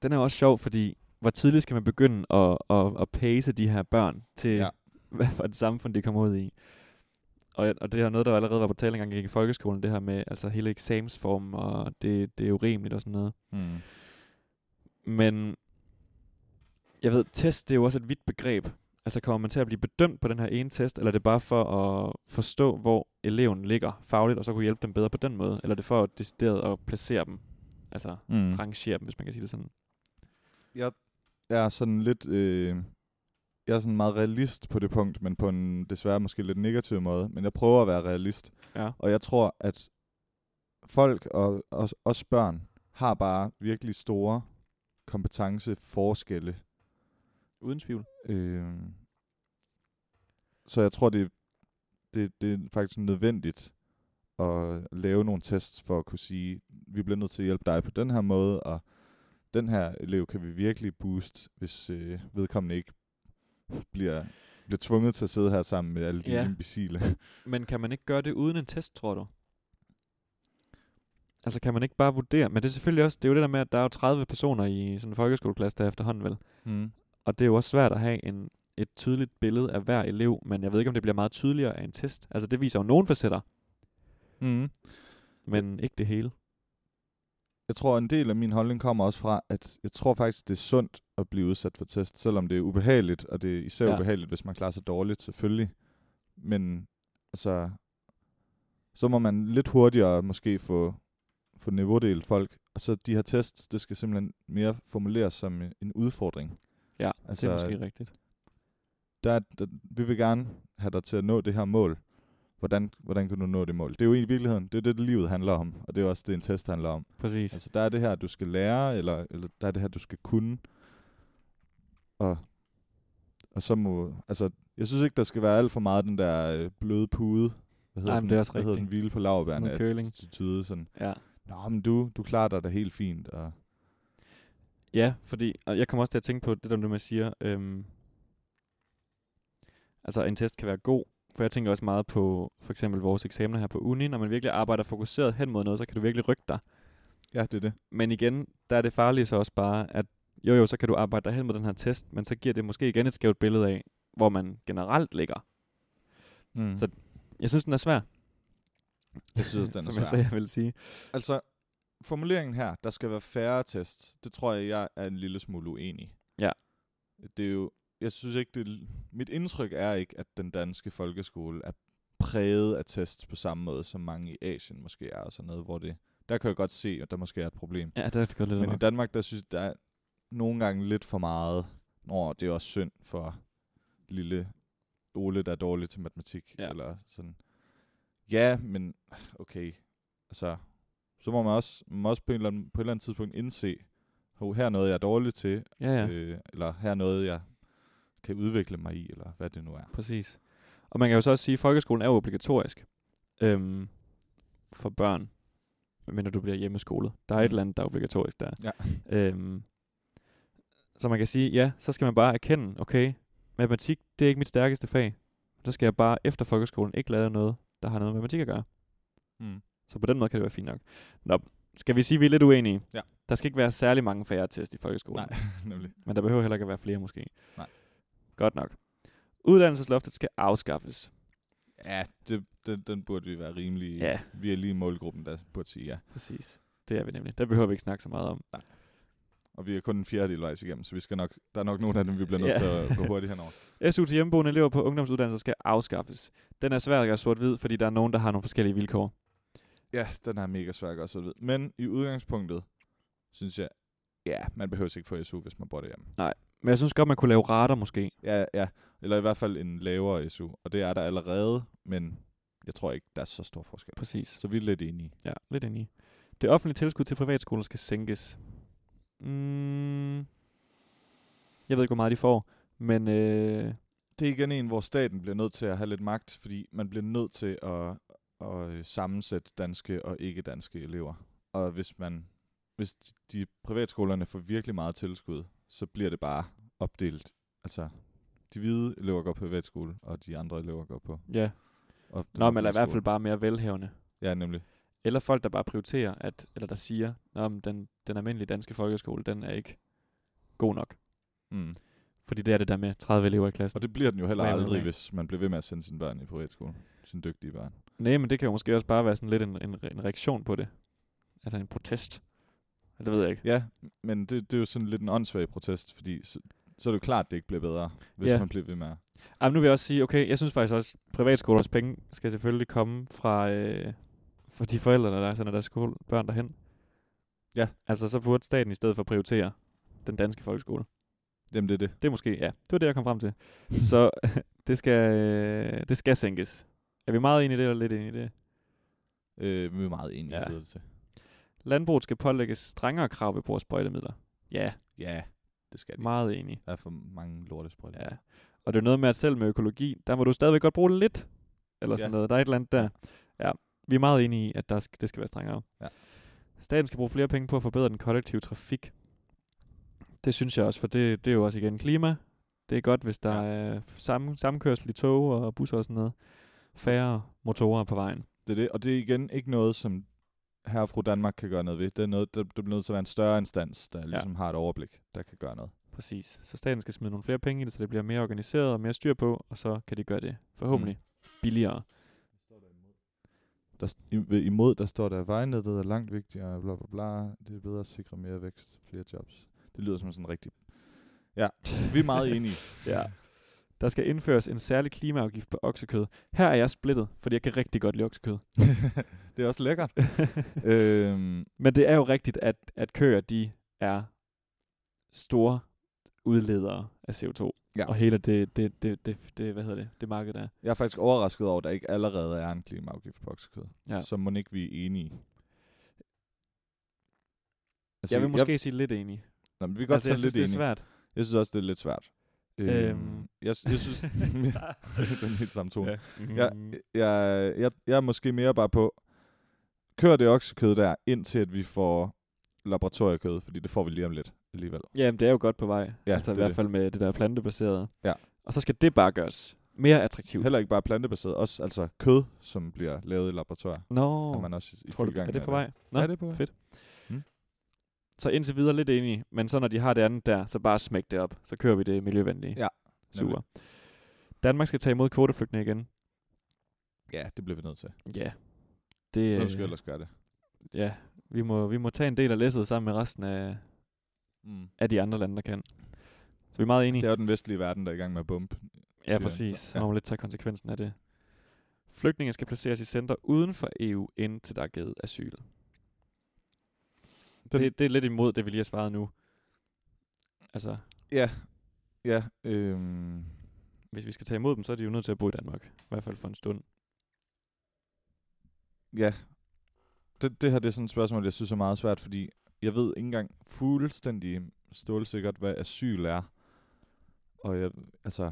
Speaker 1: den er også sjov, fordi hvor tidligt skal man begynde at, at, at pace de her børn til, ja.
Speaker 2: Ja.
Speaker 1: [LAUGHS] hvad for et samfund de kommer ud i. Og, jeg- og det er noget, der allerede var på tale engang jeg gik i folkeskolen, det her med altså hele eksamensformen, og det, det er urimeligt og sådan noget.
Speaker 2: Mm.
Speaker 1: Men jeg ved, test det er jo også et vidt begreb. Altså kommer man til at blive bedømt på den her ene test, eller er det bare for at forstå, hvor eleven ligger fagligt, og så kunne hjælpe dem bedre på den måde? Eller er det for at decideret at placere dem? Altså
Speaker 2: Mm.
Speaker 1: mm. rangere dem, hvis man kan sige det sådan.
Speaker 2: Jeg er sådan lidt... Øh, jeg er sådan meget realist på det punkt, men på en desværre måske lidt negativ måde. Men jeg prøver at være realist.
Speaker 1: Ja.
Speaker 2: Og jeg tror, at folk og os, os børn har bare virkelig store kompetenceforskelle.
Speaker 1: Uden tvivl.
Speaker 2: Øh, så jeg tror, det, det, det er faktisk nødvendigt at lave nogle tests for at kunne sige, vi bliver nødt til at hjælpe dig på den her måde, og den her elev kan vi virkelig boost, hvis øh, vedkommende ikke bliver, bliver tvunget til at sidde her sammen med alle de
Speaker 1: Ja.
Speaker 2: ja. imbecile.
Speaker 1: Men kan man ikke gøre det uden en test, tror du? Altså kan man ikke bare vurdere? Men det er selvfølgelig også, det er jo det der med, at der er jo 30 personer i sådan en folkeskoleklasse der er efterhånden, vel?
Speaker 2: Mm.
Speaker 1: Og det er jo også svært at have en, et tydeligt billede af hver elev, men jeg ved ikke, om det bliver meget tydeligere af en test. Altså, det viser jo nogle facetter. Mm. Men ikke det hele.
Speaker 2: Jeg tror, en del af min holdning kommer også fra, at jeg tror faktisk, det er sundt at blive udsat for test, selvom det er ubehageligt, og det er især
Speaker 1: Ja.
Speaker 2: ja. ubehageligt, hvis man klarer sig dårligt, selvfølgelig. Men altså, så må man lidt hurtigere måske få, få niveaudelt folk, og så de her tests, det skal simpelthen mere formuleres som øh, en udfordring.
Speaker 1: Ja, altså,
Speaker 2: Altså,
Speaker 1: det er måske rigtigt.
Speaker 2: der, der, vi vil gerne have dig til at nå det her mål. Hvordan, hvordan kan du nå det mål? Det er jo i virkeligheden, det er det, livet handler om, og det er også det, en test handler om.
Speaker 1: Præcis.
Speaker 2: Altså, der er det her, du skal lære, eller, eller der er det her, du skal kunne. Og, og så må, altså, jeg synes ikke, der skal være alt for meget den der øh, bløde pude. Hvad
Speaker 1: Nej, men det er også
Speaker 2: hvad hedder
Speaker 1: rigtigt.
Speaker 2: sådan hvile på
Speaker 1: Sådan
Speaker 2: lavbærne?
Speaker 1: noget curling.
Speaker 2: Attitude, sådan,
Speaker 1: Ja.
Speaker 2: Nå, men du, du klarer dig da helt fint. Og,
Speaker 1: Ja, fordi og jeg kommer også til at tænke på det, der du man siger. Øhm, altså en test kan være god, for jeg tænker også meget på for eksempel vores eksamener her på uni. Når man virkelig arbejder fokuseret hen mod noget, så kan du virkelig rykke dig.
Speaker 2: ja, det er det.
Speaker 1: Men igen, der er det farlige så også bare, at jo jo, så kan du arbejde dig hen mod den her test, men så giver det måske igen et skævt billede af, hvor man generelt ligger.
Speaker 2: Mm.
Speaker 1: Så- Jeg synes, den er svær,
Speaker 2: jeg synes, den
Speaker 1: [LAUGHS]
Speaker 2: er
Speaker 1: som
Speaker 2: svær.
Speaker 1: jeg sagde, jeg ville sige.
Speaker 2: Altså, formuleringen her, der skal være færre tests, det tror jeg, jeg er en lille smule uenig i.
Speaker 1: Ja.
Speaker 2: Det er jo, jeg synes ikke, det, er- mit indtryk er ikke, at den danske folkeskole er præget af tests på samme måde, som mange i Asien måske er, og sådan noget, hvor det, der kan jeg godt se, at der måske er et problem.
Speaker 1: Ja, det er godt lidt
Speaker 2: Men i
Speaker 1: amok.
Speaker 2: Danmark, der synes jeg, der er nogle gange lidt for meget, når det er også synd for lille Ole, der er dårlig til matematik.
Speaker 1: Ja.
Speaker 2: Ja. Eller sådan. Ja, men okay. Altså, så må man også, man må også på, en eller anden, på et eller andet tidspunkt indse, hov, her er noget, jeg er dårlig til,
Speaker 1: Ja, ja.
Speaker 2: ja. øh, eller her er noget, jeg kan udvikle mig i, eller hvad det nu er.
Speaker 1: Præcis. Og man kan jo så også sige, at folkeskolen er jo obligatorisk øhm, for børn, når du bliver hjemmeskolet. Der er et
Speaker 2: Mm.
Speaker 1: eller andet, der er obligatorisk der.
Speaker 2: Ja.
Speaker 1: Øhm, så man kan sige, ja, så skal man bare erkende, okay, matematik, det er ikke mit stærkeste fag. Så skal jeg bare efter folkeskolen ikke lave noget, der har noget med matematik at gøre.
Speaker 2: Mm.
Speaker 1: Så på den måde kan det være fint nok. Nå, skal vi sige, at vi er lidt uenige?
Speaker 2: Ja.
Speaker 1: Der skal ikke være særlig mange færre test i folkeskolen.
Speaker 2: Nej, [LAUGHS] nemlig.
Speaker 1: Men der behøver heller ikke at være flere måske.
Speaker 2: Nej.
Speaker 1: Godt nok. Uddannelsesloftet skal afskaffes.
Speaker 2: Ja, det, den, den burde vi være rimelig.
Speaker 1: Ja.
Speaker 2: Vi er lige i målgruppen, der burde sige ja.
Speaker 1: Præcis. Det er vi nemlig. Der behøver vi ikke snakke så meget om.
Speaker 2: Og vi er kun en fjerdedel vejs igennem, så vi skal nok, der er nok nogle af dem, vi bliver nødt
Speaker 1: Ja.
Speaker 2: til at gå hurtigt henover.
Speaker 1: SU til hjemmeboende elever på ungdomsuddannelser skal afskaffes. Den er svær at gøre sort-hvid, fordi der er nogen, der har nogle forskellige vilkår.
Speaker 2: [LAUGHS] Ja, den er mega svær at gøre så ved. Men i udgangspunktet, synes jeg, ja, man behøver ikke få SU, hvis man bor derhjemme.
Speaker 1: Men jeg synes godt, man kunne lave rater måske.
Speaker 2: Ja, ja. Eller i hvert fald en lavere SU. Og det er der allerede, men jeg tror ikke, der er så stor forskel.
Speaker 1: Præcis.
Speaker 2: Så vi er lidt enige.
Speaker 1: Ja, lidt ind i. Det offentlige tilskud til privatskoler skal sænkes. Mm. Jeg ved ikke, hvor meget de får, men øh,
Speaker 2: Det er igen en, hvor staten bliver nødt til at have lidt magt, fordi man bliver nødt til at, at øh, sammensætte danske og ikke-danske elever. Og hvis man hvis de privatskolerne får virkelig meget tilskud, så bliver det bare opdelt. Altså, de hvide elever går på privatskole, og de andre elever går på
Speaker 1: ja.
Speaker 2: Og
Speaker 1: Nå, men er i hvert fald bare mere velhavende.
Speaker 2: Ja, nemlig.
Speaker 1: Eller folk, der bare prioriterer, at, eller der siger, at den, den almindelige danske folkeskole, den er ikke god nok.
Speaker 2: Mm.
Speaker 1: Fordi det er det der med 30 elever i klassen.
Speaker 2: Og det bliver den jo heller
Speaker 1: Hvad er det
Speaker 2: aldrig,
Speaker 1: med?
Speaker 2: hvis man bliver ved med at sende sine børn i privatskole. Sine dygtige børn.
Speaker 1: Nej, men det kan jo måske også bare være sådan lidt en, en, re- en reaktion på det. Altså en protest. Ja, Det ved jeg ikke.
Speaker 2: Ja, men det, det er jo sådan lidt en åndssvag protest, fordi så, så er det jo klart, det ikke bliver bedre, hvis
Speaker 1: Ja.
Speaker 2: man bliver ved med. at-
Speaker 1: Ej, men nu vil jeg også sige, okay, jeg synes faktisk også, at privatskolers penge skal selvfølgelig komme fra, øh, fra de forældre, der sender deres skole, børn derhen.
Speaker 2: Ja.
Speaker 1: Altså, så burde staten i stedet for prioritere den danske folkeskole.
Speaker 2: Jamen, det er det.
Speaker 1: Det er måske, ja, det var det, jeg kom frem til. så [LAUGHS] det skal, øh, det skal sænkes. Er vi meget enige i det, eller lidt enige i det?
Speaker 2: Øh, vi er meget enige
Speaker 1: Ja.
Speaker 2: ja. til.
Speaker 1: Landbruget skal pålægges strengere krav ved brug af sprøjtemidler. Ja,
Speaker 2: Ja, det skal det.
Speaker 1: meget enig.
Speaker 2: Der er for mange lortesprøjter.
Speaker 1: Ja. Og det er noget med, at selv med økologi, der må du stadigvæk godt bruge lidt. Eller sådan
Speaker 2: Ja.
Speaker 1: noget. Der er et eller andet der. Ja. Vi er meget enige i, at der skal, det skal være strengere.
Speaker 2: Ja.
Speaker 1: Staten skal bruge flere penge på at forbedre den kollektive trafik. Det synes jeg også, for det, det er jo også igen klima. Det er godt, hvis der ja.
Speaker 2: Ja.
Speaker 1: er samme, sammenkørsel i tog og busser og sådan noget. Færre motorer på vejen.
Speaker 2: Det er det, og det er igen ikke noget, som her og fru Danmark kan gøre noget ved. Det er noget, der, der bliver nødt til at være en større instans, der ligesom har et overblik, der kan gøre noget.
Speaker 1: Præcis. Så staten skal smide nogle flere penge i det, så det bliver mere organiseret og mere styr på, og så kan de gøre det forhåbentlig mm. billigere.
Speaker 2: Der, st- i- ved- imod, der står der, vejnettet er langt vigtigere, bla bla bla, det er bedre at sikre mere vækst, flere jobs. Det lyder som sådan rigtig... Ja, vi er
Speaker 1: [LAUGHS]
Speaker 2: meget enige.
Speaker 1: Ja. Der skal indføres en særlig klimaafgift på oksekød. Her er jeg splittet, fordi jeg kan rigtig godt lide oksekød.
Speaker 2: [LAUGHS] det er
Speaker 1: [LAUGHS]
Speaker 2: også lækkert. øhm,
Speaker 1: Men det er jo rigtigt, at, at køer, de er store udledere af CO2.
Speaker 2: Ja.
Speaker 1: Og hele det, det, det, det, det, hvad hedder det, det marked der.
Speaker 2: jeg er faktisk overrasket over, at der ikke allerede er en klimaafgift på oksekød.
Speaker 1: Ja.
Speaker 2: Så må ikke vi er enige.
Speaker 1: Altså, jeg vil måske jeg, sige lidt enig.
Speaker 2: Nå, men vi kan godt
Speaker 1: altså,
Speaker 2: altså,
Speaker 1: jeg
Speaker 2: tage
Speaker 1: synes,
Speaker 2: lidt
Speaker 1: det er
Speaker 2: enige.
Speaker 1: svært.
Speaker 2: Jeg synes også, det er lidt svært. Øhm,
Speaker 1: Øhm.
Speaker 2: Jeg, jeg
Speaker 1: [LAUGHS]
Speaker 2: synes... [LAUGHS] den helt samme tone. Mhm. Ja.
Speaker 1: Mm.
Speaker 2: Ja, Jeg, jeg, jeg er måske mere bare på, kør det oksekød der, indtil at vi får laboratoriekød, fordi det får vi lige om lidt alligevel.
Speaker 1: Jamen, det er jo godt på vej.
Speaker 2: Ja,
Speaker 1: Ja, altså i
Speaker 2: det er
Speaker 1: hvert
Speaker 2: det.
Speaker 1: fald med det der plantebaserede.
Speaker 2: Ja.
Speaker 1: Og så skal det bare gøres mere attraktivt.
Speaker 2: Heller ikke bare plantebaseret, også altså kød, som bliver lavet i laboratorier.
Speaker 1: Nå,
Speaker 2: Oh. Er man også i, i
Speaker 1: tror
Speaker 2: fuld
Speaker 1: du,
Speaker 2: gang
Speaker 1: er det
Speaker 2: med
Speaker 1: på vej? Nå,
Speaker 2: Ja, det er på vej.
Speaker 1: fedt.
Speaker 2: Mm.
Speaker 1: Så indtil videre lidt enige, men så når de har det andet der, så bare smæk det op. Så kører vi det miljøvenlige.
Speaker 2: Ja,
Speaker 1: Super. Danmark skal tage imod kvoteflygtninge igen.
Speaker 2: Ja, det bliver vi nødt til.
Speaker 1: Ja. Det,
Speaker 2: Hvem
Speaker 1: øh,
Speaker 2: skal ellers gøre det?
Speaker 1: ja, vi må, vi må tage en del af læsset sammen med resten af,
Speaker 2: Mm.
Speaker 1: af de andre lande, der kan. Så vi er meget enige.
Speaker 2: Det er jo den vestlige verden, der er i gang med at bombe. siger
Speaker 1: Ja,
Speaker 2: han.
Speaker 1: præcis. Så
Speaker 2: Ja.
Speaker 1: må man lidt tage konsekvensen af det. Flygtninge skal placeres i center uden for EU, indtil der er givet asyl.
Speaker 2: Den-
Speaker 1: Det, det er lidt imod det, vi lige har svaret nu. Altså,
Speaker 2: Ja, øhm,
Speaker 1: hvis vi skal tage imod dem, så er de jo nødt til at bo i Danmark. I hvert fald for en stund.
Speaker 2: ja. Det, det her det er sådan et spørgsmål, jeg synes er meget svært, fordi jeg ved ikke engang fuldstændig stålsikkert, hvad asyl er. Og jeg, altså,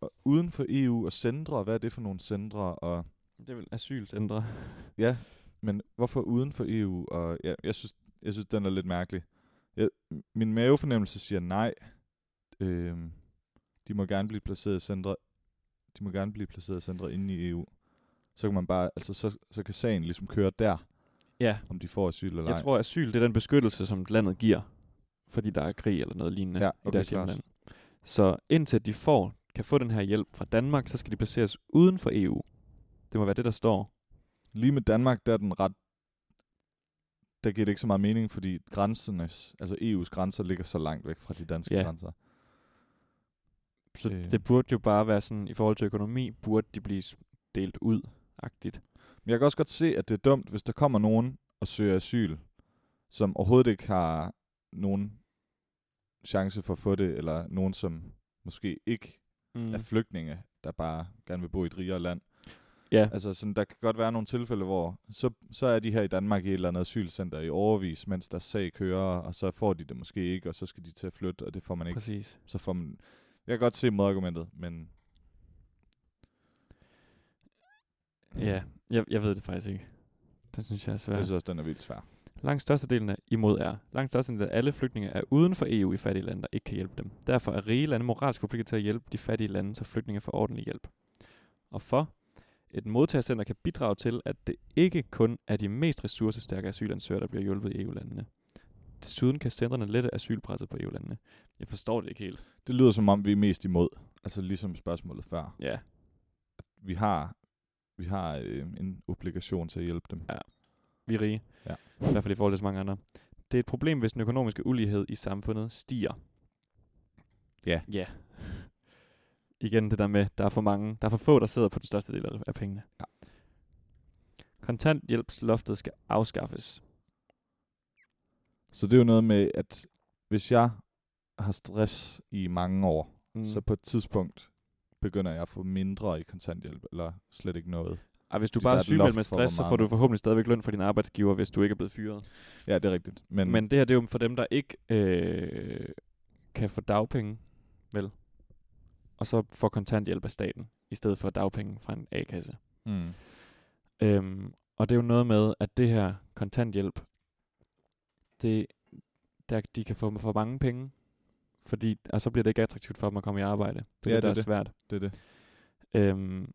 Speaker 2: og uden for EU og centre, hvad er det for nogle centre? Og,
Speaker 1: Det er vel asylcentre.
Speaker 2: ja, men hvorfor uden for EU? Og, ja, jeg, synes, jeg synes, den er lidt mærkelig. Jeg, min mavefornemmelse siger nej. Øhm, de må gerne blive placeret i centre. De må gerne blive placeret i centre inde i EU. Så kan man bare, altså så, så kan sagen ligesom køre der.
Speaker 1: Ja,
Speaker 2: om de får asyl eller
Speaker 1: jeg
Speaker 2: ej.
Speaker 1: tror, asyl det er den beskyttelse, som landet giver, fordi der er krig eller noget lignende
Speaker 2: Ja,
Speaker 1: ja, okay, i
Speaker 2: okay,
Speaker 1: deres
Speaker 2: klart.
Speaker 1: hjemland. Så indtil de får, kan få den her hjælp fra Danmark, så skal de placeres uden for EU. Det må være det, der står.
Speaker 2: Lige med Danmark, der er den ret... Der giver det ikke så meget mening, fordi grænsernes, altså EU's grænser ligger så langt væk fra de danske
Speaker 1: Ja.
Speaker 2: grænser.
Speaker 1: Så
Speaker 2: Øh.
Speaker 1: øh. det burde jo bare være sådan, i forhold til økonomi, burde de blive s- delt ud-agtigt.
Speaker 2: Men jeg kan også godt se, at det er dumt, hvis der kommer nogen og søger asyl, som overhovedet ikke har nogen chance for at få det, eller nogen, som måske ikke
Speaker 1: Mm.
Speaker 2: mm. er flygtninge, der bare gerne vil bo i et rigere land.
Speaker 1: Ja.
Speaker 2: Altså sådan, der kan godt være nogle tilfælde, hvor så, så er de her i Danmark i et eller andet asylcenter i overvis, mens der sag kører, og så får de det måske ikke, og så skal de til at flytte, og det får man ikke.
Speaker 1: Præcis.
Speaker 2: Så får man... Jeg kan godt se modargumentet, men
Speaker 1: Ja, Altså- jeg, jeg ved det faktisk ikke. Det synes jeg er
Speaker 2: jeg
Speaker 1: svært.
Speaker 2: synes også, den er vildt svær.
Speaker 1: Langt størstedelen af imod er. Langt størstedelen af alle flygtninge er uden for EU i fattige lande, der ikke kan hjælpe dem. Derfor er rige lande moralsk forpligtet til at hjælpe de fattige lande, så flygtninge får ordentlig hjælp. Og for et modtagercenter kan bidrage til, at det ikke kun er de mest ressourcestærke asylansøgere, der bliver hjulpet i EU-landene. Desuden kan centrene lette asylpresset på EU-landene. Jeg forstår det ikke helt.
Speaker 2: Det lyder som om, vi er mest imod. Altså ligesom spørgsmålet før.
Speaker 1: Ja,
Speaker 2: Vi har, vi har øh, en obligation til at hjælpe dem.
Speaker 1: Ja. vi er rige.
Speaker 2: Ja.
Speaker 1: I hvert fald i forhold til så mange andre. Det er et problem, hvis den økonomiske ulighed i samfundet stiger.
Speaker 2: Ja.
Speaker 1: Ja. Igen det der med, der er for mange, der er for få, der sidder på den største del af- af pengene.
Speaker 2: Ja.
Speaker 1: Kontanthjælpsloftet skal afskaffes.
Speaker 2: Så det er jo noget med, at hvis jeg har stress i mange år,
Speaker 1: Mm.
Speaker 2: så på et tidspunkt begynder jeg at få mindre i kontanthjælp, eller slet ikke noget.
Speaker 1: Ej, hvis du
Speaker 2: det-
Speaker 1: bare
Speaker 2: der
Speaker 1: er
Speaker 2: er et loft
Speaker 1: sygemeldt med
Speaker 2: for, hvor
Speaker 1: stress, så får
Speaker 2: meget
Speaker 1: du
Speaker 2: man-
Speaker 1: forhåbentlig stadigvæk løn fra din arbejdsgiver, hvis du ikke er blevet fyret.
Speaker 2: Ja, det er rigtigt. Men,
Speaker 1: Mm.
Speaker 2: Men
Speaker 1: Men det her, det er jo for dem, der ikke øh, kan få dagpenge, vel? Og så får kontanthjælp af staten, i stedet for dagpenge fra en A-kasse.
Speaker 2: mm,
Speaker 1: Øhm, og det er jo noget med, at det her kontanthjælp, det, der, de kan få for mange penge, fordi, og så bliver det ikke attraktivt for dem at komme i arbejde. Det er
Speaker 2: Ja,
Speaker 1: det, der
Speaker 2: det
Speaker 1: er
Speaker 2: er
Speaker 1: svært.
Speaker 2: det er det.
Speaker 1: Øhm,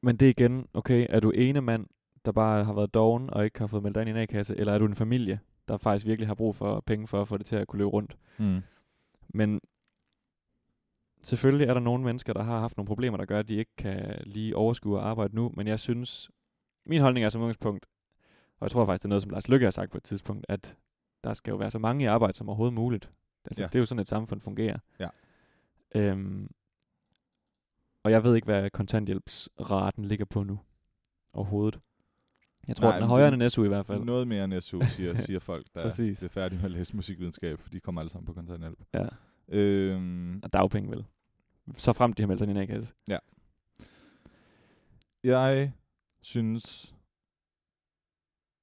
Speaker 1: men det er igen, okay, er du ene mand, der bare har været doven og ikke har fået meldt dig ind i en A-kasse, eller er du en familie, der faktisk Mm. virkelig har brug for penge for at få det til at kunne løbe rundt?
Speaker 2: Mm.
Speaker 1: Men Selvfølgelig er der nogle mennesker, der har haft nogle problemer, der gør, at de ikke kan lige overskue at arbejde nu, men jeg synes, min holdning er som udgangspunkt, og jeg tror faktisk, det er noget, som Lars Lykke har sagt på et tidspunkt, at der skal jo være så mange i arbejde som overhovedet muligt. Altså,
Speaker 2: Ja.
Speaker 1: ja. Det er jo sådan, et samfund fungerer.
Speaker 2: Ja.
Speaker 1: Øhm, og jeg ved ikke, hvad kontanthjælpsraten ligger på nu overhovedet. Jeg tror,
Speaker 2: Nej,
Speaker 1: Nej, den er
Speaker 2: men
Speaker 1: højere
Speaker 2: det-
Speaker 1: end en SU i hvert fald.
Speaker 2: Noget mere end SU,
Speaker 1: [LAUGHS]
Speaker 2: siger, siger folk, der
Speaker 1: Præcis.
Speaker 2: er færdige med at læse musikvidenskab, for de kommer alle sammen på kontanthjælp.
Speaker 1: Ja.
Speaker 2: Øhm,
Speaker 1: Og dagpenge vel. Så frem de har meldt sig ind i en A-kasse.
Speaker 2: jeg synes,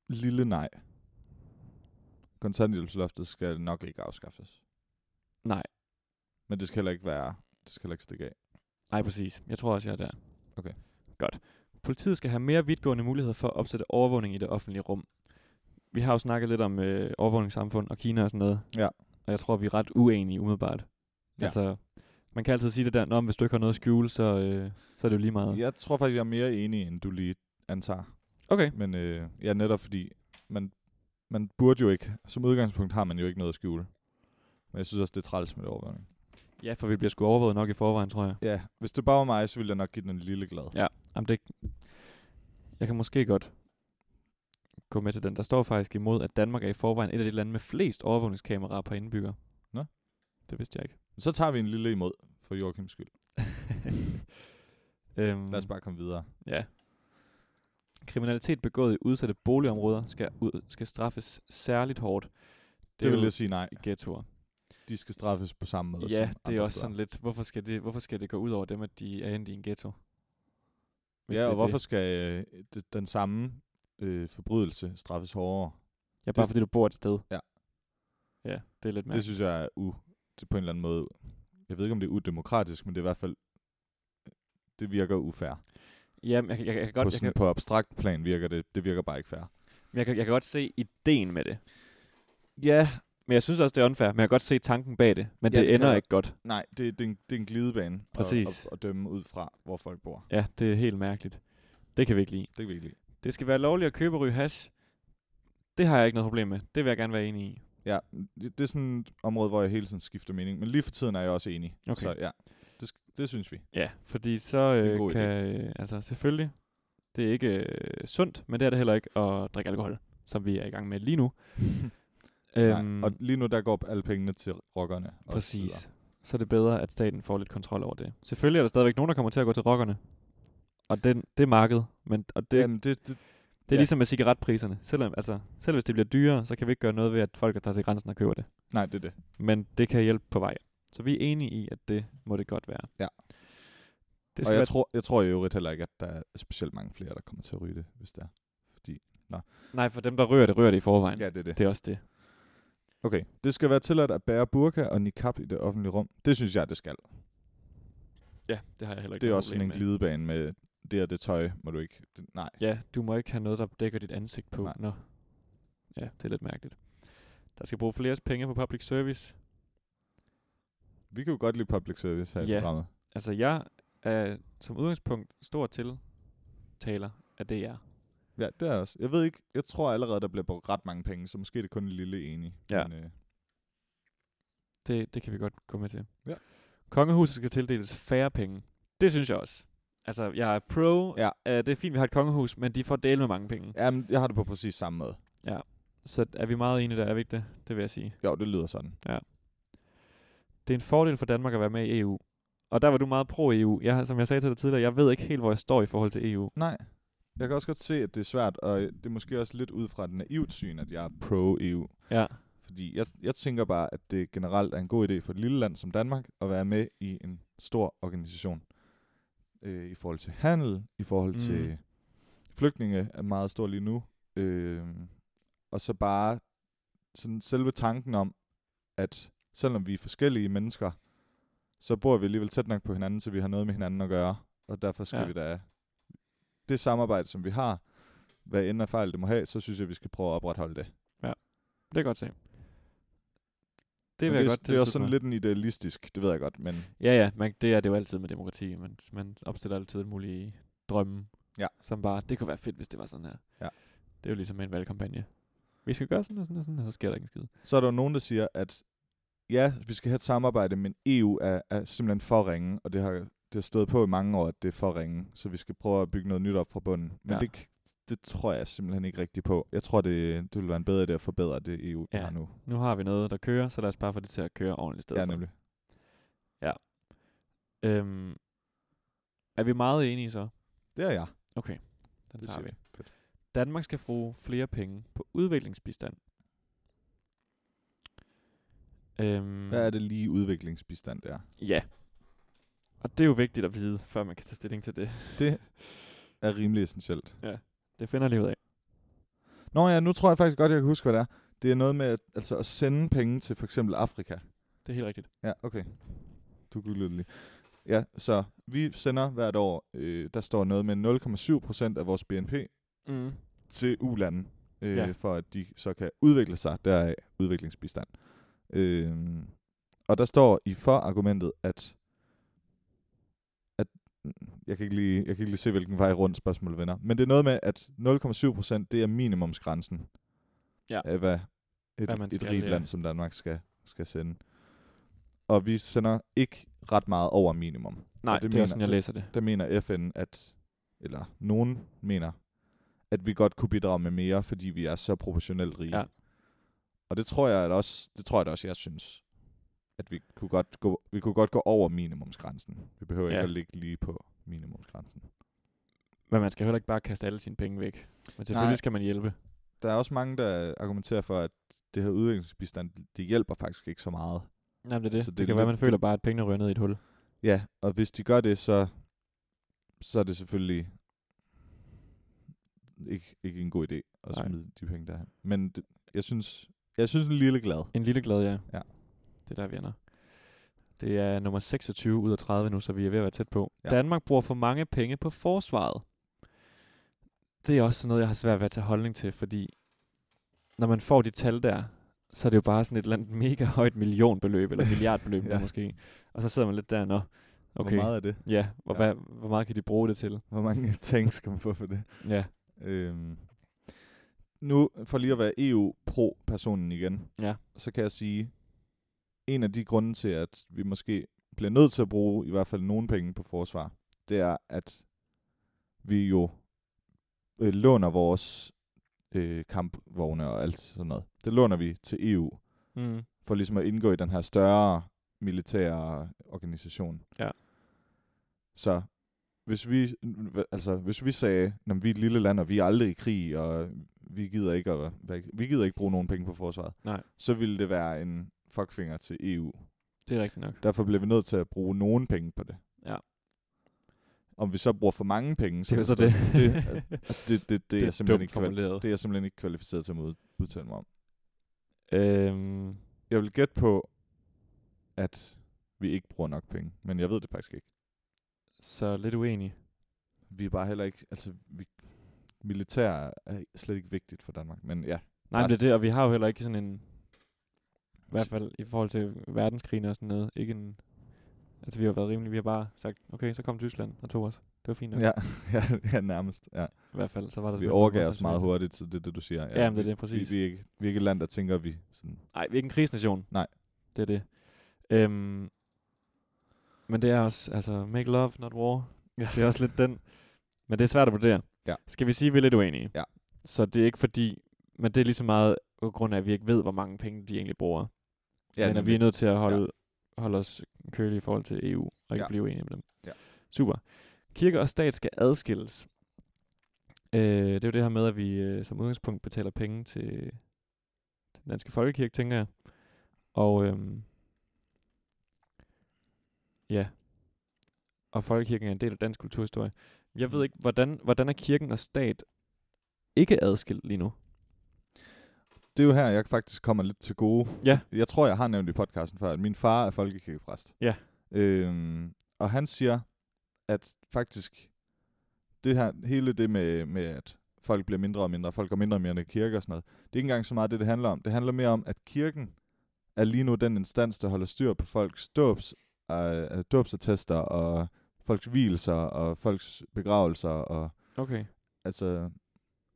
Speaker 2: lille nej. Kontanthjælpsloftet skal nok ikke afskaffes.
Speaker 1: Nej.
Speaker 2: Men det skal heller ikke være, det skal heller ikke stikke af.
Speaker 1: Nej, præcis. Jeg tror også, jeg er der.
Speaker 2: Okay.
Speaker 1: Godt. Politiet skal have mere vidtgående muligheder for at opsætte overvågning i det offentlige rum. Vi har jo snakket lidt om øh, overvågningssamfund og Kina og sådan noget.
Speaker 2: Ja.
Speaker 1: Og jeg tror, vi er ret uenige umiddelbart.
Speaker 2: Ja.
Speaker 1: Altså, man kan altid sige det der, Nå, men hvis du ikke har noget at skjule, så, øh, så er det jo lige meget.
Speaker 2: Jeg tror faktisk, jeg er mere enig, end du lige antager.
Speaker 1: Okay.
Speaker 2: Men øh, ja, netop fordi, man, man burde jo ikke, som udgangspunkt har man jo ikke noget at skjule. Men jeg synes også, det er træls med det overvågning.
Speaker 1: Ja, for vi bliver sgu overvåget nok i forvejen, tror jeg.
Speaker 2: Ja, hvis det bare var mig, så ville jeg nok give den en lille glad.
Speaker 1: Ja, jamen det... Jeg kan måske godt gå med til den. Der står faktisk imod, at Danmark er i forvejen et af de lande med flest overvågningskameraer per indbygger.
Speaker 2: Nå.
Speaker 1: Det vidste jeg ikke.
Speaker 2: Så tager vi en lille imod for Joachims skyld.
Speaker 1: [LAUGHS] øhm,
Speaker 2: Lad os bare komme videre.
Speaker 1: Ja. Kriminalitet begået i udsatte boligområder skal, ud, skal straffes særligt hårdt. Det,
Speaker 2: Det, det vil jeg sige nej.
Speaker 1: i ghettoer.
Speaker 2: De skal straffes på samme måde.
Speaker 1: Ja,
Speaker 2: som
Speaker 1: det er
Speaker 2: andre
Speaker 1: også
Speaker 2: steder.
Speaker 1: sådan lidt, hvorfor skal, det, hvorfor skal det gå ud over dem, at de er endt i en ghetto? Hvis
Speaker 2: Ja,
Speaker 1: det
Speaker 2: og
Speaker 1: er
Speaker 2: hvorfor
Speaker 1: Det.
Speaker 2: skal øh, d- den samme øh, forbrydelse straffes hårdere?
Speaker 1: Ja, bare
Speaker 2: det-
Speaker 1: fordi du bor et sted.
Speaker 2: Ja.
Speaker 1: Ja, det er lidt
Speaker 2: Ja.
Speaker 1: mærkeligt.
Speaker 2: Det synes jeg er u, det er på en eller anden måde. Jeg ved ikke, om det er udemokratisk, men det er i hvert fald, øh, det virker ufair.
Speaker 1: Jamen, jeg, kan- jeg, kan- jeg, kan
Speaker 2: Godt, på,
Speaker 1: godt, jeg,
Speaker 2: sådan,
Speaker 1: kan,
Speaker 2: på abstrakt plan virker det, det virker bare ikke fair.
Speaker 1: jeg, kan, jeg kan godt se ideen med det.
Speaker 2: Ja,
Speaker 1: Men jeg synes også, det er unfair. Men jeg kan godt se tanken bag det. Men
Speaker 2: Ja,
Speaker 1: ja, det,
Speaker 2: det kan
Speaker 1: det ender
Speaker 2: jeg
Speaker 1: ikke godt.
Speaker 2: nej, det, det, er, en, det er en glidebane
Speaker 1: Præcis.
Speaker 2: At, at, at dømme ud fra, hvor folk bor.
Speaker 1: Ja, det er helt mærkeligt. Det kan vi ikke lide.
Speaker 2: Det kan vi ikke lide.
Speaker 1: Det skal være lovligt at købe og ryge hash. Det har jeg ikke noget problem med. Det vil jeg gerne være enig i.
Speaker 2: Ja, det, det er sådan et område, hvor jeg hele tiden skifter mening, men lige for tiden er jeg også enig.
Speaker 1: Okay.
Speaker 2: Så ja, det, sk- det synes vi.
Speaker 1: Ja, fordi så
Speaker 2: er en
Speaker 1: øh,
Speaker 2: god
Speaker 1: kan... Øh, altså selvfølgelig, det er ikke øh, sundt, men det er det heller ikke at drikke alkohol, som vi er i gang med lige
Speaker 2: [LAUGHS]
Speaker 1: nu. Øhm,
Speaker 2: Nej, og lige nu, der går alle pengene til rockerne. og så
Speaker 1: præcis. Så er det bedre, at staten får lidt kontrol over det. Selvfølgelig er der stadigvæk nogen, der kommer til at gå til rockerne. Og den, det er markedet. Men, og det,
Speaker 2: videre. Jamen, det, det,
Speaker 1: Det er ja.
Speaker 2: Ja.
Speaker 1: ligesom med cigaretpriserne. Selvom, altså, selv hvis det bliver dyrere, så kan vi ikke gøre noget ved, at folk tager til grænsen og køber det.
Speaker 2: nej, det er det.
Speaker 1: Men det kan hjælpe på vej. Så vi er enige i, at det må det godt være.
Speaker 2: Ja.
Speaker 1: Det
Speaker 2: og
Speaker 1: skal
Speaker 2: jeg,
Speaker 1: være
Speaker 2: tror, jeg tror i øvrigt heller ikke, at der er specielt mange flere, der kommer til at ryge det, hvis det er. Fordi,
Speaker 1: Nej, for dem, der rører det, rører det i forvejen. Ja.
Speaker 2: ja, det er det.
Speaker 1: Det er også det.
Speaker 2: Okay, det skal være tilladt at bære burka og niqab i det offentlige rum. Det synes jeg, det skal.
Speaker 1: Ja, det har jeg heller ikke
Speaker 2: Det er
Speaker 1: noget
Speaker 2: også sådan en
Speaker 1: problem med.
Speaker 2: glidebane med det og det tøj, må du ikke... Det, nej.
Speaker 1: Ja, du må ikke have noget, der dækker dit ansigt på.
Speaker 2: Nej.
Speaker 1: Nå. Ja, det er lidt mærkeligt. Der skal bruge flere penge på public service.
Speaker 2: Vi kan jo godt lide public service her i
Speaker 1: Ja.
Speaker 2: programmet.
Speaker 1: Altså, jeg er som udgangspunkt stor tiltaler af DR.
Speaker 2: Ja, det er også. Jeg ved ikke, jeg tror allerede, der bliver brugt ret mange penge, så måske er det kun en lille enig.
Speaker 1: Ja.
Speaker 2: Men, øh,
Speaker 1: Det, det kan vi godt gå med til.
Speaker 2: Ja.
Speaker 1: Kongehuset skal tildeles færre penge. Det synes jeg også. Altså, jeg er pro.
Speaker 2: Ja.
Speaker 1: Uh, det er fint, vi har et kongehus, men de får del med mange penge.
Speaker 2: jamen, jeg har det på præcis samme måde.
Speaker 1: Så er vi meget enige der, er vi ikke det? Det vil jeg sige.
Speaker 2: Jo, det lyder sådan.
Speaker 1: Det er en fordel for Danmark at være med i EU. Og der var du meget pro-EU. Jeg, har- som jeg sagde til dig tidligere, jeg ved ikke helt, hvor jeg står i forhold til E EU.
Speaker 2: Nej. Jeg kan også godt se, at det er svært, og det er måske også lidt ud fra et naivt syn, at jeg er pro-EU.
Speaker 1: Ja,
Speaker 2: Fordi jeg, jeg tænker bare, at det generelt er en god idé for et lille land som Danmark at være med i en stor organisation. Øh, I forhold til handel, i forhold mm.
Speaker 1: Mm.
Speaker 2: til flygtninge er meget stor lige nu. Øh, og så bare sådan selve tanken om, at selvom vi er forskellige mennesker, så bor vi alligevel tæt nok på hinanden, så vi har noget med hinanden at gøre. Og derfor skal ja.
Speaker 1: Ja.
Speaker 2: vi da det samarbejde, som vi har, hvad end af fejl det må have, så synes jeg, vi skal prøve at opretholde det.
Speaker 1: det kan jeg godt se. Det vil
Speaker 2: Men
Speaker 1: jeg
Speaker 2: det, er-
Speaker 1: godt
Speaker 2: Det er
Speaker 1: tilslutte
Speaker 2: også sådan
Speaker 1: mig.
Speaker 2: lidt en idealistisk, det ved jeg godt, men
Speaker 1: Ja, ja, man, det er det jo altid med demokrati. Man, man opstiller altid mulige drømme,
Speaker 2: Ja.
Speaker 1: som bare, det kunne være fedt, hvis det var sådan her.
Speaker 2: Ja.
Speaker 1: Det er jo ligesom med en valgkampagne. Vi skal gøre sådan og sådan og sådan, og så sker der ikke en skid.
Speaker 2: så er der jo nogen, der siger, at ja, vi skal have et samarbejde, men EU er, er simpelthen for ringe, og det har, det har stået på i mange år, at det er for ringe, så vi skal prøve at bygge noget nyt op fra bunden. Men
Speaker 1: Ja.
Speaker 2: ja. det, k- det tror jeg simpelthen ikke rigtigt på. Jeg tror, det, det vil være en bedre idé at forbedre det EU
Speaker 1: Ja.
Speaker 2: ja. har nu.
Speaker 1: Nu har vi noget, der kører, så lad os bare få det til at køre ordentligt i stedet
Speaker 2: Ja,
Speaker 1: for.
Speaker 2: nemlig.
Speaker 1: Øhm, er vi meget enige så?
Speaker 2: Det er jeg.
Speaker 1: Okay, den
Speaker 2: Det
Speaker 1: tager
Speaker 2: siger
Speaker 1: vi.
Speaker 2: jeg. Fedt.
Speaker 1: Danmark skal bruge flere penge på udviklingsbistand. Øhm,
Speaker 2: Hvad er det lige udviklingsbistand der?
Speaker 1: Ja. Og det er jo vigtigt at vide, før man kan tage stilling til det.
Speaker 2: Det er rimelig essentielt.
Speaker 1: Det finder lige ud af.
Speaker 2: Nå ja, nu tror jeg faktisk godt, jeg kan huske, hvad det er. Det er noget med at, altså at sende penge til for eksempel Afrika.
Speaker 1: Det er helt rigtigt.
Speaker 2: Ja, okay. Du googlede det lige. Ja, så vi sender hvert år, øh, der står noget med 0,7 procent af vores BNP
Speaker 1: Mm.
Speaker 2: til ulande, øh,
Speaker 1: Ja.
Speaker 2: ja. for at de så kan udvikle sig, deraf udviklingsbistand. Øh, og der står i for-argumentet, at, at jeg, kan ikke lige, jeg kan ikke lige se, hvilken vej rundt spørgsmålet vender, men det er noget med, at 0,7 procent, det er minimumsgrænsen
Speaker 1: Ja.
Speaker 2: af, hvad et,
Speaker 1: Hvad man
Speaker 2: et
Speaker 1: skal,
Speaker 2: rigt
Speaker 1: ja.
Speaker 2: land som Danmark skal, skal sende. Og vi sender ikke ret meget over minimum
Speaker 1: Nej, det,
Speaker 2: det
Speaker 1: det er
Speaker 2: mener-
Speaker 1: også sådan, jeg
Speaker 2: det-
Speaker 1: læser det.
Speaker 2: der mener FN, at, eller nogen mener, at vi godt kunne bidrage med mere, fordi vi er så proportionelt rige.
Speaker 1: Ja.
Speaker 2: Og det tror jeg at også, det tror jeg da også, jeg synes, at vi kunne godt gå, vi kunne godt gå over minimumsgrænsen. Vi behøver ja.
Speaker 1: Ja.
Speaker 2: ikke at ligge lige på minimumsgrænsen.
Speaker 1: Men man skal heller ikke bare kaste alle sine penge væk. Men selvfølgelig
Speaker 2: Nej.
Speaker 1: skal man hjælpe.
Speaker 2: Der er også mange, der argumenterer for, at det her udviklingsbistand, det hjælper faktisk ikke så meget.
Speaker 1: Jamen, det er det. det,
Speaker 2: Så det
Speaker 1: Altså, det
Speaker 2: er
Speaker 1: kan være, man
Speaker 2: lidt-
Speaker 1: føler bare, at pengene ryger ned i et hul.
Speaker 2: Ja, og hvis de gør det, så, så er det selvfølgelig ikke, ikke en god idé
Speaker 1: Nej.
Speaker 2: at Nej. smide de penge derhen. Men det, jeg synes, jeg synes en lille glad.
Speaker 1: En lille glad, ja.
Speaker 2: Ja.
Speaker 1: Det er der, vi ender. Det er nummer 26 ud af 30 nu, så vi er ved at være tæt på. Ja.
Speaker 2: Ja.
Speaker 1: Danmark bruger for mange penge på forsvaret. Det er også sådan noget, jeg har svært ved at tage holdning til, fordi når man får de tal der, så er det jo bare sådan et eller andet mega højt millionbeløb, [LAUGHS] eller milliardbeløb ja.
Speaker 2: Ja.
Speaker 1: måske. Og så sidder man lidt der, nå, okay,
Speaker 2: Okay. Hvor meget er det?
Speaker 1: ja, hvor,
Speaker 2: Ja.
Speaker 1: Hvad, hvor meget kan de bruge det til?
Speaker 2: Hvor mange [LAUGHS] tanks skal man få for det?
Speaker 1: Ja,
Speaker 2: Øhm. Nu, for lige at være EU-pro-personen igen,
Speaker 1: Ja.
Speaker 2: så kan jeg sige, en af de grunde til, at vi måske bliver nødt til at bruge i hvert fald nogle penge på forsvar, det er, at vi jo øh, låner vores øh, kampvogne og alt sådan noget. Det låner vi til E EU,
Speaker 1: mm.
Speaker 2: for ligesom at indgå i den her større militære organisation.
Speaker 1: Ja.
Speaker 2: Så hvis vi, altså, hvis vi sagde, at vi er et lille land, og vi er aldrig i krig, og vi gider ikke, at, være- vi gider ikke bruge nogen penge på forsvaret,
Speaker 1: Nej.
Speaker 2: så ville det være en fuckfinger til EU.
Speaker 1: det er rigtigt nok.
Speaker 2: Derfor bliver vi nødt til at bruge nogen penge på det.
Speaker 1: Ja.
Speaker 2: Om vi så bruger for mange penge,
Speaker 1: Det er jo så det.
Speaker 2: Det, [LAUGHS] det, det, det, det, er jeg simpelthen
Speaker 1: dumt
Speaker 2: ikke, kval-
Speaker 1: formuleret.
Speaker 2: det er jeg simpelthen ikke kvalificeret til at ud- udtale mig om.
Speaker 1: Øhm,
Speaker 2: Jeg vil gætte på, at vi ikke bruger nok penge, men jeg ved det faktisk ikke.
Speaker 1: så lidt uenig.
Speaker 2: Vi er bare heller ikke, altså vi, militær er slet ikke vigtigt for Danmark, men ja,
Speaker 1: Nej, men
Speaker 2: Altså-
Speaker 1: det er det, og vi har jo heller ikke sådan en, i hvert fald i forhold til verdenskrigen og sådan noget, ikke en, altså vi har været rimelige, vi har bare sagt, okay, så kom Tyskland og tog os. Det var fint nok.
Speaker 2: ja, [LAUGHS] ja, ja nærmest. Ja.
Speaker 1: I hvert fald, så var der
Speaker 2: Vi
Speaker 1: selvfølgelig
Speaker 2: overgav
Speaker 1: nogle
Speaker 2: os meget
Speaker 1: årsager
Speaker 2: hurtigt, så det er det, du siger.
Speaker 1: Ja, men altså. det er
Speaker 2: vi-
Speaker 1: det, præcis.
Speaker 2: Vi, vi, er ikke, vi er ikke et land, der tænker, at vi sådan,
Speaker 1: til det. Nej, vi er ikke en krigsnation.
Speaker 2: Nej.
Speaker 1: Det er det. Øhm, men det er også, altså, make love, not war. Ja. Det er også lidt den. Men det er svært at vurdere.
Speaker 2: Ja.
Speaker 1: Skal vi sige, at vi er lidt uenige?
Speaker 2: Ja.
Speaker 1: Så det er ikke fordi, men det er lige så meget på grund af, at vi ikke ved, hvor mange penge de egentlig bruger. Ja, men at vi er nødt til at holde, ja. holde os kølige i forhold til EU, og ikke ja.
Speaker 2: Ja.
Speaker 1: blive enige med dem.
Speaker 2: Ja.
Speaker 1: Super. Kirke og stat skal adskilles. Øh, det er jo det her med, at vi øh, som udgangspunkt betaler penge til, til den danske folkekirke, tænker jeg. Og øhm, ja, og folkekirken er en del af dansk kulturhistorie. Jeg ved ikke, hvordan, hvordan er kirken og stat ikke adskilt lige nu?
Speaker 2: det er jo her, jeg faktisk kommer lidt til gode.
Speaker 1: Ja.
Speaker 2: Jeg tror, jeg har nævnt i podcasten før, at min far er folkekirkepræst.
Speaker 1: Ja.
Speaker 2: Øhm, og han siger, at faktisk det her, hele det med, med, at folk bliver mindre og mindre, folk går mindre og mindre i kirke og sådan noget, det er ikke engang så meget det, det handler om. Det handler mere om, at kirken er lige nu den instans, der holder styr på folks dåbs, øh, dåbsattester og folks hvilelser og folks begravelser og
Speaker 1: Okay.
Speaker 2: altså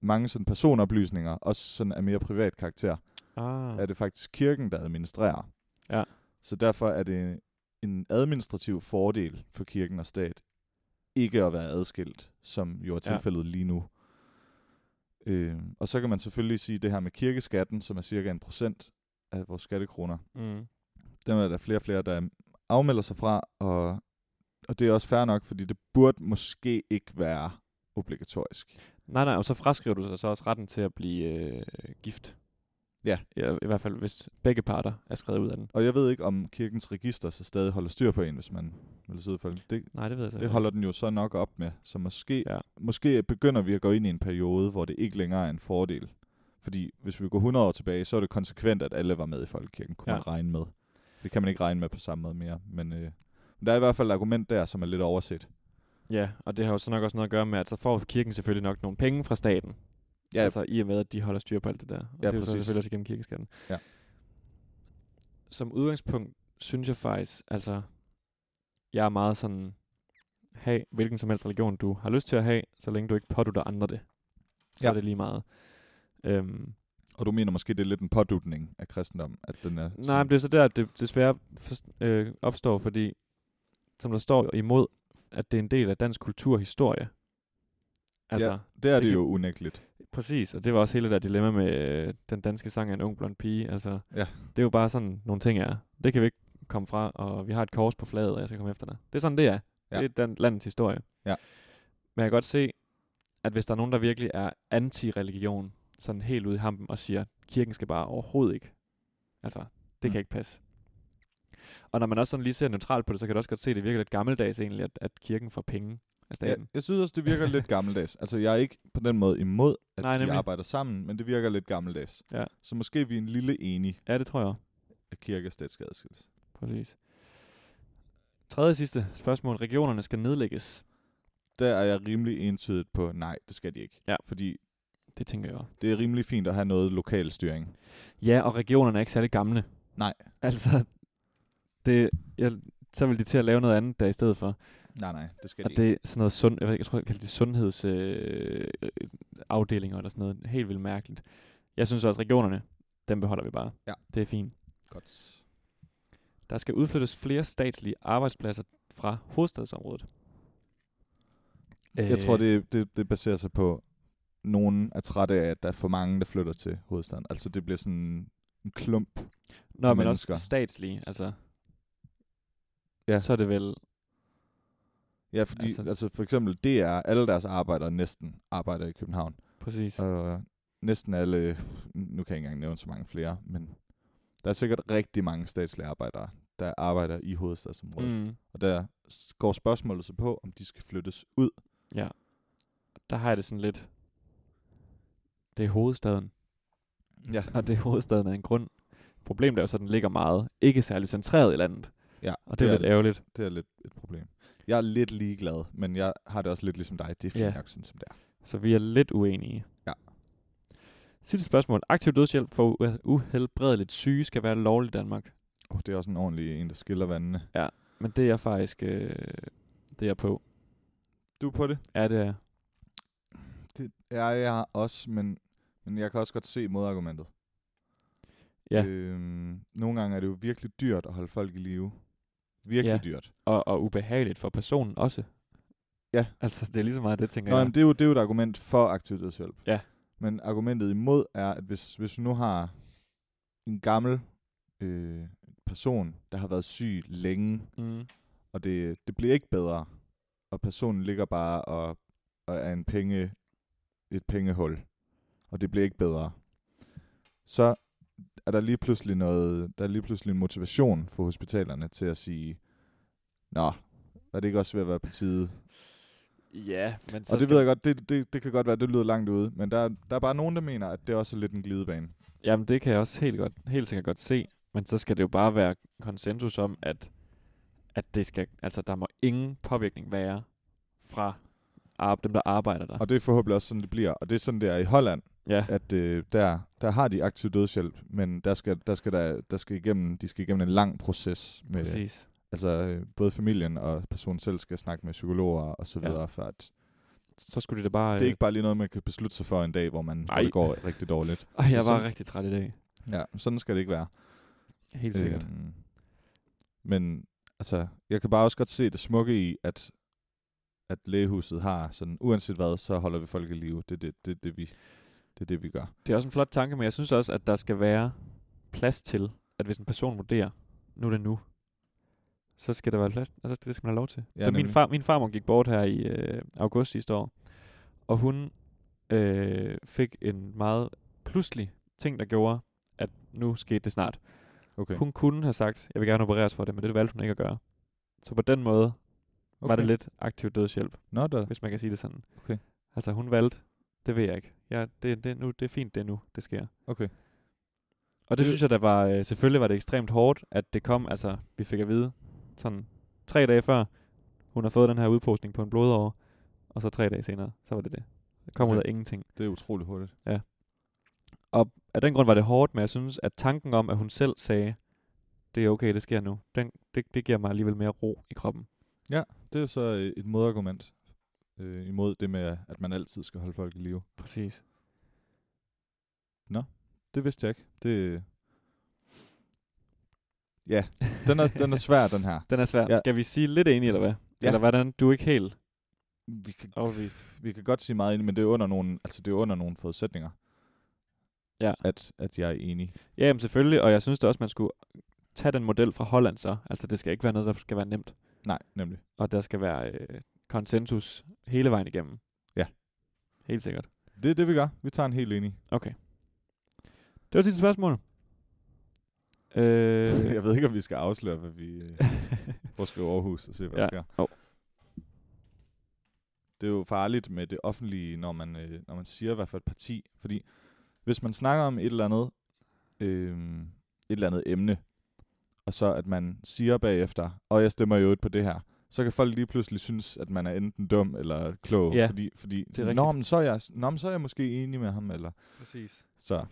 Speaker 2: mange sådan personoplysninger, også sådan af mere privat karakter,
Speaker 1: Ah,
Speaker 2: er det faktisk kirken, der administrerer.
Speaker 1: Ja.
Speaker 2: Så derfor er det en administrativ fordel for kirken og stat ikke at være adskilt, som jo er
Speaker 1: Ja.
Speaker 2: tilfældet ja. lige nu. Øh, og så kan man selvfølgelig sige det her med kirkeskatten, som er cirka en procent af vores skattekroner.
Speaker 1: Mm.
Speaker 2: Dem er der flere og flere, der afmelder sig fra, og, og det er også fair nok, fordi det burde måske ikke være obligatorisk.
Speaker 1: Nej, nej, og så fraskriver du sig så også retten til at blive øh, gift.
Speaker 2: Ja.
Speaker 1: ja. I hvert fald, hvis begge parter er skrevet ud af den.
Speaker 2: Og jeg ved ikke, om kirkens register så stadig holder styr på en, hvis man vil sidde for det. Det,
Speaker 1: Nej, det ved jeg så
Speaker 2: det holder den jo så nok op med, så måske,
Speaker 1: Ja.
Speaker 2: ja. måske begynder vi at gå ind i en periode, hvor det ikke længere er en fordel. Fordi hvis vi går 100 år tilbage, så er det konsekvent, at alle var med i folkekirken, kunne
Speaker 1: Ja.
Speaker 2: ja. man regne med. Det kan man ikke regne med på samme måde mere. Men øh, men der er i hvert fald et argument der, som er lidt overset.
Speaker 1: Ja, og det har jo så nok også noget at gøre med, at så får kirken selvfølgelig nok nogle penge fra staten.
Speaker 2: Ja.
Speaker 1: Altså i og med, at de holder styr på alt det der. Og ja,
Speaker 2: Ja,
Speaker 1: det er jo så
Speaker 2: præcis.
Speaker 1: selvfølgelig også igennem kirkeskatten.
Speaker 2: Ja.
Speaker 1: Som udgangspunkt synes jeg faktisk, altså, jeg er meget sådan, have hvilken som helst religion, du har lyst til at have, så længe du ikke pådutter andre det. Så ja.
Speaker 2: Ja.
Speaker 1: er det lige meget. Øhm,
Speaker 2: Og du mener måske, det er lidt en pådutning af kristendommen, at den er...
Speaker 1: nej, men det er så der, det desværre forst- øh, opstår, fordi som der står imod, at det er en del af dansk kulturhistorie. Altså, ja.
Speaker 2: det er
Speaker 1: det
Speaker 2: det, det
Speaker 1: kan-
Speaker 2: jo unægteligt.
Speaker 1: Præcis, og det var også hele det der dilemma med øh, den danske sang af en ung blond pige. Altså,
Speaker 2: Ja.
Speaker 1: Det er jo bare sådan, nogle ting er. Det kan vi ikke komme fra, og vi har et kors på flaget, og jeg skal komme efter dig. Det er sådan, det er. Ja.
Speaker 2: Ja.
Speaker 1: Det er den landets historie.
Speaker 2: Ja.
Speaker 1: Men jeg kan godt se, at hvis der er nogen, der virkelig er anti-religion, sådan helt ude i hampen, og siger, kirken skal bare overhovedet ikke. Altså, det mm.
Speaker 2: Mm.
Speaker 1: kan ikke passe. Og når man også sådan lige ser neutralt på det, så kan du også godt se, at det virker lidt gammeldags egentlig, at, at kirken får penge af
Speaker 2: Jeg,
Speaker 1: staten.
Speaker 2: jeg synes også, det virker lidt
Speaker 1: [LAUGHS]
Speaker 2: gammeldags. Altså, jeg er ikke på den måde imod, at
Speaker 1: Nej,
Speaker 2: Nej, de
Speaker 1: nemlig.
Speaker 2: arbejder sammen, men det virker lidt gammeldags.
Speaker 1: Ja.
Speaker 2: Så måske er vi en lille enige
Speaker 1: Ja, ja det tror jeg også.
Speaker 2: af kirke og stat skal adskilles.
Speaker 1: Præcis. Tredje sidste spørgsmål. Regionerne skal nedlægges.
Speaker 2: Der er jeg rimelig entydigt på, nej, det skal de ikke.
Speaker 1: Ja.
Speaker 2: Fordi
Speaker 1: Det tænker jeg også.
Speaker 2: det er rimelig fint at have noget lokal styring.
Speaker 1: Ja, og regionerne er ikke særlig gamle.
Speaker 2: Nej.
Speaker 1: Altså, det, jeg, så vil de til at lave noget andet der i stedet for.
Speaker 2: Nej, nej, det skal
Speaker 1: Og
Speaker 2: de ikke.
Speaker 1: det er sådan noget sund, jeg, ved, ikke, jeg tror, jeg kalder det sundhedsafdelinger øh, eller sådan noget. Helt vildt mærkeligt. Jeg synes også, at regionerne, dem beholder vi bare.
Speaker 2: Ja.
Speaker 1: Det er fint.
Speaker 2: Godt.
Speaker 1: Der skal udflyttes flere statslige arbejdspladser fra hovedstadsområdet. Øh,
Speaker 2: Jeg tror, det, det, det baserer sig på, nogen er trætte af, at der er for mange, der flytter til hovedstaden. Altså, det bliver sådan en klump.
Speaker 1: Nå, men
Speaker 2: mennesker.
Speaker 1: også statslige, altså.
Speaker 2: Ja.
Speaker 1: Så er det vel...
Speaker 2: Ja, fordi
Speaker 1: Altså-
Speaker 2: altså, altså for eksempel DR, alle deres arbejdere næsten arbejder i København.
Speaker 1: Præcis.
Speaker 2: Og næsten alle, nu kan jeg ikke engang nævne så mange flere, men der er sikkert rigtig mange statslige arbejdere, der arbejder i hovedstadsområdet. Mm.
Speaker 1: Mm.
Speaker 2: Og der s- går spørgsmålet så på, om de skal flyttes ud.
Speaker 1: Der har jeg det sådan lidt... Det er hovedstaden, [LAUGHS]
Speaker 2: Ja.
Speaker 1: og det er hovedstaden af en grund. Problemet er jo så, at den ligger meget, ikke særlig centreret i landet.
Speaker 2: [LAUGHS] ja
Speaker 1: Og det er
Speaker 2: er,
Speaker 1: lidt ærgerligt.
Speaker 2: det er lidt et problem. Jeg er lidt ligeglad, men jeg har det også lidt ligesom dig. Det er fint
Speaker 1: Ja.
Speaker 2: yeah. nok sådan, som det er.
Speaker 1: Så vi er lidt uenige.
Speaker 2: Ja.
Speaker 1: Sidste spørgsmål. Aktiv dødshjælp for u- uhelbredeligt syge skal være lovlig i Danmark.
Speaker 2: Oh, det er også en ordentlig en, der skiller vandene.
Speaker 1: Men det er jeg faktisk... Øh, det er jeg på.
Speaker 2: Du er på det?
Speaker 1: Er det er.
Speaker 2: Det er jeg også, men, men jeg kan også godt se modargumentet.
Speaker 1: Ja.
Speaker 2: Øhm, nogle gange er det jo virkelig dyrt at holde folk i live. Virkelig
Speaker 1: Ja.
Speaker 2: ja. dyrt.
Speaker 1: Og, og ubehageligt for personen også.
Speaker 2: Ja.
Speaker 1: Altså, det er lige så meget det, tænker
Speaker 2: Nå,
Speaker 1: jeg.
Speaker 2: jamen, det, er jo, det er jo et argument for aktiv dødshjælp.
Speaker 1: Ja.
Speaker 2: Men argumentet imod er, at hvis, hvis du nu har en gammel øh, person, der har været syg længe,
Speaker 1: Mm.
Speaker 2: og det, det bliver ikke bedre, og personen ligger bare og, og er en penge, et pengehul, og det bliver ikke bedre, så er der lige pludselig noget, der er lige pludselig en motivation for hospitalerne til at sige, nå, er det ikke også ved at være på tide?
Speaker 1: Ja, men så
Speaker 2: og det ved jeg godt, det, det, det kan godt være, det lyder langt ude, men der, der er bare nogen, der mener, at det også er lidt en glidebane.
Speaker 1: Jamen, det kan jeg også helt, godt, helt sikkert godt se. Men så skal det jo bare være konsensus om, at, at det skal, altså, der må ingen påvirkning være fra ar- dem, der arbejder der.
Speaker 2: Og det er forhåbentlig også sådan, det bliver. Og det er sådan, det er i Holland,
Speaker 1: Ja,
Speaker 2: at øh, der, der har de aktiv dødshjælp, men der skal, der skal, der, der skal igennem, de skal igennem en lang proces. Med,
Speaker 1: præcis.
Speaker 2: altså øh, både familien og personen selv skal snakke med psykologer og så
Speaker 1: Ja.
Speaker 2: videre, ja. for at
Speaker 1: Så skulle det da bare...
Speaker 2: det er ikke bare øh, lige noget, man kan beslutte sig for en dag, hvor, man, hvor
Speaker 1: Nej.
Speaker 2: det går rigtig dårligt.
Speaker 1: øh, og jeg var
Speaker 2: sådan-
Speaker 1: rigtig træt i dag.
Speaker 2: Ja, sådan skal det ikke være.
Speaker 1: Helt sikkert.
Speaker 2: Øhm, Men altså, jeg kan bare også godt se det smukke i, at, at lægehuset har sådan, uanset hvad, så holder vi folk i live. Det er det, det, det, vi, det, er det, vi gør.
Speaker 1: Det er også en flot tanke, men jeg synes også, at der skal være plads til, at hvis en person vurderer, nu er det nu, så skal der være plads, altså det skal man have lov til.
Speaker 2: Ja,
Speaker 1: Ja, da min,
Speaker 2: nemlig.
Speaker 1: far, min farmor gik bort her i øh, august sidste år, og hun øh, fik en meget pludselig ting, der gjorde, at nu skete det snart.
Speaker 2: Okay.
Speaker 1: Okay. Hun kunne have sagt, jeg vil gerne opereres for det, men det valgte hun ikke at gøre. Så på den måde okay. var det lidt aktiv dødshjælp,
Speaker 2: Nå, da.
Speaker 1: hvis man kan sige det sådan.
Speaker 2: Okay.
Speaker 1: Altså hun valgte, det ved jeg ikke. Ja, det, det, nu, det er fint, det er nu, det sker.
Speaker 2: Okay.
Speaker 1: Og det synes jeg, der var, øh, selvfølgelig var det ekstremt hårdt, at det kom, altså vi fik at vide, sådan tre dage før, hun har fået den her udpostning på en blodår, og så tre dage senere, så var det det. Det kom okay. ud
Speaker 2: Okay.
Speaker 1: af ingenting.
Speaker 2: Det er utrolig hurtigt.
Speaker 1: Af den grund var det hårdt, men jeg synes, at tanken om, at hun selv sagde, det er okay, det sker nu, den, det, det giver mig alligevel mere ro i kroppen.
Speaker 2: Det er jo så øh, et modargument øh, imod det med, at man altid skal holde folk i live.
Speaker 1: [LAUGHS] Præcis.
Speaker 2: Det vidste jeg ikke. Det... Ja, den er, den er svær, den her.
Speaker 1: Den er svær.
Speaker 2: Ja.
Speaker 1: Ja. Skal vi sige lidt enige, eller hvad? Ja. Eller hvordan? Du er ikke helt
Speaker 2: Vi kan,
Speaker 1: overbevist.
Speaker 2: vi kan godt sige meget enig, men det er under nogle, altså det er under nogle forudsætninger.
Speaker 1: Ja.
Speaker 2: At, at jeg er enig.
Speaker 1: Ja, jamen selvfølgelig, og jeg synes da også, man skulle tage den model fra Holland så. Altså det skal ikke være noget, der skal være nemt.
Speaker 2: Nej, nemlig.
Speaker 1: og der skal være øh, konsensus hele vejen igennem.
Speaker 2: Ja.
Speaker 1: Helt sikkert.
Speaker 2: Det er det, vi gør. Vi tager en helt enig.
Speaker 1: Okay. Det var sidste spørgsmål. Øh, [LAUGHS]
Speaker 2: jeg ved ikke, om vi skal afsløre, hvad vi... øh, Prøv at skrive Aarhus og se, hvad ja.
Speaker 1: Ja.
Speaker 2: der sker.
Speaker 1: Jo.
Speaker 2: Det er jo farligt med det offentlige, når man, øh, når man siger, hvad for et parti. Fordi hvis man snakker om et eller andet, øh, et eller andet emne, og så at man siger bagefter, og jeg stemmer jo på det her, så kan folk lige pludselig synes, at man er enten dum eller klog.
Speaker 1: Ja,
Speaker 2: fordi, fordi
Speaker 1: er rigtigt.
Speaker 2: nå, men så er jeg, nå, men så er jeg måske enig med ham. Eller,
Speaker 1: Præcis.
Speaker 2: så, jeg
Speaker 1: Og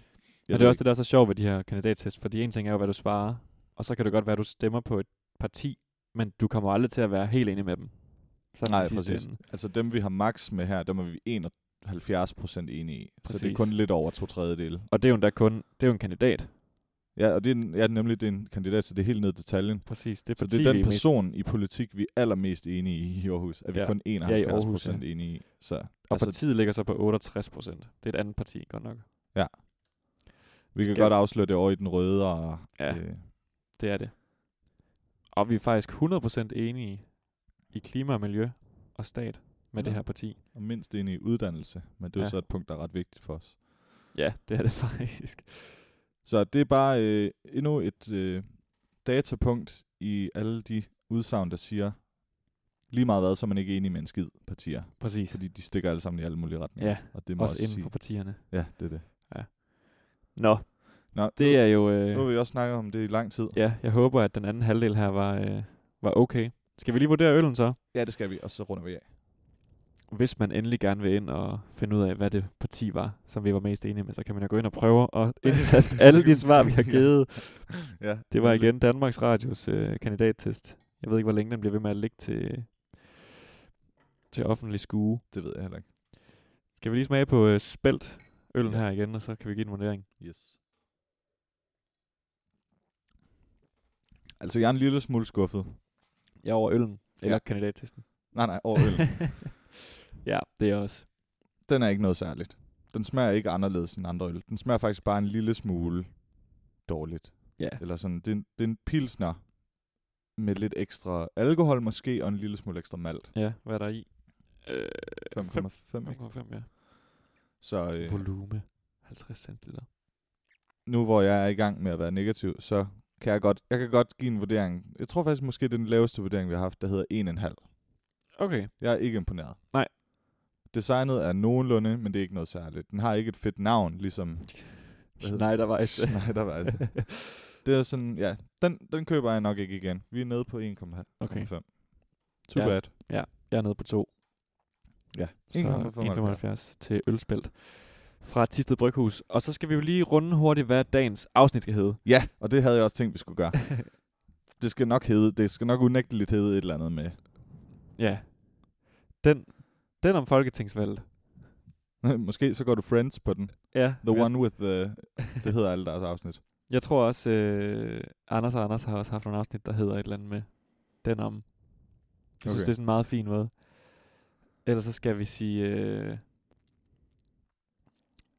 Speaker 1: det
Speaker 2: ved
Speaker 1: er også det, der er så sjovt ved de her kandidattest, fordi en ting er jo, hvad du svarer, og så kan det godt være, at du stemmer på et parti, men du kommer aldrig til at være helt enig med dem. Så
Speaker 2: Nej, præcis. Altså dem, vi har max med her, dem er vi 71 procent enige i. Så det er
Speaker 1: Præcis.
Speaker 2: kun lidt over to tredjedele.
Speaker 1: Og det er jo endda kun, det er jo en kandidat.
Speaker 2: Ja, og det er, en- ja, nemlig det er en kandidat, så det er helt ned i detaljen.
Speaker 1: Præcis, det er
Speaker 2: Så
Speaker 1: parti,
Speaker 2: det er den
Speaker 1: vi mest-
Speaker 2: person i politik, vi er allermest enige i i Aarhus. Er vi
Speaker 1: Ja.
Speaker 2: kun
Speaker 1: Ja, i
Speaker 2: 71
Speaker 1: Aarhus, ja.
Speaker 2: procent enige i. Så
Speaker 1: Og
Speaker 2: altså-
Speaker 1: partiet ligger så på 68 procent. Det er et andet parti, godt nok.
Speaker 2: vi kan
Speaker 1: Skal-
Speaker 2: godt afsløre det over i den røde. Og,
Speaker 1: Ja.
Speaker 2: øh,
Speaker 1: Det er det. Og vi er faktisk 100% enige i klima og miljø og stat med ja.
Speaker 2: Nå.
Speaker 1: det her parti.
Speaker 2: og mindst enige i uddannelse. Men det er jo
Speaker 1: Ja.
Speaker 2: så et punkt, der er ret vigtigt for os.
Speaker 1: Ja, det er det [LAUGHS] faktisk.
Speaker 2: Så det er bare øh, endnu et øh, datapunkt i alle de udsagn, der siger, lige meget hvad, så er man ikke enig med en skid partier.
Speaker 1: Præcis.
Speaker 2: Fordi de stikker alle sammen i alle mulige retninger.
Speaker 1: Ja,
Speaker 2: og det må
Speaker 1: Også
Speaker 2: også
Speaker 1: inden
Speaker 2: sige.
Speaker 1: for partierne.
Speaker 2: Ja, det er det.
Speaker 1: Nå,
Speaker 2: Nå,
Speaker 1: det er jo...
Speaker 2: nu, nu har
Speaker 1: Øh,
Speaker 2: vi også snakket om det i lang tid.
Speaker 1: ja, jeg håber, at den anden halvdel her var, øh, var okay. Skal vi lige vurdere øllen så?
Speaker 2: Ja, det skal vi, og så runder vi af.
Speaker 1: Hvis man endelig gerne vil ind og finde ud af, hvad det parti var, som vi var mest enige med, så kan man jo gå ind og prøve [LAUGHS] at indtaste alle de svar, vi har givet.
Speaker 2: Ja,
Speaker 1: Det var igen Danmarks Radios øh, kandidattest. Jeg ved ikke, hvor længe den bliver ved med at ligge til, til offentlig skue.
Speaker 2: Det ved jeg heller ikke.
Speaker 1: Skal vi lige smage på øh, spelt øllen
Speaker 2: Ja.
Speaker 1: ja. her igen, og så kan vi give den vurdering.
Speaker 2: Yes. Altså, jeg er en lille smule skuffet.
Speaker 1: Jeg er over øllen, eller
Speaker 2: Ja.
Speaker 1: ja. kandidattesten.
Speaker 2: Nej, nej, over
Speaker 1: [LAUGHS]
Speaker 2: øl.
Speaker 1: ja, det er også.
Speaker 2: Den er ikke noget særligt. Den smager ikke anderledes end andre øl. Den smager faktisk bare en lille smule dårligt.
Speaker 1: Ja.
Speaker 2: Eller sådan, det er, en- det er en pilsner med lidt ekstra alkohol måske, og en lille smule ekstra malt.
Speaker 1: Ja, hvad er der i? Øh,
Speaker 2: 5,5. ikke?
Speaker 1: 5,5, ja.
Speaker 2: Så øh,
Speaker 1: Volume. 50 centiliter.
Speaker 2: nu hvor jeg er i gang med at være negativ, så kan jeg godt, jeg kan godt give en vurdering. Jeg tror faktisk måske, det er den laveste vurdering, vi har haft, der hedder 1,5.
Speaker 1: Okay.
Speaker 2: Jeg er ikke imponeret.
Speaker 1: Nej.
Speaker 2: Designet er nogenlunde, men det er ikke noget særligt. Den har ikke et fedt navn, ligesom [LAUGHS]
Speaker 1: Schneiderweiss.
Speaker 2: Schneiderweiss.
Speaker 1: [LAUGHS]
Speaker 2: det er sådan, ja, den, den køber jeg nok ikke igen. Vi er nede på 1,5.
Speaker 1: Okay.
Speaker 2: Too
Speaker 1: Ja.
Speaker 2: bad.
Speaker 1: Jeg er nede på 2.
Speaker 2: Ja.
Speaker 1: Så 1,75 til ølspelt fra Tisted Bryghus. Og så skal vi jo lige runde hurtigt, hvad dagens afsnit skal hedde.
Speaker 2: Ja, og det havde jeg også tænkt, vi skulle
Speaker 1: [LAUGHS]
Speaker 2: gøre. det skal nok hedde, det skal nok unægteligt hedde et eller andet med. [LAUGHS]
Speaker 1: Ja. Den, den om folketingsvalget.
Speaker 2: Måske så går du Friends på den.
Speaker 1: Ja.
Speaker 2: The one with the... Det hedder alle deres afsnit.
Speaker 1: Jeg tror også, øh, Anders og Anders har også haft nogle afsnit, der hedder et eller andet med den om. Jeg okay. synes,
Speaker 2: Okay.
Speaker 1: det er sådan en meget fin måde. Ellers så skal vi sige... Øh,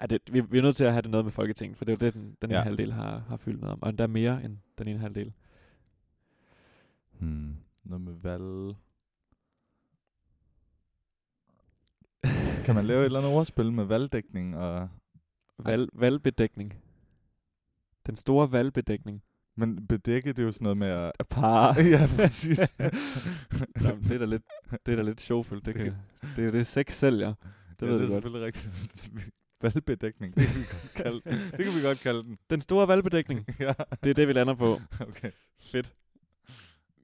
Speaker 1: ja, det, vi, vi er nødt til at have det noget med Folketinget, for det er jo det, den, den ja. ene
Speaker 2: Ja.
Speaker 1: halvdel har, har fyldt noget om. Og endda mere end den ene halvdel.
Speaker 2: Hmm. Noget med valg. Kan man lave
Speaker 1: [LAUGHS]
Speaker 2: et eller andet ordspil med valgdækning og...
Speaker 1: Val, valgbedækning. Den store valgbedækning.
Speaker 2: Men bedække, det er jo sådan noget med at...
Speaker 1: Par.
Speaker 2: [LAUGHS] ja, præcis.
Speaker 1: [LAUGHS] Nå, men det er da lidt, det er da lidt sjovfuldt. Det, kan, det er jo det, sex sælger. Det ved
Speaker 2: ja, det er
Speaker 1: du godt.
Speaker 2: selvfølgelig rigtigt. [LAUGHS] Valgbedækning, [LAUGHS] det kan vi godt kalde, det kan vi godt kalde den. [LAUGHS]
Speaker 1: Den store valgbedækning.
Speaker 2: ja,
Speaker 1: Det er det, vi lander på.
Speaker 2: [LAUGHS] okay.
Speaker 1: Fedt.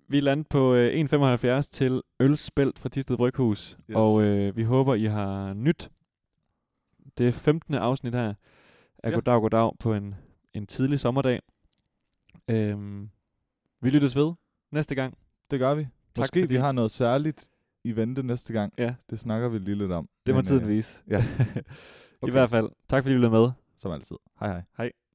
Speaker 1: Vi landte på øh, 1,75 til Ølspelt fra Tisted Bryghus, yes.
Speaker 2: Yes.
Speaker 1: og øh, vi håber, I har nyt. Det er 15. afsnit her af ja.
Speaker 2: Ja.
Speaker 1: Goddag, Goddag på en, en tidlig sommerdag. Øhm, vi lyttes ved næste gang.
Speaker 2: Det gør vi.
Speaker 1: Tak,
Speaker 2: Måske
Speaker 1: fordi-
Speaker 2: vi har noget særligt i vente næste gang.
Speaker 1: Ja,
Speaker 2: Det snakker vi lige lidt om.
Speaker 1: det må
Speaker 2: Men,
Speaker 1: tiden
Speaker 2: øh,
Speaker 1: vise.
Speaker 2: ja.
Speaker 1: I
Speaker 2: [LAUGHS] Okay.
Speaker 1: hvert fald, tak fordi du blev med.
Speaker 2: Som altid. Hej hej.
Speaker 1: Hej.